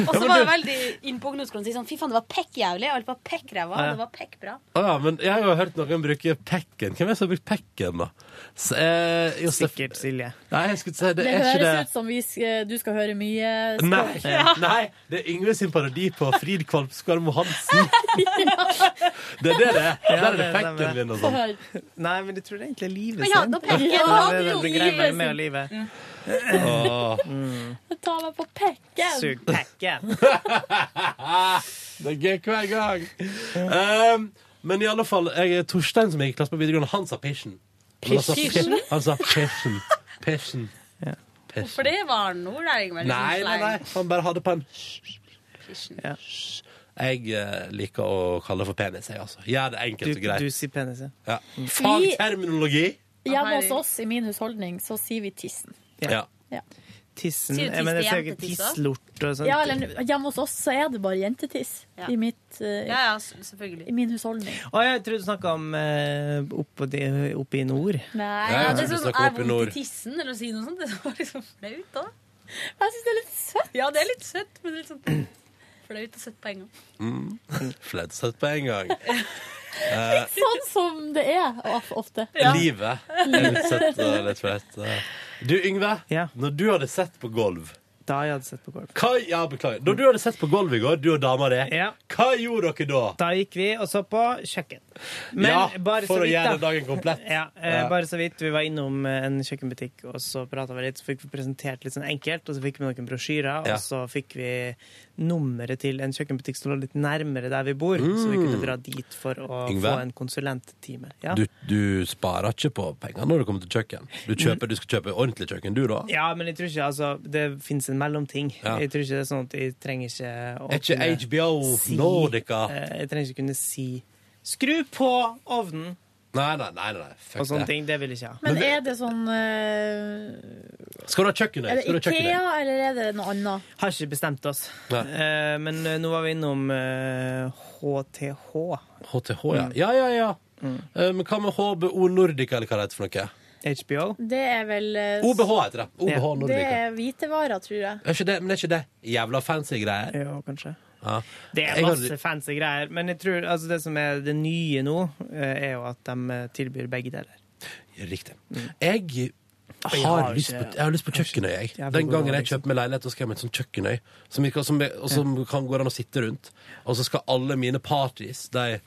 Speaker 9: Og så var det veldig inn på ungdomsskolen å si sånn fy faen, det var pekkjævlig. Alt var pekkræva.
Speaker 3: Ja.
Speaker 9: Det var pekkbra.
Speaker 2: Å Ah, ja, men jeg har jo hørt noen bruke pekken. Hvem er det som har brukt pekken, da? Så, eh, Josef-
Speaker 3: Sikkert, Silje.
Speaker 2: Nei, jeg skulle si det
Speaker 5: Det
Speaker 2: er ikke det.
Speaker 5: høres ut som vi, sk- du skal høre mye
Speaker 2: Nei, nei, det er Yngve sin parodi på Frid Kvalmskvarmo Hansen. Det er det det er. Der er det
Speaker 3: det
Speaker 2: pekken
Speaker 3: stemmer.
Speaker 2: din og sånn.
Speaker 5: spør.
Speaker 3: Nei, men jeg tror det egentlig er livet
Speaker 9: Men
Speaker 3: sin.
Speaker 9: jeg hadde noe pekken.
Speaker 3: Ja,
Speaker 5: Ja,
Speaker 3: det er
Speaker 5: jo,
Speaker 3: den greia
Speaker 5: livet
Speaker 3: mellom meg
Speaker 5: sin. Mm.
Speaker 3: og livet.
Speaker 2: Åh,
Speaker 5: Ta meg på pekken!
Speaker 3: Sug
Speaker 5: *laughs*
Speaker 3: pekken.
Speaker 2: Det er gøy hver gang. Um, men i alle fall, jeg er Torstein som gikk i klasse på videregående. Han sa pisjen. Men han sa
Speaker 9: Pisjen?
Speaker 2: pi- Han sa pisjen. Pisjen.
Speaker 9: For det var nordlæring. vel, liksom,
Speaker 2: Nei, nei,
Speaker 9: slang.
Speaker 2: nei. Han bare hadde på en
Speaker 9: Fishen.
Speaker 2: Jeg eh, liker å kalle det for penis, jeg, altså. Gjør det
Speaker 3: Du,
Speaker 2: enkelt og
Speaker 3: du
Speaker 2: greit.
Speaker 3: sier penis, ja.
Speaker 2: Ja. Fagterminologi.
Speaker 5: Hjemme hos oss, i min husholdning, så sier vi tissen.
Speaker 2: Ja.
Speaker 3: Tissen.
Speaker 9: Sier du
Speaker 3: Jeg mener, jeg
Speaker 9: tiss
Speaker 3: ser
Speaker 9: til
Speaker 3: jo ikke
Speaker 9: jentetiss også?
Speaker 3: tisslort og sånt.
Speaker 5: Ja, eller hjemme hos oss så er det bare jentetiss
Speaker 9: Ja.
Speaker 5: i, mitt, eh,
Speaker 9: Ja, ja, s- selvfølgelig.
Speaker 5: i min husholdning.
Speaker 3: Å, jeg trodde du snakka om eh, oppe, de- oppe i nord.
Speaker 5: Nei,
Speaker 2: Ja,
Speaker 9: Ja,
Speaker 2: ja.
Speaker 9: det er
Speaker 2: Vi
Speaker 9: sånn,
Speaker 2: snakker
Speaker 9: er
Speaker 2: opp i nord.
Speaker 9: vondt i tissen, eller å si noe sånt. *laughs* Det var liksom flaut, da.
Speaker 5: jeg syns det er litt søtt.
Speaker 9: Ja, det er litt søtt, men det er litt sånn flaut og søtt på en gang.
Speaker 2: Flaut søtt på en
Speaker 3: *laughs*
Speaker 2: gang.
Speaker 5: Sånn som det er of- ofte.
Speaker 2: Livet er litt søtt og litt flaut. Du, Yngve.
Speaker 3: Ja.
Speaker 2: Når du hadde sett på gulv
Speaker 3: Da jeg hadde sett på golf.
Speaker 2: hva, ja, beklager. Når du hadde sett på gulv i går, du og dama di,
Speaker 3: Ja.
Speaker 2: hva gjorde dere da?
Speaker 3: Da gikk vi og så på kjøkken. Men
Speaker 2: ja,
Speaker 3: bare
Speaker 2: for å
Speaker 3: så vidt,
Speaker 2: gjøre
Speaker 3: da.
Speaker 2: dagen komplett.
Speaker 3: Ja, eh,
Speaker 2: Ja.
Speaker 3: bare så vidt. Vi var innom eh, en kjøkkenbutikk, og så prata vi litt. Så fikk vi presentert litt sånn enkelt, og så fikk vi noen brosjyrer.
Speaker 2: Ja.
Speaker 3: Og så fikk vi nummeret til en kjøkkenbutikk som lå litt nærmere der vi bor. Så vi kunne dra dit for å
Speaker 2: Mm. Yngve?
Speaker 3: få en konsulenttime. Ja.
Speaker 2: Du, du sparer ikke på penger når du kommer til kjøkken. Du, kjøper, du skal kjøpe ordentlig kjøkken, du, da.
Speaker 3: ja, men jeg tror ikke altså, det fins en mellomting.
Speaker 2: Ja.
Speaker 3: Jeg tror ikke det er sånn at jeg trenger ikke å
Speaker 2: Er ikke
Speaker 3: kunne
Speaker 2: HBO Nordica
Speaker 3: eh, Jeg trenger ikke kunne si Skru på ovnen!
Speaker 2: Nei, nei, nei. nei,
Speaker 3: Og sånn
Speaker 2: fuck
Speaker 3: sånne
Speaker 2: det.
Speaker 3: ting. Det vil jeg ikke ha.
Speaker 5: Men er det sånn eh,
Speaker 2: Skal du ha
Speaker 5: Er
Speaker 2: kjøkkenet?
Speaker 5: det
Speaker 2: Skal du ha
Speaker 5: Ikea,
Speaker 2: kjøkkenet?
Speaker 5: eller er det noe annet?
Speaker 3: Har ikke bestemt oss.
Speaker 2: Nei.
Speaker 3: Eh, men eh, nå var vi innom eh, HTH.
Speaker 2: HTH, ja. Ja, ja, ja. Eh, Men hva med HBO Nordica, eller hva det heter for noe?
Speaker 3: HBO.
Speaker 5: Det er vel eh,
Speaker 2: OBH heter det. OBH
Speaker 3: Ja.
Speaker 5: Det
Speaker 2: Nordica.
Speaker 5: er hvitevarer, tror jeg.
Speaker 2: Er ikke det, men er ikke det jævla fancy greier?
Speaker 3: Ja, kanskje.
Speaker 2: Ja.
Speaker 3: Det er
Speaker 2: Jeg har-
Speaker 3: masse fancy greier. Men jeg tror altså, det som er det nye nå, eh, er jo at de eh, tilbyr begge deler.
Speaker 2: Riktig. Jeg
Speaker 3: Jeg
Speaker 2: har,
Speaker 3: har
Speaker 2: lyst på,
Speaker 3: ikke-
Speaker 2: jeg har lyst på kjøkkenøy. Jeg.
Speaker 3: Jævlig
Speaker 2: Den
Speaker 3: god
Speaker 2: gangen
Speaker 3: råd,
Speaker 2: jeg kjøpte meg leilighet, så skal jeg ha meg et sånt kjøkkenøy som, ikke, som, og som kan gå an å sitte rundt. Og så skal alle mine parties, de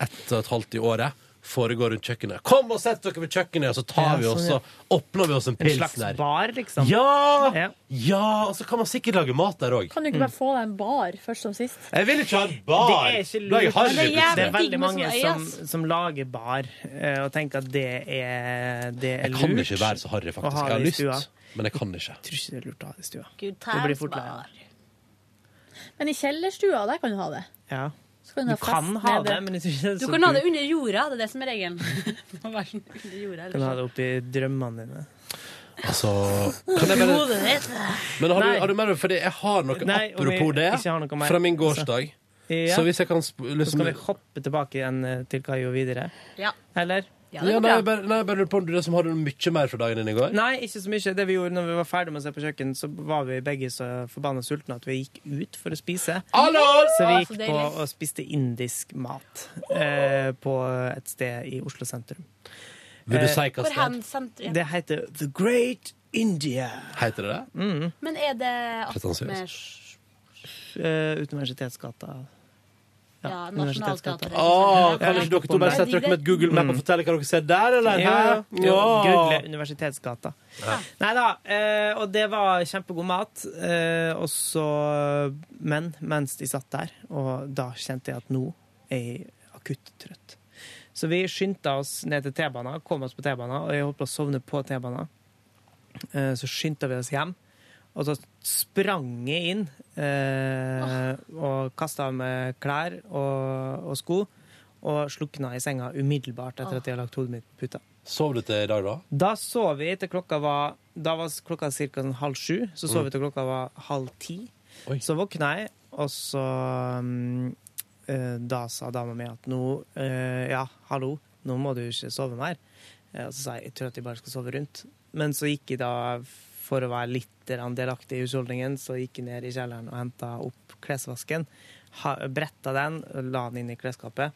Speaker 2: ett og et halvt i året, foregå rundt kjøkkenet. Kom og sett dere ved kjøkkenet, og så tar
Speaker 3: Ja,
Speaker 2: vi oss
Speaker 3: sånn, ja.
Speaker 2: og åpner vi oss en
Speaker 3: En slags
Speaker 2: pilsner.
Speaker 3: bar, liksom.
Speaker 2: Ja!
Speaker 3: Ja.
Speaker 2: ja! Og så kan man sikkert lage mat der òg.
Speaker 5: Kan du ikke bare få deg en bar først som sist?
Speaker 2: Jeg vil ikke ha en bar!
Speaker 3: Det er ikke
Speaker 2: Da jeg
Speaker 3: lurt.
Speaker 2: harry
Speaker 9: Men det er
Speaker 3: Det
Speaker 2: plutselig.
Speaker 3: er
Speaker 9: Digg
Speaker 3: veldig
Speaker 9: med
Speaker 3: mange
Speaker 9: sånn øye,
Speaker 3: som,
Speaker 9: ass.
Speaker 3: som lager bar eh, og tenker at det er, det er
Speaker 2: Jeg
Speaker 3: lurt.
Speaker 2: kan ikke være så harry, faktisk.
Speaker 3: ha
Speaker 2: Jeg har
Speaker 3: det i stua.
Speaker 2: lyst, men jeg kan ikke.
Speaker 3: Jeg tror ikke det er lurt å ha det i stua.
Speaker 9: Gud,
Speaker 3: Da blir jeg fort
Speaker 9: tæs,
Speaker 3: lei av
Speaker 9: bar.
Speaker 5: Men i kjellerstua, der kan du ha det.
Speaker 3: Ja.
Speaker 5: Så kan
Speaker 3: Du
Speaker 5: ha fest
Speaker 3: kan ha
Speaker 5: nede.
Speaker 3: det, men jeg tror ikke det er
Speaker 9: Du
Speaker 3: så
Speaker 9: kan ha det
Speaker 3: lurt.
Speaker 9: under jorda, det er det som er regelen. *laughs* Du må være sånn under jorda,
Speaker 3: Du kan ha
Speaker 9: eller
Speaker 3: det oppi drømmene dine.
Speaker 2: Altså, kan jeg
Speaker 3: *laughs*
Speaker 2: bare
Speaker 9: Hodet ditt.
Speaker 2: Men har du,
Speaker 3: Nei.
Speaker 2: har du mer, fordi jeg har noe
Speaker 3: Nei, om jeg
Speaker 2: apropos det
Speaker 3: ikke har noe mer, Altså,
Speaker 2: fra min gårsdag. Så,
Speaker 3: Ja.
Speaker 2: hvis jeg kan sp-
Speaker 3: Så
Speaker 2: liksom,
Speaker 3: skal vi hoppe tilbake igjen eh, til hva jeg gjorde videre.
Speaker 9: Ja.
Speaker 3: Eller?
Speaker 5: Ja, det
Speaker 2: Ja,
Speaker 5: går
Speaker 2: nei,
Speaker 5: bra.
Speaker 2: jeg bare, nei, jeg bare lurer på om du er som hadde mye mer fra dagen din i går.
Speaker 3: Nei, ikke så mye. Det vi gjorde når vi var ferdig med å se på kjøkken, så var vi begge så forbanna sultne at vi gikk ut for å spise. Så vi
Speaker 7: Å, så
Speaker 3: gikk
Speaker 7: deilig.
Speaker 3: på og spiste indisk mat eh, på et sted i Oslo sentrum.
Speaker 2: Vil du si hva
Speaker 9: Hvor
Speaker 2: sted
Speaker 9: hen sentrum?
Speaker 3: Det heter The Great India.
Speaker 2: heter det?
Speaker 3: Mm.
Speaker 2: det?
Speaker 9: Men er det
Speaker 2: Pretensiøst.
Speaker 9: attmed
Speaker 3: Eh, ut Universitetsgata.
Speaker 9: ja,
Speaker 3: Universitetsgata.
Speaker 9: Nationaltheatret?
Speaker 2: Åh, kan
Speaker 3: jeg
Speaker 2: ikke dere
Speaker 3: kom
Speaker 2: to bare
Speaker 3: der.
Speaker 2: sette dere med et Google-map og fortelle hva dere ser der, eller?
Speaker 3: Jo,
Speaker 2: Hæ?
Speaker 3: jo. jo. Google Universitetsgata. Nei da. Eh, og det var kjempegod mat. Eh, og så Men mens de satt der, og da kjente jeg at nå er jeg akutt trøtt. Så vi skyndte oss ned til T-banen, kom oss på T-banen, og jeg holdt på å sovne på T-banen. Eh, så skyndte vi oss hjem. Og så sprang jeg inn eh, og kasta av meg klær og, og sko. Og slukna i senga umiddelbart etter at jeg hadde lagt hodet mitt på puta.
Speaker 2: Sov du til i dag, da?
Speaker 3: Da sov vi til klokka var Da var klokka ca. Sånn halv sju. Så sov vi til klokka var halv ti.
Speaker 2: Oi.
Speaker 3: Så våkna jeg, og så mm, eh, Da sa dama mi at nå eh, Ja, hallo, nå må du ikke sove mer. Eh, Og så sa jeg jeg tror at jeg bare skal sove rundt. Men så gikk jeg da, for å være litt grann delaktig i husholdningen, så gikk jeg ned i kjelleren og henta opp klesvasken. ha- Bretta den, la den inn i klesskapet.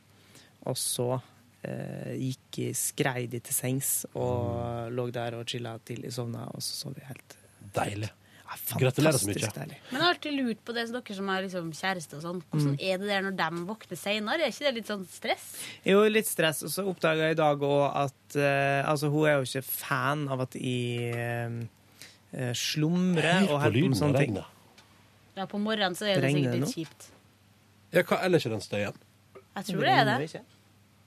Speaker 3: Og så eh, gikk jeg skreidig til sengs
Speaker 2: Mm.
Speaker 3: og lå der og chilla til jeg sovna, og så sov jeg helt
Speaker 2: Deilig.
Speaker 3: ja,
Speaker 2: Gratulerer så mye.
Speaker 3: fantastisk deilig.
Speaker 9: Men jeg har alltid lurt på det, så dere som er liksom kjærester og
Speaker 2: Mm.
Speaker 9: sånn, hvordan er det der når de våkner senere? Er ikke det litt sånn stress?
Speaker 3: Jo, litt stress. Og så oppdaga jeg i dag òg at eh, Altså, hun er jo ikke fan av at jeg eh, slumrer
Speaker 2: Hør på
Speaker 3: og holder på med
Speaker 2: lyden av
Speaker 3: sånne ting.
Speaker 2: regnet.
Speaker 9: Ja, på morgenen så er det
Speaker 3: Regner
Speaker 9: sikkert
Speaker 3: det
Speaker 9: litt
Speaker 3: nå?
Speaker 9: kjipt.
Speaker 2: Ja, hva ellers er den støyen?
Speaker 9: Jeg tror det er det.
Speaker 3: ikke?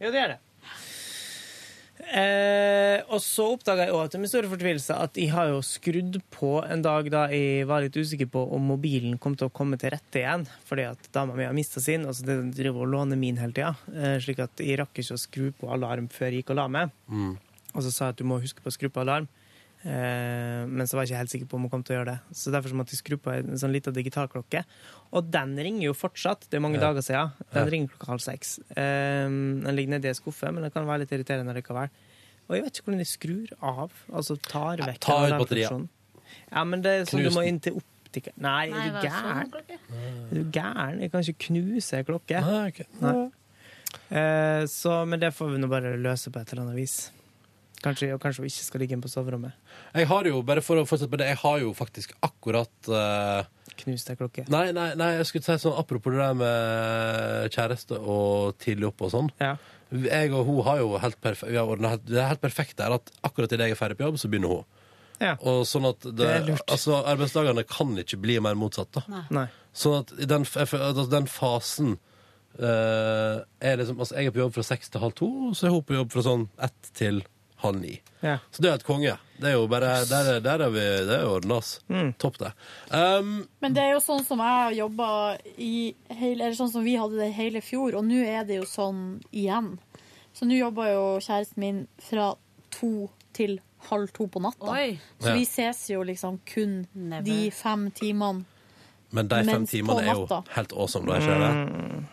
Speaker 3: Jo, det er det. Eh, og så oppdaga jeg òg til min store fortvilelse at jeg har jo skrudd på en dag da jeg var litt usikker på om mobilen kom til å komme til rette igjen, fordi at dama mi har mista sin, og så den driver og låner min hele tida. Eh, slik at jeg rakk ikke å skru på alarm før jeg gikk og la meg. Og så sa jeg at du må huske på å skru på alarm. Eh, men så var jeg ikke helt sikker på om hun kom til å gjøre det. Så derfor så måtte jeg skru på en sånn lita digitalklokke. Og den ringer jo fortsatt. Det er mange dager siden. Den ringer klokka halv seks. Eh, den ligger nedi ei skuffe, men det kan være litt irriterende likevel. Og jeg vet ikke hvordan de skrur av. Altså tar vekk
Speaker 2: ta
Speaker 3: den
Speaker 2: ut batteriet.
Speaker 3: alarmfunksjonen. Ja, men det er sånn
Speaker 2: Knus
Speaker 3: du må
Speaker 2: den.
Speaker 3: inn til optiker. Nei, er
Speaker 9: Nei,
Speaker 3: du
Speaker 9: hva er
Speaker 3: gæren?
Speaker 9: sånn klokke?
Speaker 3: Er du gæren? Jeg kan ikke knuse ei klokke.
Speaker 2: Nei, ok.
Speaker 3: Nei. Eh, så, men det får vi nå bare løse på et eller annet vis. Kanskje, og kanskje hun ikke skal ligge inn på soverommet.
Speaker 2: Jeg har jo, bare for å fortsette på det, jeg har jo faktisk akkurat eh,
Speaker 3: Knust ei klokke.
Speaker 2: Nei, nei, nei, jeg skulle si sånn apropos det der med kjæreste og tidlig opp og sånn.
Speaker 3: Ja.
Speaker 2: Jeg og hun har jo helt perfekt Vi har ordnet helt, det er helt perfekt der at akkurat idet jeg er ferdig på jobb, så begynner hun.
Speaker 3: ja.
Speaker 2: Og sånn at det,
Speaker 3: Det er lurt.
Speaker 2: Altså, arbeidsdagene kan ikke bli mer motsatt, da.
Speaker 3: Nei.
Speaker 2: Sånn at i den, f- jeg føler at altså, den fasen eh, er liksom Altså, jeg er på jobb fra seks til halv to, og så er hun på jobb fra sånn ett til halv ni.
Speaker 3: Ja.
Speaker 2: Så det er et konge. Det er jo bare Der, er- der er vi Det er ordna, ass.
Speaker 3: Mm.
Speaker 2: Topp, det. Um,
Speaker 5: Men det er jo sånn som jeg jobba i hele Eller sånn som vi hadde det i hele fjor, og nå er det jo sånn igjen. Så nå jobber jo kjæresten min fra to til halv to på natta.
Speaker 9: Oi.
Speaker 5: Så
Speaker 2: Ja.
Speaker 5: vi ses jo liksom kun
Speaker 9: Never.
Speaker 5: de fem timene.
Speaker 2: men de fem
Speaker 5: Mens på
Speaker 2: timene er jo
Speaker 5: natta.
Speaker 2: helt awesome, da. Ikke
Speaker 3: Mm.
Speaker 2: det?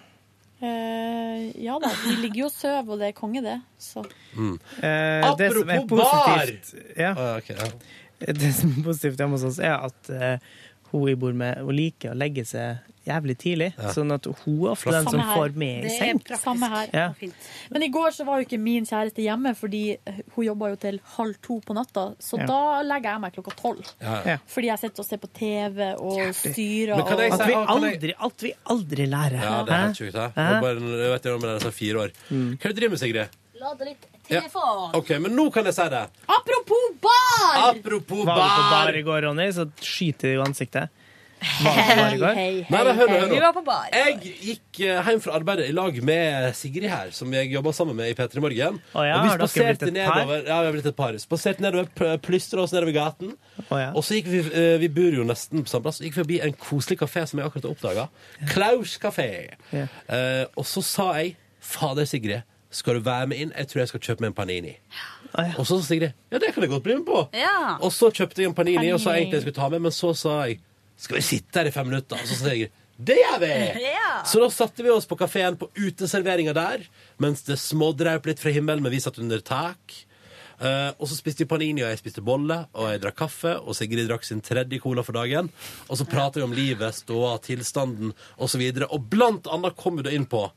Speaker 5: Eh, ja da, vi ligger jo og sover, og det er konge, det. Så.
Speaker 3: Eh, det som er
Speaker 2: Apropos
Speaker 3: positivt, ja,
Speaker 2: Ah, ok, ja.
Speaker 3: det som er positivt hjemme hos oss, er at eh, hun jeg bor med, hun liker å legge seg jævlig tidlig. Sånn at hun er ofte den
Speaker 2: sånn
Speaker 3: som
Speaker 5: Samme Sånn her.
Speaker 3: får meg i
Speaker 9: Det er
Speaker 3: seng.
Speaker 9: praktisk.
Speaker 5: Samme her.
Speaker 3: Ja.
Speaker 9: Fint.
Speaker 5: Men i går så var jo ikke min kjæreste hjemme, fordi hun jobba jo til halv to på natta. Så
Speaker 3: Ja.
Speaker 5: da legger jeg meg klokka tolv.
Speaker 2: Ja.
Speaker 5: Fordi jeg sitter og ser på TV og styrer
Speaker 2: Men kan jeg
Speaker 5: og
Speaker 3: At vi
Speaker 2: Ah, kan jeg-
Speaker 3: aldri, alt vi aldri lærer.
Speaker 2: ja, det er helt
Speaker 3: Hæ?
Speaker 2: sjukt, det.
Speaker 3: Hæ? Mm.
Speaker 2: Jeg Bare, jeg vet ikke om det er så fire år. Hva er det du driver med, Sigrid?
Speaker 9: Lade litt
Speaker 2: Ja.
Speaker 9: telefon.
Speaker 2: OK, men nå kan jeg si det.
Speaker 5: Apropos bar!
Speaker 2: Apropos
Speaker 3: Var du på
Speaker 2: bar.
Speaker 3: bar i går, Ronny, så skyter jeg i ansiktet. Var du
Speaker 5: *laughs*
Speaker 3: på bar i går?
Speaker 5: Hei, hei.
Speaker 2: Nei, nei, hør nå, hør
Speaker 9: Vi
Speaker 2: nå.
Speaker 9: var på bar.
Speaker 2: Jeg gikk eh, hjem fra arbeidet i lag med Sigrid her, som jeg jobba sammen med i P3 Morgen.
Speaker 3: Å ja,
Speaker 2: og vi
Speaker 3: har dere blitt
Speaker 2: spaserte
Speaker 3: et par?
Speaker 2: nedover. Ja, vi har blitt et par. Spaserte nedover, plystra oss nedover gaten.
Speaker 3: Å, ja.
Speaker 2: Og så gikk vi eh, Vi bor jo nesten på samme plass. så Gikk vi forbi en koselig kafé som jeg akkurat har oppdaga. Klaus kafé.
Speaker 3: Ja.
Speaker 2: Eh, og så sa jeg Fader, Sigrid, skal du være med inn? Jeg tror jeg skal kjøpe meg en Panini.
Speaker 3: Å, ja.
Speaker 2: Og så sa Sigrid ja, det kan jeg godt bli med på.
Speaker 9: Ja.
Speaker 2: Og så kjøpte jeg en panini, og sa egentlig jeg skulle ta med, men så sa jeg skal vi sitte her i fem minutter? Og så sa jeg Det gjør vi! Så da satte vi oss på kafeen på uteserveringa der, mens det smådraup litt fra himmelen, men vi satt under tak. Eh, og så spiste vi panini, og jeg spiste bolle, og jeg drakk kaffe, og Sigrid drakk sin tredje cola for dagen. Og så prater vi om livet, ståa, tilstanden osv. Og, og blant annet kom vi da inn på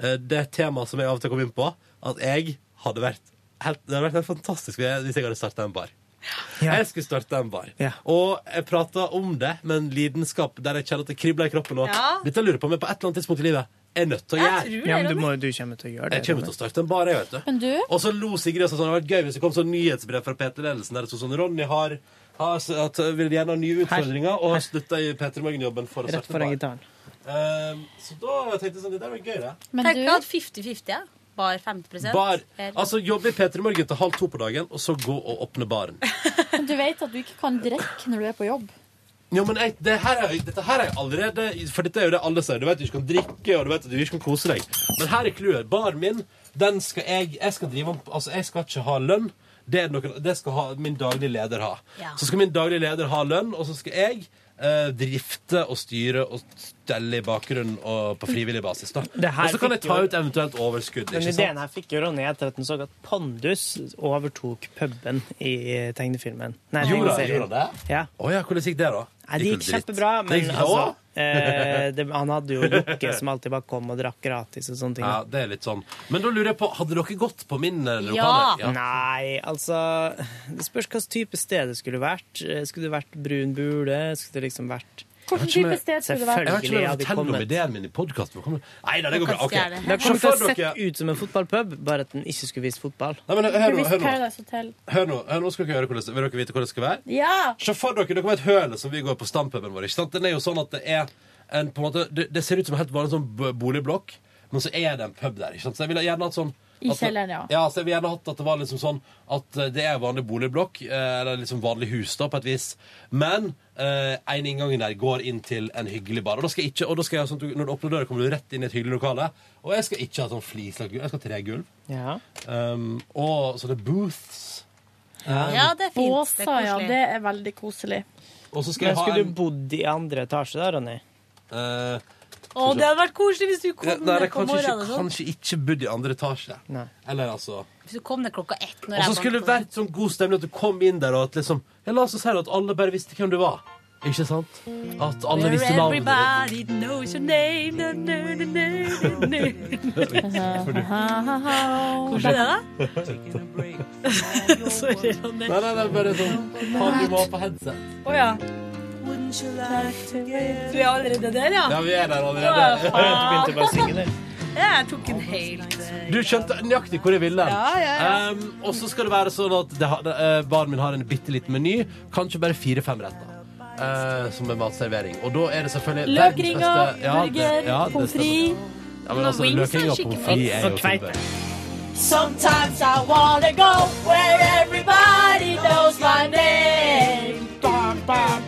Speaker 2: eh, det temaet som jeg av og til kom inn på, at jeg hadde vært helt, Det hadde vært helt fantastisk hvis jeg hadde starta en bar.
Speaker 3: Ja.
Speaker 2: Jeg skulle starte en bar.
Speaker 3: Ja.
Speaker 2: Og jeg prata om det med en lidenskap der jeg kjenner at det kribler i kroppen. Og
Speaker 9: Ja.
Speaker 2: dette lurer jeg på om jeg på et eller annet tidspunkt i livet er nødt til å
Speaker 9: Jeg
Speaker 2: gjøre.
Speaker 9: tror
Speaker 3: Ja, men
Speaker 9: det,
Speaker 3: du,
Speaker 9: Ronny.
Speaker 3: må, du kommer til å gjøre det.
Speaker 2: Jeg kommer til å starte en bar, jeg, vet du.
Speaker 5: Men du?
Speaker 2: Og så lo Sigrid og sa sånn, det hadde vært gøy hvis det kom sånn nyhetsbrev fra Peter Ledelsen der det sto sånn Ronny har, har s- at, øh, vil gjerne ha nye utfordringer og har slutta i Peter Morgen-jobben for å
Speaker 3: Rett
Speaker 2: starte
Speaker 3: foran
Speaker 2: en bar.
Speaker 3: gitaren.
Speaker 2: Ehm, så da tenkte jeg sånn, det der var gøy, det.
Speaker 5: Men
Speaker 9: Tenk
Speaker 5: du?
Speaker 9: å ha 50-50, ja. Bar 50
Speaker 2: Bar,
Speaker 9: Eller-
Speaker 2: altså jobbe i Peter Morgen til halv to på dagen, og så gå og åpne baren.
Speaker 5: Men du vet at du ikke kan drikke når du er på jobb.
Speaker 2: Jo, men jeg, det her er, jo- dette her er jo allerede For dette er jo det alle sier. Du vet du ikke kan drikke, og du vet at du ikke kan kose deg. Men her er clouet. Baren min, den skal jeg Jeg skal drive om Altså, jeg skal ikke ha lønn. Det, er noe, det skal ha, min daglige leder ha.
Speaker 9: Ja.
Speaker 2: Så skal min daglige leder ha lønn, og så skal jeg eh, drifte og styre og stelle i bakgrunnen og på frivillig basis. da
Speaker 3: Det her
Speaker 2: Og så kan jeg
Speaker 3: fikk
Speaker 2: ta
Speaker 3: jo-
Speaker 2: ut eventuelt overskudd.
Speaker 3: Den
Speaker 2: Ikke sant?
Speaker 3: ideen her fikk jo Ronny etter at han så at Pondus overtok puben i tegnefilmen. Nei,
Speaker 2: Gjorde han-
Speaker 3: tegneserien.
Speaker 2: gjorde han det?
Speaker 3: Ja.
Speaker 2: Å ja, hvordan gikk det, da?
Speaker 3: Nei, det gikk
Speaker 2: vel dritt.
Speaker 3: kjempebra,
Speaker 2: Det
Speaker 3: men
Speaker 2: gikk-
Speaker 3: altså,
Speaker 2: Å!
Speaker 3: eh, det, han hadde jo Jokke som alltid bare kom og drakk gratis og sånne ting.
Speaker 2: Ja, det er litt sånn. Men da lurer jeg på, hadde dere gått på min eh, lokale?
Speaker 9: Ja.
Speaker 3: Nei, altså Det spørs hvilken type sted det skulle vært. Eh, Skulle det vært brun bule? Skulle det liksom vært
Speaker 5: Hvilken
Speaker 2: ikke om
Speaker 5: type
Speaker 2: jeg-
Speaker 5: sted skulle det være?
Speaker 2: Jeg vet ikke om
Speaker 3: Selvfølgelig
Speaker 2: jeg
Speaker 3: hadde
Speaker 2: forteller om
Speaker 3: kommet.
Speaker 2: ideen min i podkasten. Nei, nei, det går bra. ok.
Speaker 9: Podkast er det.
Speaker 3: Det
Speaker 2: Så
Speaker 3: kom til å
Speaker 2: før
Speaker 3: sette
Speaker 2: dere...
Speaker 3: ut som en fotballpub, bare at den ikke skulle vise fotball.
Speaker 2: Nei, men hør
Speaker 5: Du
Speaker 2: nå,
Speaker 5: visste
Speaker 2: hør nå.
Speaker 5: Paradise Hotel.
Speaker 2: Hør nå, hør nå skal dere høre hvordan, vil dere vite hvordan det skal være?
Speaker 5: Ja!
Speaker 2: Se for dere dere vet hølet som vi går på stampuben vår. ikke sant? Den er jo sånn at det er en, på en måte, det, det ser ut som en helt vanlig sånn b- boligblokk, men så er det en pub der. ikke sant? Så jeg ville gjerne hatt sånn...
Speaker 5: I
Speaker 2: at det-
Speaker 5: kjelleren, ja.
Speaker 2: Ja, så jeg ville gjerne hatt at det var liksom sånn at eh, det er vanlig boligblokk, eh, eller liksom vanlig hus da, på et vis. Men eh, en inngangen der går inn til en hyggelig bar. Og da skal jeg ikke, og da skal jeg, sånn, at du- når du åpner døra, kommer du rett inn i et hyggelig lokale. Og jeg skal ikke ha sånn flislagt gulv, jeg skal ha tregulv.
Speaker 3: Ja.
Speaker 2: Um, og sånne booths.
Speaker 9: Ja, det er fint.
Speaker 5: Båsa,
Speaker 9: det er
Speaker 5: ja.
Speaker 9: koselig.
Speaker 5: Det er veldig koselig.
Speaker 2: Og så skal
Speaker 3: Men
Speaker 2: jeg ha
Speaker 3: skulle
Speaker 2: en
Speaker 3: du bodd i andre etasje da, Ronny?
Speaker 2: eh,
Speaker 9: Å, det hadde vært koselig hvis du kom
Speaker 2: ja, Nei,
Speaker 9: ned
Speaker 2: det
Speaker 9: på
Speaker 2: kanskje ikke,
Speaker 9: morgenen. og sånn.
Speaker 2: kanskje ikke bodd i andre etasje.
Speaker 3: Nei.
Speaker 2: Eller altså
Speaker 9: Hvis du kom ned klokka ett når
Speaker 2: Og så skulle det vært sånn god stemning at du kom inn der, og at liksom Ja, la oss si det at alle bare visste hvem du var. Ikke sant? At alle
Speaker 9: Where
Speaker 2: visste navnet ditt.
Speaker 9: everybody knows your name na, na, na, na, na, na. Hvordan er det? da? Sorry, Ronny.
Speaker 2: Nei, nei, nei, bare sånn Han du må ha på headset.
Speaker 9: Å ja. Du er allerede der, ja?
Speaker 2: Ja, vi er der
Speaker 9: Å,
Speaker 2: allerede.
Speaker 9: faen.
Speaker 3: Du begynte bare å synge, du.
Speaker 9: Jeg tok en helt
Speaker 2: Du skjønte nøyaktig hvor jeg ville.
Speaker 9: Ja, ja,
Speaker 2: Um, og så skal det være sånn at det, har- det, eh, baren min har en bitte liten meny. Kanskje bare fire-fem retter. eh, som er matservering. Og da er det selvfølgelig
Speaker 5: Løkringer,
Speaker 2: verdens beste- ja, det-
Speaker 5: burger,
Speaker 2: ja, det-
Speaker 5: pommes frites.
Speaker 2: Ja, men altså,
Speaker 9: Men wings er
Speaker 2: løkringer og
Speaker 9: skikkelig
Speaker 2: pommes frites er jo
Speaker 3: Og kveite.
Speaker 2: tilbud.
Speaker 6: Sometimes I wanna go where everybody knows my name.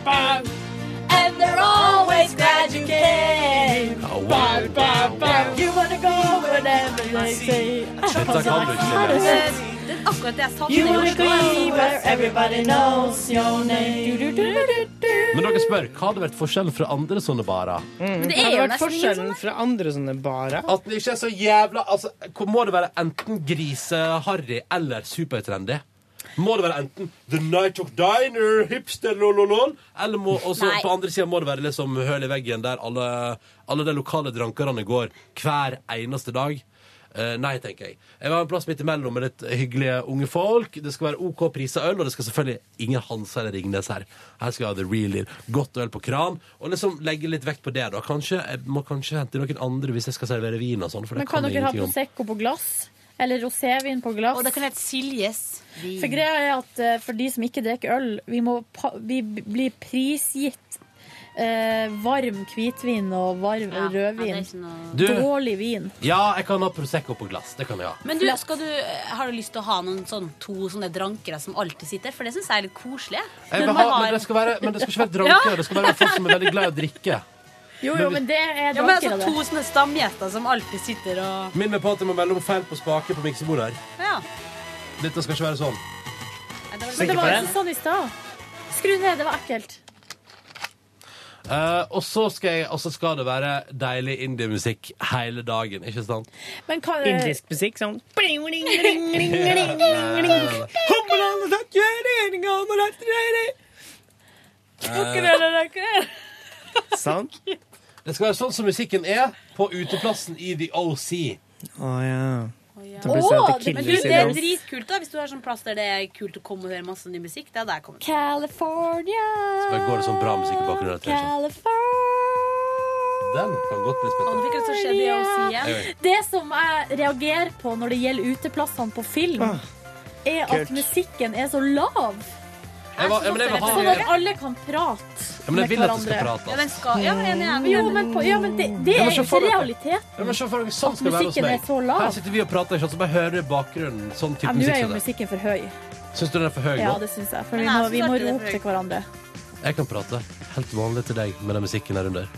Speaker 6: And they're always glad you came.
Speaker 2: Ja, wow.
Speaker 6: You wanna go whenever they say.
Speaker 2: Dette kan du ikke Silje.
Speaker 9: Det er akkurat det jeg savner i
Speaker 6: You wanna
Speaker 9: Oslo.
Speaker 6: be where everybody knows your name.
Speaker 2: Men dere spør, hva hadde vært forskjellen fra andre sånne barer?
Speaker 9: Men det
Speaker 3: Hva
Speaker 9: er
Speaker 3: hadde
Speaker 9: jo
Speaker 3: vært
Speaker 9: nesten ingen sånn.
Speaker 3: forskjellen fra andre sånne barer?
Speaker 2: At den ikke er så jævla altså, hvor- Må det være enten griseharry eller supertrendy? Må det være enten The Night of Diner, hipster, lololol, eller må, også,
Speaker 9: Nei.
Speaker 2: på andre siden må det være liksom høl i veggen der alle, alle de lokale drankerne går hver eneste dag? Eh, nei, tenker jeg. Jeg var en plass midt imellom med litt hyggelige unge folk. Det skal være OK priser øl, og det skal selvfølgelig ingen Hansa eller Ringnes her. Her skal jeg ha the real deal. Godt øl på kran. Og liksom legge litt vekt på det, da. Kanskje, jeg må kanskje hente noen andre hvis jeg skal servere vin og sånn, for det
Speaker 5: Men kan
Speaker 2: kan jeg
Speaker 5: dere ha
Speaker 2: ingenting om.
Speaker 5: Prosecco på glass? Eller rosévin på glass?
Speaker 9: Og det kan hete Siljes.
Speaker 5: For greia er at eh, for de som ikke drikker øl, vi, må pa vi b- blir prisgitt eh, varm hvitvin og varm
Speaker 9: Ja, ja, det er
Speaker 5: rødvin.
Speaker 9: ikke noe-
Speaker 2: Du,
Speaker 5: Dårlig vin.
Speaker 2: ja, jeg kan ha Prosecco på glass. Det kan jeg ha.
Speaker 9: Men du, skal du, eh, har du lyst til å ha noen sånn, to sånne drankere som alltid sitter? For det syns jeg er litt koselig.
Speaker 2: Jeg vil
Speaker 9: Men
Speaker 2: ha,
Speaker 9: man har-
Speaker 2: men, det skal være, men det skal ikke være
Speaker 4: *laughs*
Speaker 2: dranker. Det skal være folk som er veldig glad i å drikke.
Speaker 5: Jo, jo, men det er
Speaker 9: Ja, men altså
Speaker 5: dranker av det.
Speaker 9: To sånne stamgjester som alltid sitter og
Speaker 2: Minn meg på at jeg må melde om feil på spaker på miksebordet her.
Speaker 9: Ja.
Speaker 2: Dette skal ikke være sånn.
Speaker 9: Nei, det var-
Speaker 5: Men det var ikke sånn i stad. Skru ned, det var ekkelt.
Speaker 2: Eh, og så skal, jeg, og så skal det være deilig indiemusikk hele dagen, ikke sant?
Speaker 4: Men kan,
Speaker 3: Indisk musikk sånn bling, bling, bling, bling. Sånn.
Speaker 2: Det skal være sånn som musikken er på uteplassen i The OC.
Speaker 3: Å ja. Da
Speaker 4: Å,
Speaker 3: blir det sånn at det
Speaker 4: men
Speaker 9: Men
Speaker 3: killer
Speaker 9: du, det er
Speaker 3: syndrom.
Speaker 9: dritkult da, hvis du har sånn plass der det er kult å komme og høre masse ny musikk. Det er der jeg kommer.
Speaker 4: California
Speaker 2: Så bare går det sånn bra musikk i bakgrunnen. etter hvert,
Speaker 4: California
Speaker 2: sånn. Den kan godt bli
Speaker 9: Og
Speaker 2: spilt.
Speaker 9: fikk lyst til å se det og si igjen.
Speaker 4: Det som jeg reagerer på når det gjelder uteplassene på film,
Speaker 3: Ah,
Speaker 4: er at
Speaker 3: kult.
Speaker 4: musikken er så lav.
Speaker 2: Jeg var- Ah, ja, men jeg vil
Speaker 4: Sånn
Speaker 2: ha-
Speaker 4: at alle kan prate
Speaker 2: ja, men jeg
Speaker 4: med
Speaker 2: vil at det skal
Speaker 4: hverandre.
Speaker 2: prate.
Speaker 9: Ja,
Speaker 2: Altså.
Speaker 9: den skal. Ja, jeg er enig, jeg er enig.
Speaker 4: Jo, men, på, ja, men det, det
Speaker 2: Ja, men
Speaker 4: er
Speaker 2: så får
Speaker 4: ikke
Speaker 2: dere-
Speaker 4: realitet.
Speaker 2: Ja, men se for dere, sånn skal
Speaker 4: At
Speaker 2: det være hos
Speaker 4: musikken
Speaker 2: meg.
Speaker 4: er så lav.
Speaker 2: Her sitter vi og prater, ikke sant, så bare hører du i bakgrunnen sånn type
Speaker 4: Ja, nå
Speaker 2: musikk.
Speaker 4: er jo
Speaker 2: som det.
Speaker 4: musikken for høy.
Speaker 2: Syns du den er for høy
Speaker 4: Ja,
Speaker 2: nå?
Speaker 4: det syns jeg. For
Speaker 9: Men
Speaker 4: vi
Speaker 9: jeg
Speaker 4: må,
Speaker 9: synes
Speaker 4: vi må
Speaker 9: alltid det er for
Speaker 4: rope til
Speaker 9: høy.
Speaker 4: hverandre.
Speaker 2: Jeg kan prate helt vanlig til deg med den musikken her under.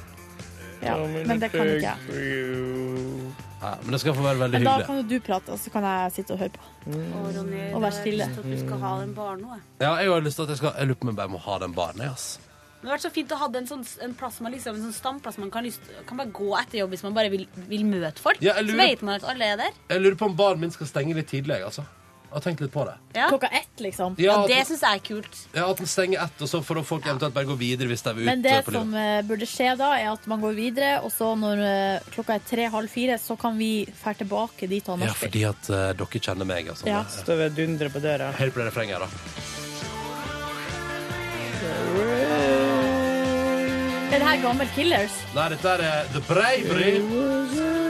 Speaker 4: Ja, men det kan ikke jeg.
Speaker 2: Ja, men det skal få være veldig
Speaker 4: Men da
Speaker 2: hyggelig.
Speaker 4: kan jo du prate, og så kan jeg sitte og høre på.
Speaker 9: Å, Ronny,
Speaker 4: Og vær stille.
Speaker 9: Jeg har lyst til at du skal ha en bar nå. jeg.
Speaker 2: Ja, jeg har lyst til at jeg skal Jeg lurer på om jeg bare må ha den baren, jeg, ass.
Speaker 9: Det hadde vært så fint å ha en, sånn, en plass man liksom, en sånn stamplass man kan, lyst, kan bare gå etter jobb hvis man bare vil, vil møte folk.
Speaker 2: Ja, jeg
Speaker 9: så
Speaker 2: lurer-
Speaker 9: vet man at alle er der.
Speaker 2: Jeg lurer på om baren min skal stenge litt tidlig, jeg, altså. Jeg har tenkt litt på det.
Speaker 9: Ja.
Speaker 4: Klokka ett, liksom.
Speaker 2: Ja,
Speaker 9: Ja,
Speaker 2: at,
Speaker 9: det syns jeg er kult.
Speaker 2: ja, at den stenger ett, og så får folk eventuelt bare gå videre hvis de er ute
Speaker 4: Men det
Speaker 2: på
Speaker 4: som
Speaker 2: livet.
Speaker 4: eh, burde skje da, er at man går videre, og så når eh, klokka er tre-halv fire, så kan vi dra tilbake dit han
Speaker 2: Ja,
Speaker 4: nachspiel.
Speaker 2: fordi at eh, dere kjenner meg, altså.
Speaker 4: Ja.
Speaker 2: Det-
Speaker 3: Står vi og dundrer på døra.
Speaker 2: Hør på det refrenget her, da.
Speaker 4: Er det her gammel Killers?
Speaker 2: Nei, dette er eh, The Bravery.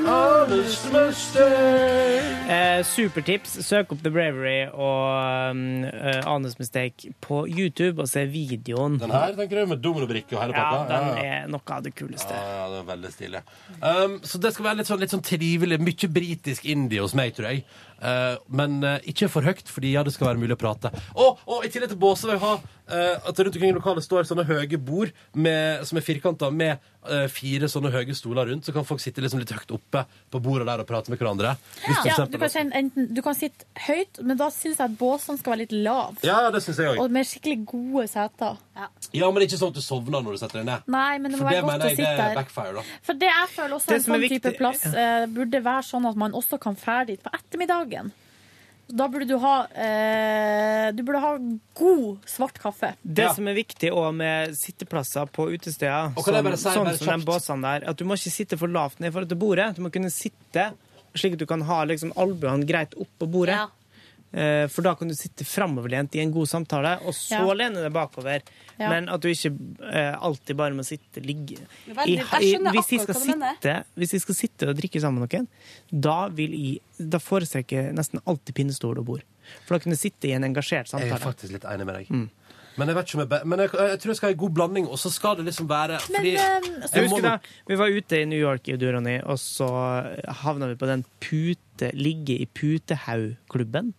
Speaker 2: Honest mistake.
Speaker 3: Eh, supertips. Søk opp The Bravery og um, eh, Anus Mistake på YouTube og se videoen.
Speaker 2: Den her tenker du med dominobrikke og hele
Speaker 3: ja,
Speaker 2: pakka?
Speaker 3: den
Speaker 2: ja.
Speaker 3: er noe av det kuleste.
Speaker 2: Ja, ja, det er veldig stilig. Um, så det skal være litt sånn, litt sånn trivelig, mye britisk indie hos meg, tror jeg. Eh, men eh, ikke for høyt, fordi ja, det skal være mulig å prate. Og, og i tillegg til båse vil jeg ha eh, at det rundt omkring i lokalet står sånne høye bord med, som er firkanta, med eh, fire sånne høye stoler rundt, så kan folk sitte liksom litt høyt oppe på bordet der og prate med hverandre. Hvis for
Speaker 4: Ja,
Speaker 2: eksempel-
Speaker 4: du kan, kjenne, enten, du kan sitte høyt, men da syns jeg at båsene skal være litt lav.
Speaker 2: ja, ja, det syns jeg òg.
Speaker 4: Og med skikkelig gode seter.
Speaker 2: Ja, men det er ikke sånn at du sovner når du setter deg ned.
Speaker 4: Nei, men det må
Speaker 2: For det
Speaker 4: være godt
Speaker 2: mener
Speaker 4: å
Speaker 2: jeg det
Speaker 4: sitte
Speaker 2: er
Speaker 4: der.
Speaker 2: backfire, da.
Speaker 4: For det jeg føler også
Speaker 3: Det
Speaker 4: en
Speaker 3: som er
Speaker 4: sånn type
Speaker 3: viktig-
Speaker 4: plass eh, burde være sånn at man også kan fære dit på ettermiddagen. Da burde du ha eh, Du burde ha god svart kaffe.
Speaker 3: Det
Speaker 2: Ja.
Speaker 3: som er viktig også med sitteplasser på utesteder,
Speaker 2: Og kan jeg
Speaker 3: sånn,
Speaker 2: bare si,
Speaker 3: sånn
Speaker 2: bare
Speaker 3: som de
Speaker 2: kjapt?
Speaker 3: båsene der, at du må ikke sitte for lavt ned i forhold til bordet. Du må kunne sitte slik at du kan ha liksom, albuene greit opp på bordet.
Speaker 9: Ja.
Speaker 3: Eh, For da kan du sitte framoverlent i en god samtale, og så
Speaker 4: Ja.
Speaker 3: lene deg bakover.
Speaker 4: Ja.
Speaker 3: Men at du ikke eh, alltid bare må sitte ligge
Speaker 9: Jeg vet litt- jeg skjønner
Speaker 3: hvis, de
Speaker 9: akkurat
Speaker 3: skal
Speaker 9: hva du mener.
Speaker 3: sitte, hvis de skal sitte og drikke sammen med noen, da, vil jeg, da foretrekker jeg nesten alltid pinnestol og bord. For da kan du sitte i en engasjert
Speaker 2: Jeg er
Speaker 3: samtale.
Speaker 2: faktisk litt enig med deg.
Speaker 3: Mm.
Speaker 2: Men jeg vet ikke om jeg, be- men jeg, jeg tror jeg skal ha en god blanding, og så skal det liksom være
Speaker 4: Men
Speaker 2: fordi,
Speaker 4: eh,
Speaker 3: Jeg
Speaker 2: Jeg må
Speaker 3: husker da, Vi var ute i New York, i Durani, og så havna vi på den pute, ligge i putehaug-klubben.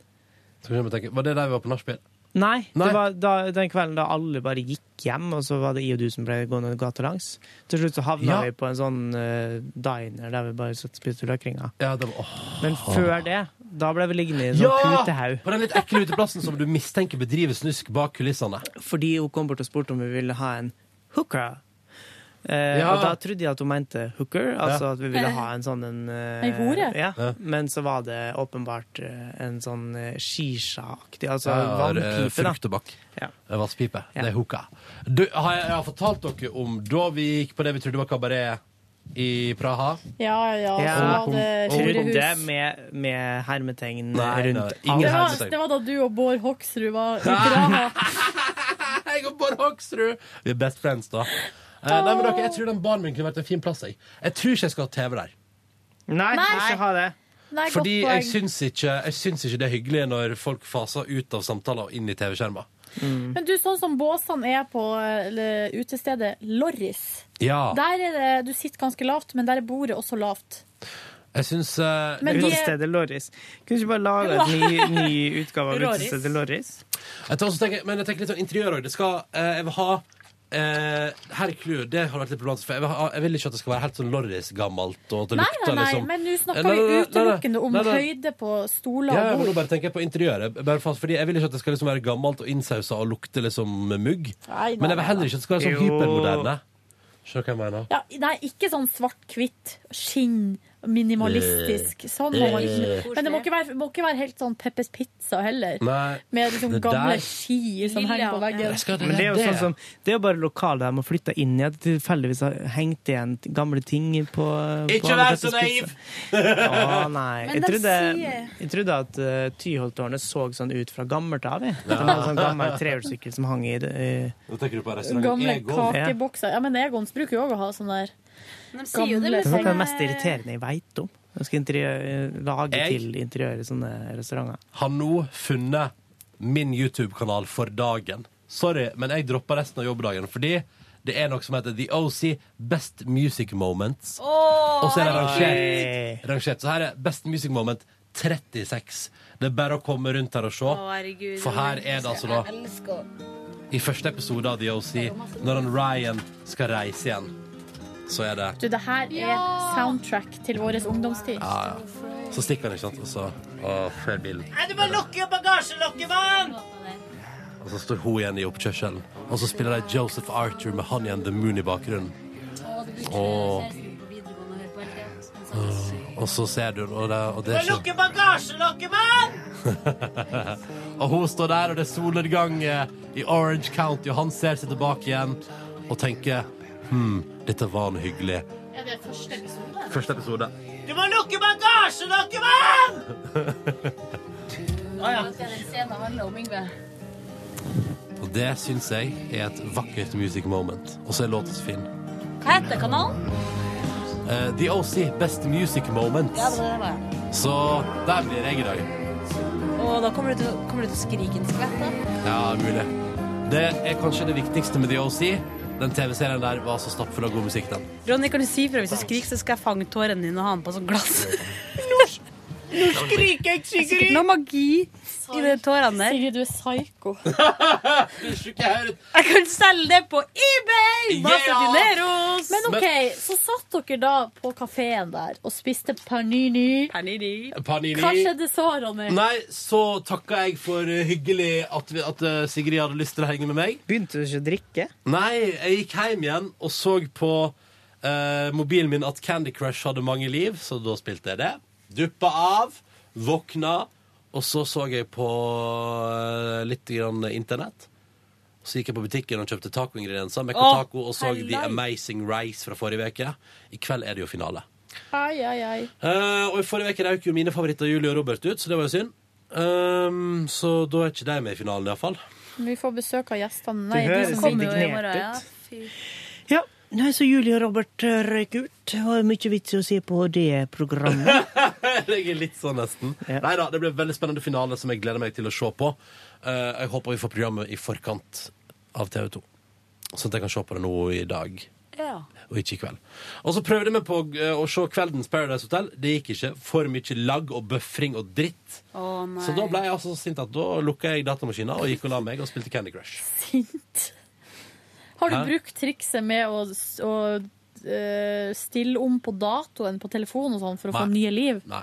Speaker 2: Skal vi tenke, Var det der vi var på nachspiel?
Speaker 3: Nei,
Speaker 2: Nei.
Speaker 3: det var da, den kvelden da alle bare gikk hjem, og så var det i og du som ble gående gata langs. Til slutt så havna
Speaker 2: Ja.
Speaker 3: vi på en sånn eh, diner der vi bare satt og spiste løkringer.
Speaker 2: Ja, det var, åh.
Speaker 3: Men før det, da ble vi liggende i en sånn putehaug.
Speaker 2: På den litt ekle uteplassen som du mistenker bedriver snusk bak kulissene.
Speaker 3: Fordi hun kom bort og spurte om vi ville ha en hooker. Eh,
Speaker 2: Ja.
Speaker 3: Og da trodde jeg at hun mente hooker, altså at vi ville ha en sånn en, eh,
Speaker 4: Ei hore?
Speaker 3: Ja.
Speaker 2: Ja.
Speaker 3: Men så var det åpenbart eh, en sånn eh, shisha-aktig, altså
Speaker 2: Ja, eh,
Speaker 3: vannpipe, da.
Speaker 2: Fruktobakk.
Speaker 3: Ja.
Speaker 2: Eh, Vasspipe.
Speaker 3: Ja.
Speaker 2: Det er hooka. Du, har jeg, jeg har fortalt dere om da vi gikk på det vi trodde var kabaret i Praha?
Speaker 4: Ja, ja,
Speaker 3: Ja.
Speaker 4: så var det
Speaker 2: Hun
Speaker 3: Trodde
Speaker 4: Torehus.
Speaker 3: med, med hermetegn
Speaker 2: Nei, nei,
Speaker 3: rundt
Speaker 2: ingen
Speaker 4: Det
Speaker 3: alt.
Speaker 4: var, det var da du og Bård Hoksrud
Speaker 2: *laughs*
Speaker 4: var i Praha.
Speaker 2: Jeg og Bård Hoksrud! Vi er best friends, da. Eh, nei, men dere, jeg tror den baren min kunne vært en fin plass. Jeg, jeg tror ikke jeg skal ha TV der.
Speaker 3: Nei,
Speaker 4: Nei.
Speaker 3: ikke ha det.
Speaker 4: Nei, godt
Speaker 2: Fordi
Speaker 4: poeng.
Speaker 2: jeg syns, ikke, jeg syns ikke det er hyggelig når folk faser ut av samtaler og inn i TV-skjermer.
Speaker 4: Men du, sånn som båsene er på eh, eller, utestedet Lorris
Speaker 2: Ja.
Speaker 4: Der er det, Du sitter ganske lavt, men der er bordet også lavt.
Speaker 2: Jeg syns eh,
Speaker 4: Men de er,
Speaker 3: Utestedet Lorris. Kunne du ikke bare lage en ny, ny utgave
Speaker 4: *laughs*
Speaker 3: av
Speaker 9: Lorris.
Speaker 3: Utestedet Lorris?
Speaker 2: jeg, tar også tenker, Men jeg tenker litt sånn interiør òg. Det skal eh, Jeg vil ha eh, Her er clouet. Det har vært litt problematisk. For jeg vil, ha, jeg vil ikke at det skal være helt sånn Lorris-gammelt. Og at det
Speaker 4: nei, nei,
Speaker 2: lukter
Speaker 4: nei,
Speaker 2: liksom
Speaker 4: men nå
Speaker 2: Eh,
Speaker 4: snakker
Speaker 2: nei, nei,
Speaker 4: vi
Speaker 2: nei,
Speaker 4: utelukkende om
Speaker 2: nei, nei.
Speaker 4: høyde på stoler
Speaker 2: ja, ja,
Speaker 4: og
Speaker 2: men nå
Speaker 4: bord.
Speaker 2: bare tenker jeg på interiøret. Bare fast, fordi Jeg vil ikke at det skal liksom være gammelt og innsausa og lukte liksom mugg.
Speaker 4: Nei, nei,
Speaker 2: Men jeg vil heller ikke at det skal være sånn
Speaker 3: Jo.
Speaker 2: hypermoderne. Skjønner hva jeg mener.
Speaker 4: Ja, nei, ikke sånn svart-hvitt, skinn, minimalistisk.
Speaker 2: Eh.
Speaker 4: Sånn må man ikke. Men det må ikke være, må ikke være helt sånn Peppes Pizza heller.
Speaker 2: Nei.
Speaker 4: Med liksom
Speaker 2: Det
Speaker 4: gamle
Speaker 2: der-
Speaker 4: ski som henger på veggen.
Speaker 2: Jeg skal-
Speaker 3: Men det er jo sånn som, det er jo bare lokalet de har flytta inn i, at de tilfeldigvis har hengt igjen gamle ting på
Speaker 2: Ikke
Speaker 3: på
Speaker 2: vær
Speaker 3: Peppers
Speaker 2: så naiv!
Speaker 3: Pizza. Å nei. Jeg
Speaker 9: de
Speaker 3: trodde,
Speaker 9: sier-
Speaker 3: jeg trodde at uh, Tyholttårnet så sånn ut fra gammelt av. jeg. At det var en sånn gammel trehjulssykkel som hang i eh, det. i-
Speaker 2: Nå tenker du på restauranten
Speaker 4: Gamle
Speaker 2: Egon.
Speaker 4: kakebokser. Ja, men Egons bruker jo òg å ha sånn der.
Speaker 9: De sier jo det,
Speaker 3: Det er
Speaker 4: Gamle
Speaker 9: men
Speaker 3: noe av det
Speaker 9: sånn,
Speaker 3: mest irriterende jeg veit om. Jeg skal interiør, lage
Speaker 2: Jeg-
Speaker 3: til interiør i sånne restauranter.
Speaker 2: Har nå funnet min YouTube-kanal for dagen. Sorry, men jeg dropper resten av jobbdagen fordi det er noe som heter The OC Best Music Moments. Og så er det rangert. rangert. Så her er Best Music Moment 36. Det er bare å komme rundt her og se.
Speaker 9: Å, herregud.
Speaker 2: For her er det altså da
Speaker 9: Jeg elsker å-
Speaker 2: I første episode av The OC, når han Ryan skal reise igjen, så er det
Speaker 4: Du, det her er soundtrack til vår ungdomstid.
Speaker 2: ja, ja. Så stikker han, ikke sant? Og så å, fer bilen.
Speaker 3: Du må lukke bagasjelokket, mann!
Speaker 2: Og så står hun igjen i oppkjørselen. Og så spiller de Joseph Arthur med Honey and the Moon i bakgrunnen. Åh. Og så ser du Og det, og det er ikke
Speaker 3: bagasjelokket, mann!
Speaker 2: *laughs* Og hun står der, og det er solnedgang eh, i Orange County, og han ser seg tilbake igjen og tenker Hm, dette var noe hyggelig.
Speaker 10: Er det første episode?
Speaker 2: Første episode.
Speaker 3: Du må lukke bagasjelokket, mann!
Speaker 2: Og det syns jeg er et vakkert music moment. Og så er låta så fin.
Speaker 9: Hva heter kanalen?
Speaker 2: Eh, The OC, Best Music
Speaker 9: Ja,
Speaker 2: Moments.
Speaker 9: det var det.
Speaker 2: Så der blir jeg i dag.
Speaker 9: Og da kommer du til, kommer du til å skrike en skvett, da.
Speaker 2: Ja, mulig. Det er kanskje det viktigste med The OC. Den TV-serien der var så stappfull av god musikk, den.
Speaker 9: Ronny, kan du si ifra hvis du skriker, så skal jeg fange tårene dine og ha den på som glass.
Speaker 3: Skriker jeg
Speaker 9: Det er sikkert noe magi i de tårene der.
Speaker 4: Sigrid, du er psyko.
Speaker 9: Jeg kan selge det på eBay! Masse
Speaker 2: Yeah!
Speaker 9: dineros!
Speaker 4: Men OK, så satt dere da på kafeen der og spiste panini.
Speaker 9: Panini.
Speaker 2: Panini.
Speaker 4: Hva skjedde så, Ronny?
Speaker 2: Nei, så takka jeg for eh, hyggelig at, vi, at eh, Sigrid hadde lyst til å henge med meg.
Speaker 3: Begynte du ikke å drikke?
Speaker 2: Nei, jeg gikk hjem igjen og så på eh, mobilen min at Candy Crush hadde mange liv, så da spilte jeg det. Duppa av, våkna, og så så jeg på eh, litt grann internett. Så gikk jeg på butikken og kjøpte tacoingredienser. Mekka
Speaker 9: Åh,
Speaker 2: taco og så The
Speaker 9: herlig.
Speaker 2: Amazing Rice fra forrige uke. I kveld er det jo finale.
Speaker 4: Ai, ai, ai.
Speaker 2: Eh, og i forrige uke røk jo mine favoritter Julie og Robert ut, så det var jo synd. Ehm, så da er ikke de med i finalen, iallfall.
Speaker 4: Vi får besøk av gjestene. Nei,
Speaker 3: Det
Speaker 4: de
Speaker 3: høres
Speaker 4: som kommer jo i
Speaker 3: indignert
Speaker 4: morgen.
Speaker 3: ut.
Speaker 9: Ja, fy.
Speaker 3: Ja. Nei, så Julie og Robert eh, røyk ut. Det var mye vits i å se på det programmet.
Speaker 2: *laughs* Jeg er litt sånn nesten.
Speaker 3: Ja.
Speaker 2: Nei da, det blir en veldig spennende finale som jeg gleder meg til å se på. Eh, jeg håper vi får programmet i forkant av TV 2, sånn at jeg kan se på det nå i dag.
Speaker 9: Ja.
Speaker 2: Og ikke i kveld. Og så prøvde vi på eh, å se kveldens Paradise Hotel. Det gikk ikke. For mye lagg og bøfring og dritt.
Speaker 9: Å nei.
Speaker 2: Så da ble jeg altså så sint at da lukka jeg datamaskinen og gikk og la meg og spilte Candy Crush.
Speaker 4: Sint. Har du
Speaker 2: Hæ?
Speaker 4: brukt trikset med å, s- å eh, stille om på datoen på telefonen og sånn for å få
Speaker 2: Nei.
Speaker 4: nye liv?
Speaker 2: Nei,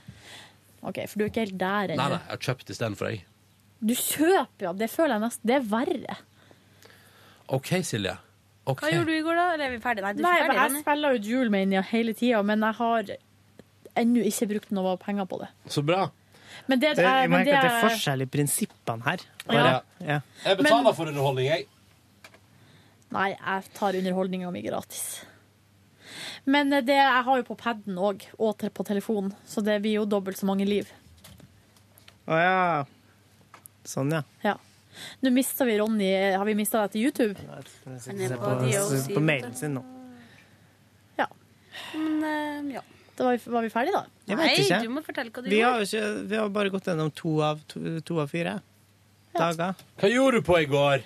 Speaker 4: Ok, For du er ikke helt der
Speaker 2: nei, nei
Speaker 4: ennå.
Speaker 2: jeg har kjøpt istedenfor, jeg.
Speaker 4: Du kjøper, ja. Det føler jeg nesten Det er verre.
Speaker 2: OK, Silje. Ok.
Speaker 9: Hva gjorde du i går, da? Eller er vi ferdige? Nei, du er
Speaker 4: Nei, men
Speaker 9: ikke ferdig,
Speaker 4: jeg
Speaker 9: Ronny.
Speaker 4: spiller jo Julemania hele tida, men jeg har ennå ikke brukt noe penger på det.
Speaker 2: Så bra.
Speaker 4: Men det,
Speaker 3: Det,
Speaker 4: jeg,
Speaker 3: Eh, jeg
Speaker 4: men
Speaker 3: merker
Speaker 4: det,
Speaker 3: at det er
Speaker 4: jeg-
Speaker 3: forskjell i prinsippene her.
Speaker 2: Ja.
Speaker 3: Ja.
Speaker 2: Jeg betaler for underholdning, jeg.
Speaker 4: Nei, jeg tar underholdninga mi gratis. Men eh, det, jeg har jo på paden òg, og te- på telefonen, så det blir jo dobbelt så mange liv.
Speaker 3: Å ja. Sånn, ja.
Speaker 4: Ja. Nå mista vi Ronny. eh, Har vi mista deg til YouTube?
Speaker 9: Han er
Speaker 3: Se
Speaker 9: på
Speaker 3: på,
Speaker 9: DOC.
Speaker 3: på mailen sin nå.
Speaker 9: Men, eh, ja.
Speaker 4: Da var vi, var vi ferdige, da?
Speaker 3: Jeg
Speaker 9: Nei,
Speaker 3: vet ikke.
Speaker 9: du må fortelle hva du
Speaker 3: Vi har,
Speaker 9: gjorde.
Speaker 3: jo ikke, vi har bare gått gjennom to av, to, to av fire dager.
Speaker 2: Hva gjorde du på i går?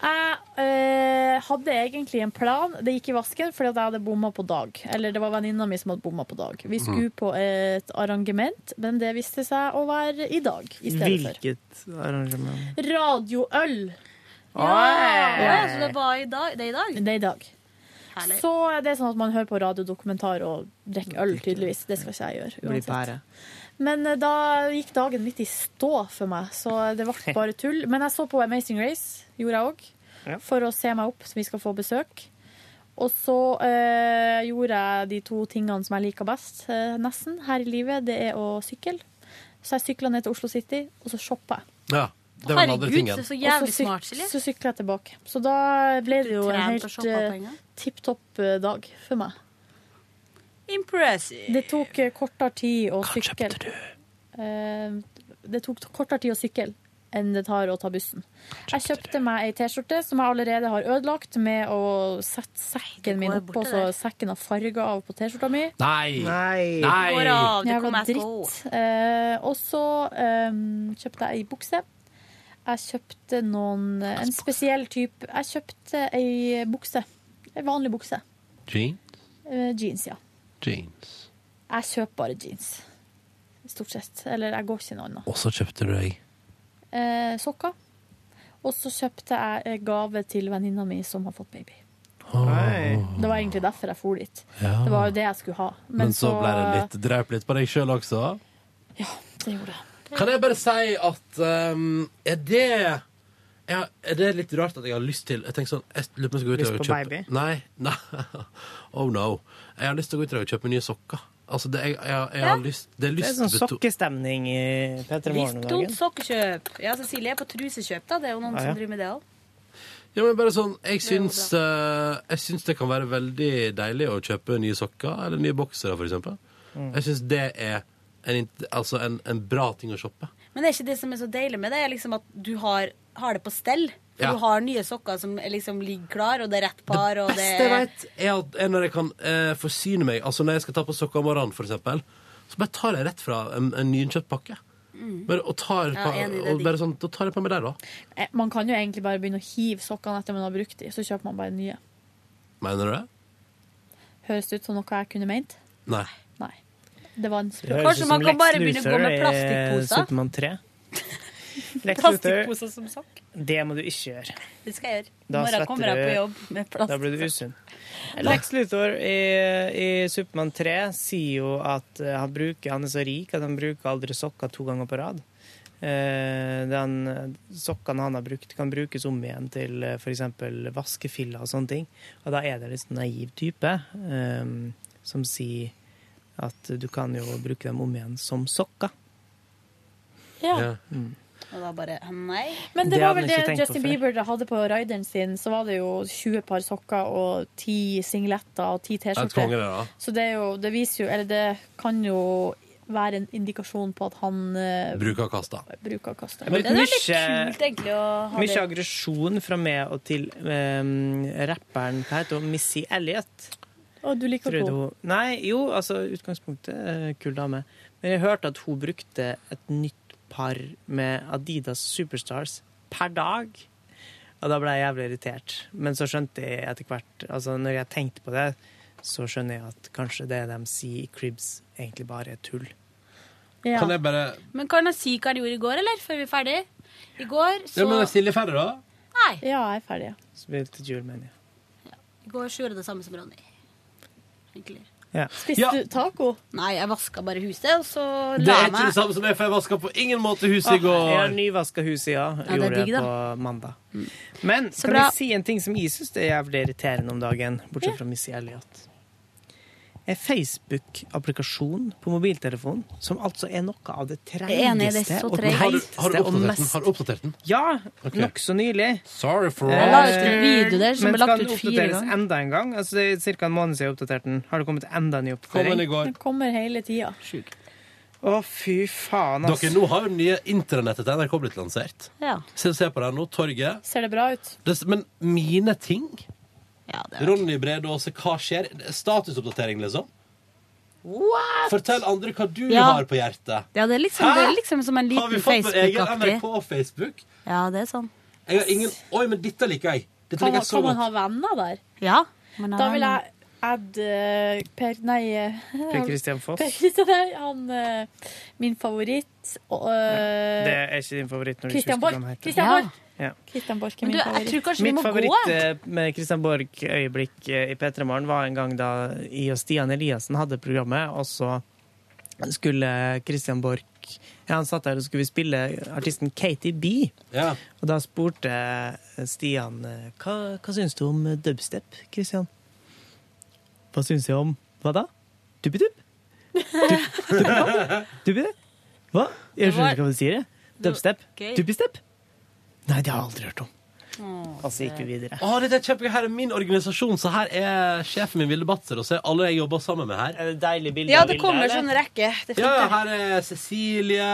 Speaker 4: Jeg eh, hadde egentlig en plan. Det gikk i vasken fordi at jeg hadde bomma på dag. Eller det var venninna mi som hadde bomma på dag. Vi skulle på et arrangement, men det viste seg å være i dag i stedet for.
Speaker 3: Hvilket arrangement?
Speaker 4: Radioøl.
Speaker 9: Ja, ja, så det var i dag, det er i dag?
Speaker 4: Det er i dag.
Speaker 9: Herlig.
Speaker 4: Så det er sånn at man hører på radiodokumentar og drikker øl, tydeligvis. Det skal ikke jeg gjøre.
Speaker 3: Blir
Speaker 4: uansett.
Speaker 3: pære.
Speaker 4: Men eh, da gikk dagen litt i stå for meg, så det
Speaker 9: *laughs*
Speaker 4: ble bare tull. Men jeg så på Amazing Race, gjorde jeg òg,
Speaker 3: Ja.
Speaker 4: for å se meg opp, så vi skal få besøk. Og så eh, gjorde jeg de to tingene som jeg liker best, eh, nesten, her i livet. Det er å sykle. Så jeg sykla ned til Oslo City, og så shoppa jeg.
Speaker 2: Ja, det var den andre
Speaker 9: Herregud,
Speaker 2: tingen.
Speaker 9: så, så
Speaker 4: Og så
Speaker 9: jævlig
Speaker 4: syk-
Speaker 9: smart, Silje.
Speaker 4: Så sykla jeg tilbake. Så da ble det jo en
Speaker 9: Trent og
Speaker 4: helt eh,
Speaker 9: shoppa på en gang.
Speaker 4: tipp topp eh, dag for meg.
Speaker 9: Impressive.
Speaker 4: Det tok eh, kortere tid å sykle. Hva kjøpte du? det tok kortere tid å sykle enn det tar å ta bussen. Jeg kjøpte meg ei T-skjorte som jeg allerede har ødelagt med å sette sekken min
Speaker 9: går
Speaker 4: oppå,
Speaker 9: borte
Speaker 4: så
Speaker 9: der.
Speaker 4: sekken har farga av på T-skjorta mi.
Speaker 2: Nei!
Speaker 3: Nei.
Speaker 9: Går
Speaker 2: Nei!
Speaker 9: av, det
Speaker 4: Jævla
Speaker 9: kommer jeg til å
Speaker 4: dritt. Eh, og så eh, kjøpte jeg ei bukse. Jeg kjøpte noen eh, En spesiell type Jeg kjøpte ei bukse. Ei vanlig bukse.
Speaker 2: Jean,
Speaker 4: Eh, jeans, ja.
Speaker 2: jeans.
Speaker 4: Jeg kjøper bare jeans. Stort sett. Eller jeg går ikke noe annet.
Speaker 2: Og så kjøpte du deg
Speaker 4: Eh, sokker. Og så kjøpte jeg eh, gave til venninna mi som har fått baby.
Speaker 3: Nei.
Speaker 4: Det var egentlig derfor jeg for dit.
Speaker 2: Ja.
Speaker 4: Det var jo det jeg skulle ha.
Speaker 2: Men, så, ble det litt draup litt på deg sjøl også.
Speaker 4: Det gjorde jeg.
Speaker 2: Kan jeg bare si at um, Er det ja, er det litt rart at jeg har lyst til Jeg tenker sånn, jeg lurer på om jeg skal gå ut i
Speaker 3: Lyst
Speaker 2: dag og
Speaker 3: på
Speaker 2: kjøpe
Speaker 3: baby?
Speaker 2: Nei, *laughs* nei. Oh no. Jeg har lyst til å gå ut i dag og kjøpe nye sokker. Altså, det, jeg, jeg, jeg har lyst, det er
Speaker 3: Det er
Speaker 2: lyst
Speaker 3: sånn
Speaker 2: beto-
Speaker 3: sokkestemning i P3 Morgen om
Speaker 9: Visstont
Speaker 3: dagen.
Speaker 9: sokkekjøp. Ja, Cecilie er på trusekjøp, da. Det er jo noen
Speaker 3: Ja, ja.
Speaker 9: som driver med det òg.
Speaker 2: Ja, men bare sånn, jeg
Speaker 9: er jo
Speaker 2: syns, eh, jeg syns det kan være veldig deilig å kjøpe nye sokker, eller nye boksere, for eksempel.
Speaker 9: Mm.
Speaker 2: Jeg syns det er en, int- altså en, en bra ting å shoppe.
Speaker 9: Men det er ikke det som er så deilig med det, er liksom at du har, har det på stell. For
Speaker 2: Ja.
Speaker 9: Du har nye sokker som er liksom ligger klar, og det er rett par, og det
Speaker 2: beste jeg
Speaker 9: er
Speaker 2: vet, er, at, er når jeg kan eh, forsyne meg. Altså Når jeg skal ta på sokker om morgenen, for eksempel, så bare tar jeg rett fra en, en nyinkjøpt pakke. Bare, og tar,
Speaker 9: Mm. Ja,
Speaker 2: pa-
Speaker 9: enig, det er
Speaker 2: og bare sånn, da tar jeg på meg der, da.
Speaker 4: Eh, Man kan jo egentlig bare begynne å hive sokkene etter man har brukt dem, så kjøper man bare nye.
Speaker 2: Mener du det?
Speaker 4: Høres det ut som noe jeg kunne meint?
Speaker 2: Nei.
Speaker 4: Nei. Det var en spøk.
Speaker 3: Det høres
Speaker 9: Kanskje
Speaker 3: ut som
Speaker 9: man kan
Speaker 3: Lex
Speaker 9: bare begynne å gå
Speaker 3: Luthor
Speaker 9: med
Speaker 3: i
Speaker 9: plastikkposer?
Speaker 3: Supermann
Speaker 9: *laughs*
Speaker 3: 3. Lex Luthor,
Speaker 9: plastikkposer som sokk.
Speaker 3: det må du ikke gjøre.
Speaker 9: Det skal jeg gjøre. I
Speaker 3: Da
Speaker 9: morgen
Speaker 3: svetter
Speaker 9: kommer jeg
Speaker 3: du-
Speaker 9: på jobb med
Speaker 3: Da blir du
Speaker 9: plastposer.
Speaker 3: usunn. Lex Luthor i, i Supermann 3 sier jo at eh, han, bruker, han er så rik at han bruker aldri sokker to ganger på rad. Eh, den sokkene han har brukt, kan brukes om igjen til eh, for eksempel vaskefiller og sånne ting. Og da er det en litt sånn naiv type eh, som sier at du kan jo bruke dem om igjen som sokker.
Speaker 4: Ja.
Speaker 2: Ja.
Speaker 9: Og da bare Nei.
Speaker 4: Men det,
Speaker 3: Det
Speaker 4: var
Speaker 3: hadde
Speaker 4: vel
Speaker 3: man ikke
Speaker 4: det
Speaker 3: tenkt på
Speaker 4: Justin
Speaker 3: før.
Speaker 4: Bieber hadde på rideren sin. Så var det jo 20 par sokker og 10 singletter og 10
Speaker 2: Et konge,
Speaker 4: T-skjorter.
Speaker 2: det, da.
Speaker 4: Så det, er jo, det viser jo Eller det kan jo være en indikasjon på at han eh,
Speaker 2: Bruker og kaster.
Speaker 4: bruker å kaste.
Speaker 3: Men
Speaker 9: Det er litt
Speaker 3: mye-
Speaker 9: kult, egentlig, å ha
Speaker 3: Mye
Speaker 9: det.
Speaker 3: aggresjon fra meg og til eh, rapperen Hva heter hun? Missy Elliot.
Speaker 4: Å, du liker
Speaker 3: Trodde
Speaker 4: henne.
Speaker 3: hun Nei, jo, altså utgangspunktet eh, Kul dame. Men jeg hørte at hun brukte et nytt par med Adidas Superstars per dag. Og da ble jeg jævlig irritert. Men så skjønte jeg etter hvert Altså når jeg tenkte på det, så skjønner jeg at kanskje det de sier i Cribs, egentlig bare er tull.
Speaker 4: Ja.
Speaker 2: Kan jeg bare
Speaker 9: Men kan jeg si hva han gjorde i går, eller? Før vi er ferdig? I går så
Speaker 2: ja, men er Silje ferdig, da?
Speaker 9: Nei.
Speaker 4: ja, jeg er ferdig. ja.
Speaker 3: Spilte jul, mener jeg.
Speaker 9: I går så gjorde jeg det samme som Ronny. Egentlig.
Speaker 4: Spiste
Speaker 2: Ja.
Speaker 4: du taco?
Speaker 9: Nei, jeg vaska bare huset, og så
Speaker 2: Det
Speaker 9: la
Speaker 2: er
Speaker 9: jeg
Speaker 2: ikke sånn- det
Speaker 9: meg.
Speaker 2: samme som jeg, for jeg vaska på ingen måte huset i
Speaker 3: Jeg har
Speaker 2: går.
Speaker 3: nyvaska huset, Ah, ja.
Speaker 9: er
Speaker 3: Gjorde
Speaker 9: digg,
Speaker 3: det
Speaker 9: da.
Speaker 3: på mandag.
Speaker 2: Mm.
Speaker 3: Men
Speaker 9: Så
Speaker 3: kan
Speaker 9: bra.
Speaker 3: jeg si en ting som jeg syns er jævlig irriterende om dagen, bortsett fra Missy Elliot? En Facebook-applikasjon på mobiltelefonen som altså er noe av det
Speaker 9: er enig, det
Speaker 3: treigeste
Speaker 9: er så
Speaker 3: og
Speaker 9: treig.
Speaker 2: Har du, har du oppdatert
Speaker 3: teiteste og
Speaker 2: den?
Speaker 3: mest
Speaker 2: Har du oppdatert den?
Speaker 3: Ja,
Speaker 2: Ok.
Speaker 3: nokså nylig.
Speaker 2: Sorry for
Speaker 9: Jeg
Speaker 2: all.
Speaker 9: la ut en video der som
Speaker 3: Men
Speaker 9: ble lagt
Speaker 3: skal
Speaker 9: ut
Speaker 3: den
Speaker 9: fire
Speaker 3: oppdateres
Speaker 9: ganger.
Speaker 3: enda en gang? Altså, det er cirka en måned siden jeg oppdaterte den. Har det kommet enda en ny
Speaker 2: Kom igjen
Speaker 3: oppdatering?
Speaker 2: i går.
Speaker 4: Den kommer hele tida.
Speaker 3: Å, fy faen, ass.
Speaker 2: Dere, nå har jo det nye internettet til NRK blitt lansert.
Speaker 9: Ja.
Speaker 2: Se, se på det her nå. Torget.
Speaker 4: Ser det bra ut?
Speaker 2: Det, men mine ting
Speaker 9: ja, det var
Speaker 2: Ronny Brede Aase, hva skjer? Statusoppdatering, liksom.
Speaker 9: What?
Speaker 2: Fortell andre hva du
Speaker 9: Ja.
Speaker 2: har på hjertet.
Speaker 9: Ja, det er liksom,
Speaker 2: Hæ?
Speaker 9: det er liksom som en
Speaker 2: Har vi
Speaker 9: liten
Speaker 2: fått vår egen
Speaker 9: Facebook-aktig.
Speaker 2: NRK og Facebook?
Speaker 9: Ja, det er sånn.
Speaker 2: Jeg har ingen Oi, men dette liker jeg. Dette
Speaker 4: Kan,
Speaker 2: liker
Speaker 4: man-
Speaker 2: jeg så
Speaker 4: kan man
Speaker 2: godt.
Speaker 4: ha venner der?
Speaker 9: Ja. Men
Speaker 4: Da vil jeg add eh, Per Nei. eh, *laughs*
Speaker 3: Per Christian Foss.
Speaker 4: Per Christian, nei, han eh, Min favoritt. Og, eh,
Speaker 3: Det er ikke din favoritt når du ikke husker hva
Speaker 4: Christian Borch.
Speaker 3: han heter.
Speaker 4: Christian
Speaker 9: Ja.
Speaker 4: Borch.
Speaker 3: Ja.
Speaker 4: Christian Borch er
Speaker 9: Men
Speaker 4: min
Speaker 9: du, jeg
Speaker 4: favoritt.
Speaker 9: tror kanskje vi
Speaker 3: Mitt
Speaker 9: må
Speaker 3: favoritt
Speaker 9: gå. jeg.
Speaker 3: eh, med Christian Borch-øyeblikk eh, i P3 Morgen var en gang da jeg og Stian Eliassen hadde programmet, og så skulle Christian Borch ja, Han satt der og skulle spille artisten Katie B.
Speaker 2: Ja.
Speaker 3: Og da spurte Stian eh, hva, hva syns du om dubstep, Christian? Hva syns jeg om Hva da? Duppidupp? Dupp- Duppidupp? Duppidupp? Hva? Jeg skjønner ikke hva du sier. jeg. Dubstep?
Speaker 9: Gøy.
Speaker 3: Duppistep? Nei, det har jeg aldri hørt om. Altså gikk vi videre.
Speaker 2: Å, dette er kjempegøy. Her er min organisasjon, så her er sjefen min, Vilde Batzer, og så er alle jeg jobber sammen med her.
Speaker 3: Er det deilig bilde
Speaker 9: Ja,
Speaker 3: av
Speaker 9: det
Speaker 3: Vilde,
Speaker 9: kommer
Speaker 3: eller?
Speaker 9: sånn rekke. Det er
Speaker 2: Ja, ja,
Speaker 9: fint, det.
Speaker 2: her er Cecilie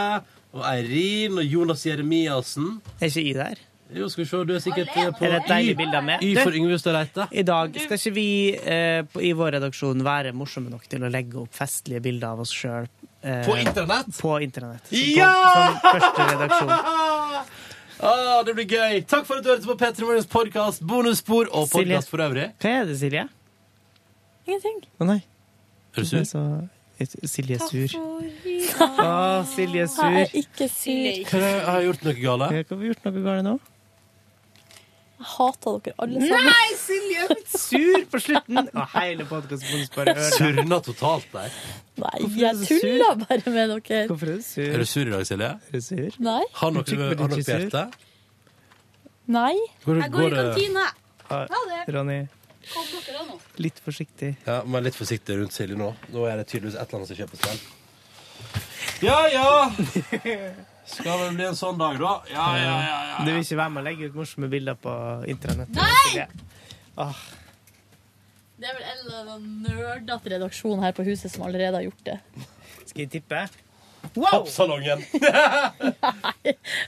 Speaker 2: og Eirin og Jonas Jeremiassen.
Speaker 3: Er ikke I der?
Speaker 2: Jo, skal vi se, du er sikkert eh, på
Speaker 3: Er det et deilig bilde av meg?
Speaker 2: Y
Speaker 3: Du,
Speaker 2: for Yngve Støreite.
Speaker 3: I dag skal ikke vi eh, på, i vår redaksjon være morsomme nok til å legge opp festlige bilder av oss sjøl
Speaker 2: På internett!
Speaker 3: på internett. Som,
Speaker 2: Ja!
Speaker 3: som første redaksjon.
Speaker 2: Ah, det blir gøy! Takk for at du hørte på P3 Morgens podkast, bonusspor og
Speaker 3: Silje.
Speaker 2: podkast for øvrig.
Speaker 3: Hva er det, Silje?
Speaker 11: Ingenting.
Speaker 3: Å nei.
Speaker 2: Er du
Speaker 3: Jeg
Speaker 2: sur?
Speaker 3: sa Silje er sur. Å,
Speaker 11: Jeg
Speaker 3: Silje er
Speaker 11: er
Speaker 3: sur.
Speaker 11: ikke sur.
Speaker 2: Hva Har jeg- har jeg gjort noe gale?
Speaker 3: Hva har vi gjort noe galt nå?
Speaker 11: Jeg hater dere alle sammen.
Speaker 3: Nei, Silje er blitt sur på slutten! Og hele podkasten må du bare høre.
Speaker 2: Surna totalt der.
Speaker 11: Nei,
Speaker 3: Hvorfor er
Speaker 11: jeg
Speaker 3: du så sur?
Speaker 11: tuller bare med dere.
Speaker 3: Hvorfor er du
Speaker 2: Er du
Speaker 3: sur?
Speaker 2: sur i dag, Silje?
Speaker 3: Er du sur?
Speaker 11: Nei.
Speaker 2: Har noe
Speaker 3: Uttrykk
Speaker 2: har
Speaker 3: med
Speaker 2: noe på
Speaker 3: ditt sur.
Speaker 2: hjertet?
Speaker 11: Nei.
Speaker 2: Går,
Speaker 9: Jeg går i
Speaker 2: det-
Speaker 9: kantina.
Speaker 3: Ronny,
Speaker 9: Kom dere da nå.
Speaker 3: litt forsiktig.
Speaker 2: Ja, Vær litt forsiktig rundt Silje nå. Nå er det tydeligvis et eller annet som kjøper seg. Ja, *laughs* ja! Skal det bli en sånn dag, da? Ja, ja, ja. *laughs* ja.
Speaker 3: Du vil ikke være med å legge ut morsomme bilder på internett? Silje.
Speaker 4: Det er vel en eller annen nerdete redaksjon her på huset som allerede har gjort det.
Speaker 3: Skal jeg tippe? Wow!
Speaker 2: Pappsalongen.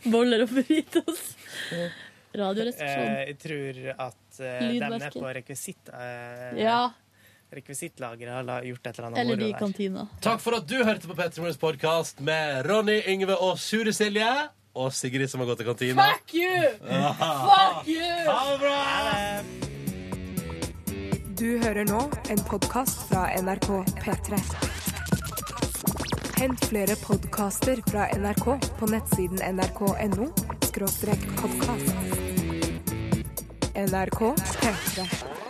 Speaker 4: Boller og burritos. Radioresepsjon.
Speaker 3: Eh, jeg tror at eh, den er
Speaker 4: Lydverket.
Speaker 3: på rekvisitt, eh,
Speaker 4: Ja,
Speaker 3: rekvisittlageret har la- gjort et eller annet
Speaker 4: eller
Speaker 3: moro
Speaker 4: de i
Speaker 3: der.
Speaker 4: kantina.
Speaker 2: *laughs* Takk for at du hørte på Petter Morgens podkast med Ronny, Yngve og Sure Silje. Og Sigrid som har gått til kantina.
Speaker 11: Fuck you! Fuck you!
Speaker 2: Ha det bra!
Speaker 1: Du hører nå en podkast fra NRK P3. Hent flere podkaster fra NRK på nettsiden nrk.no podkast. NRK P3.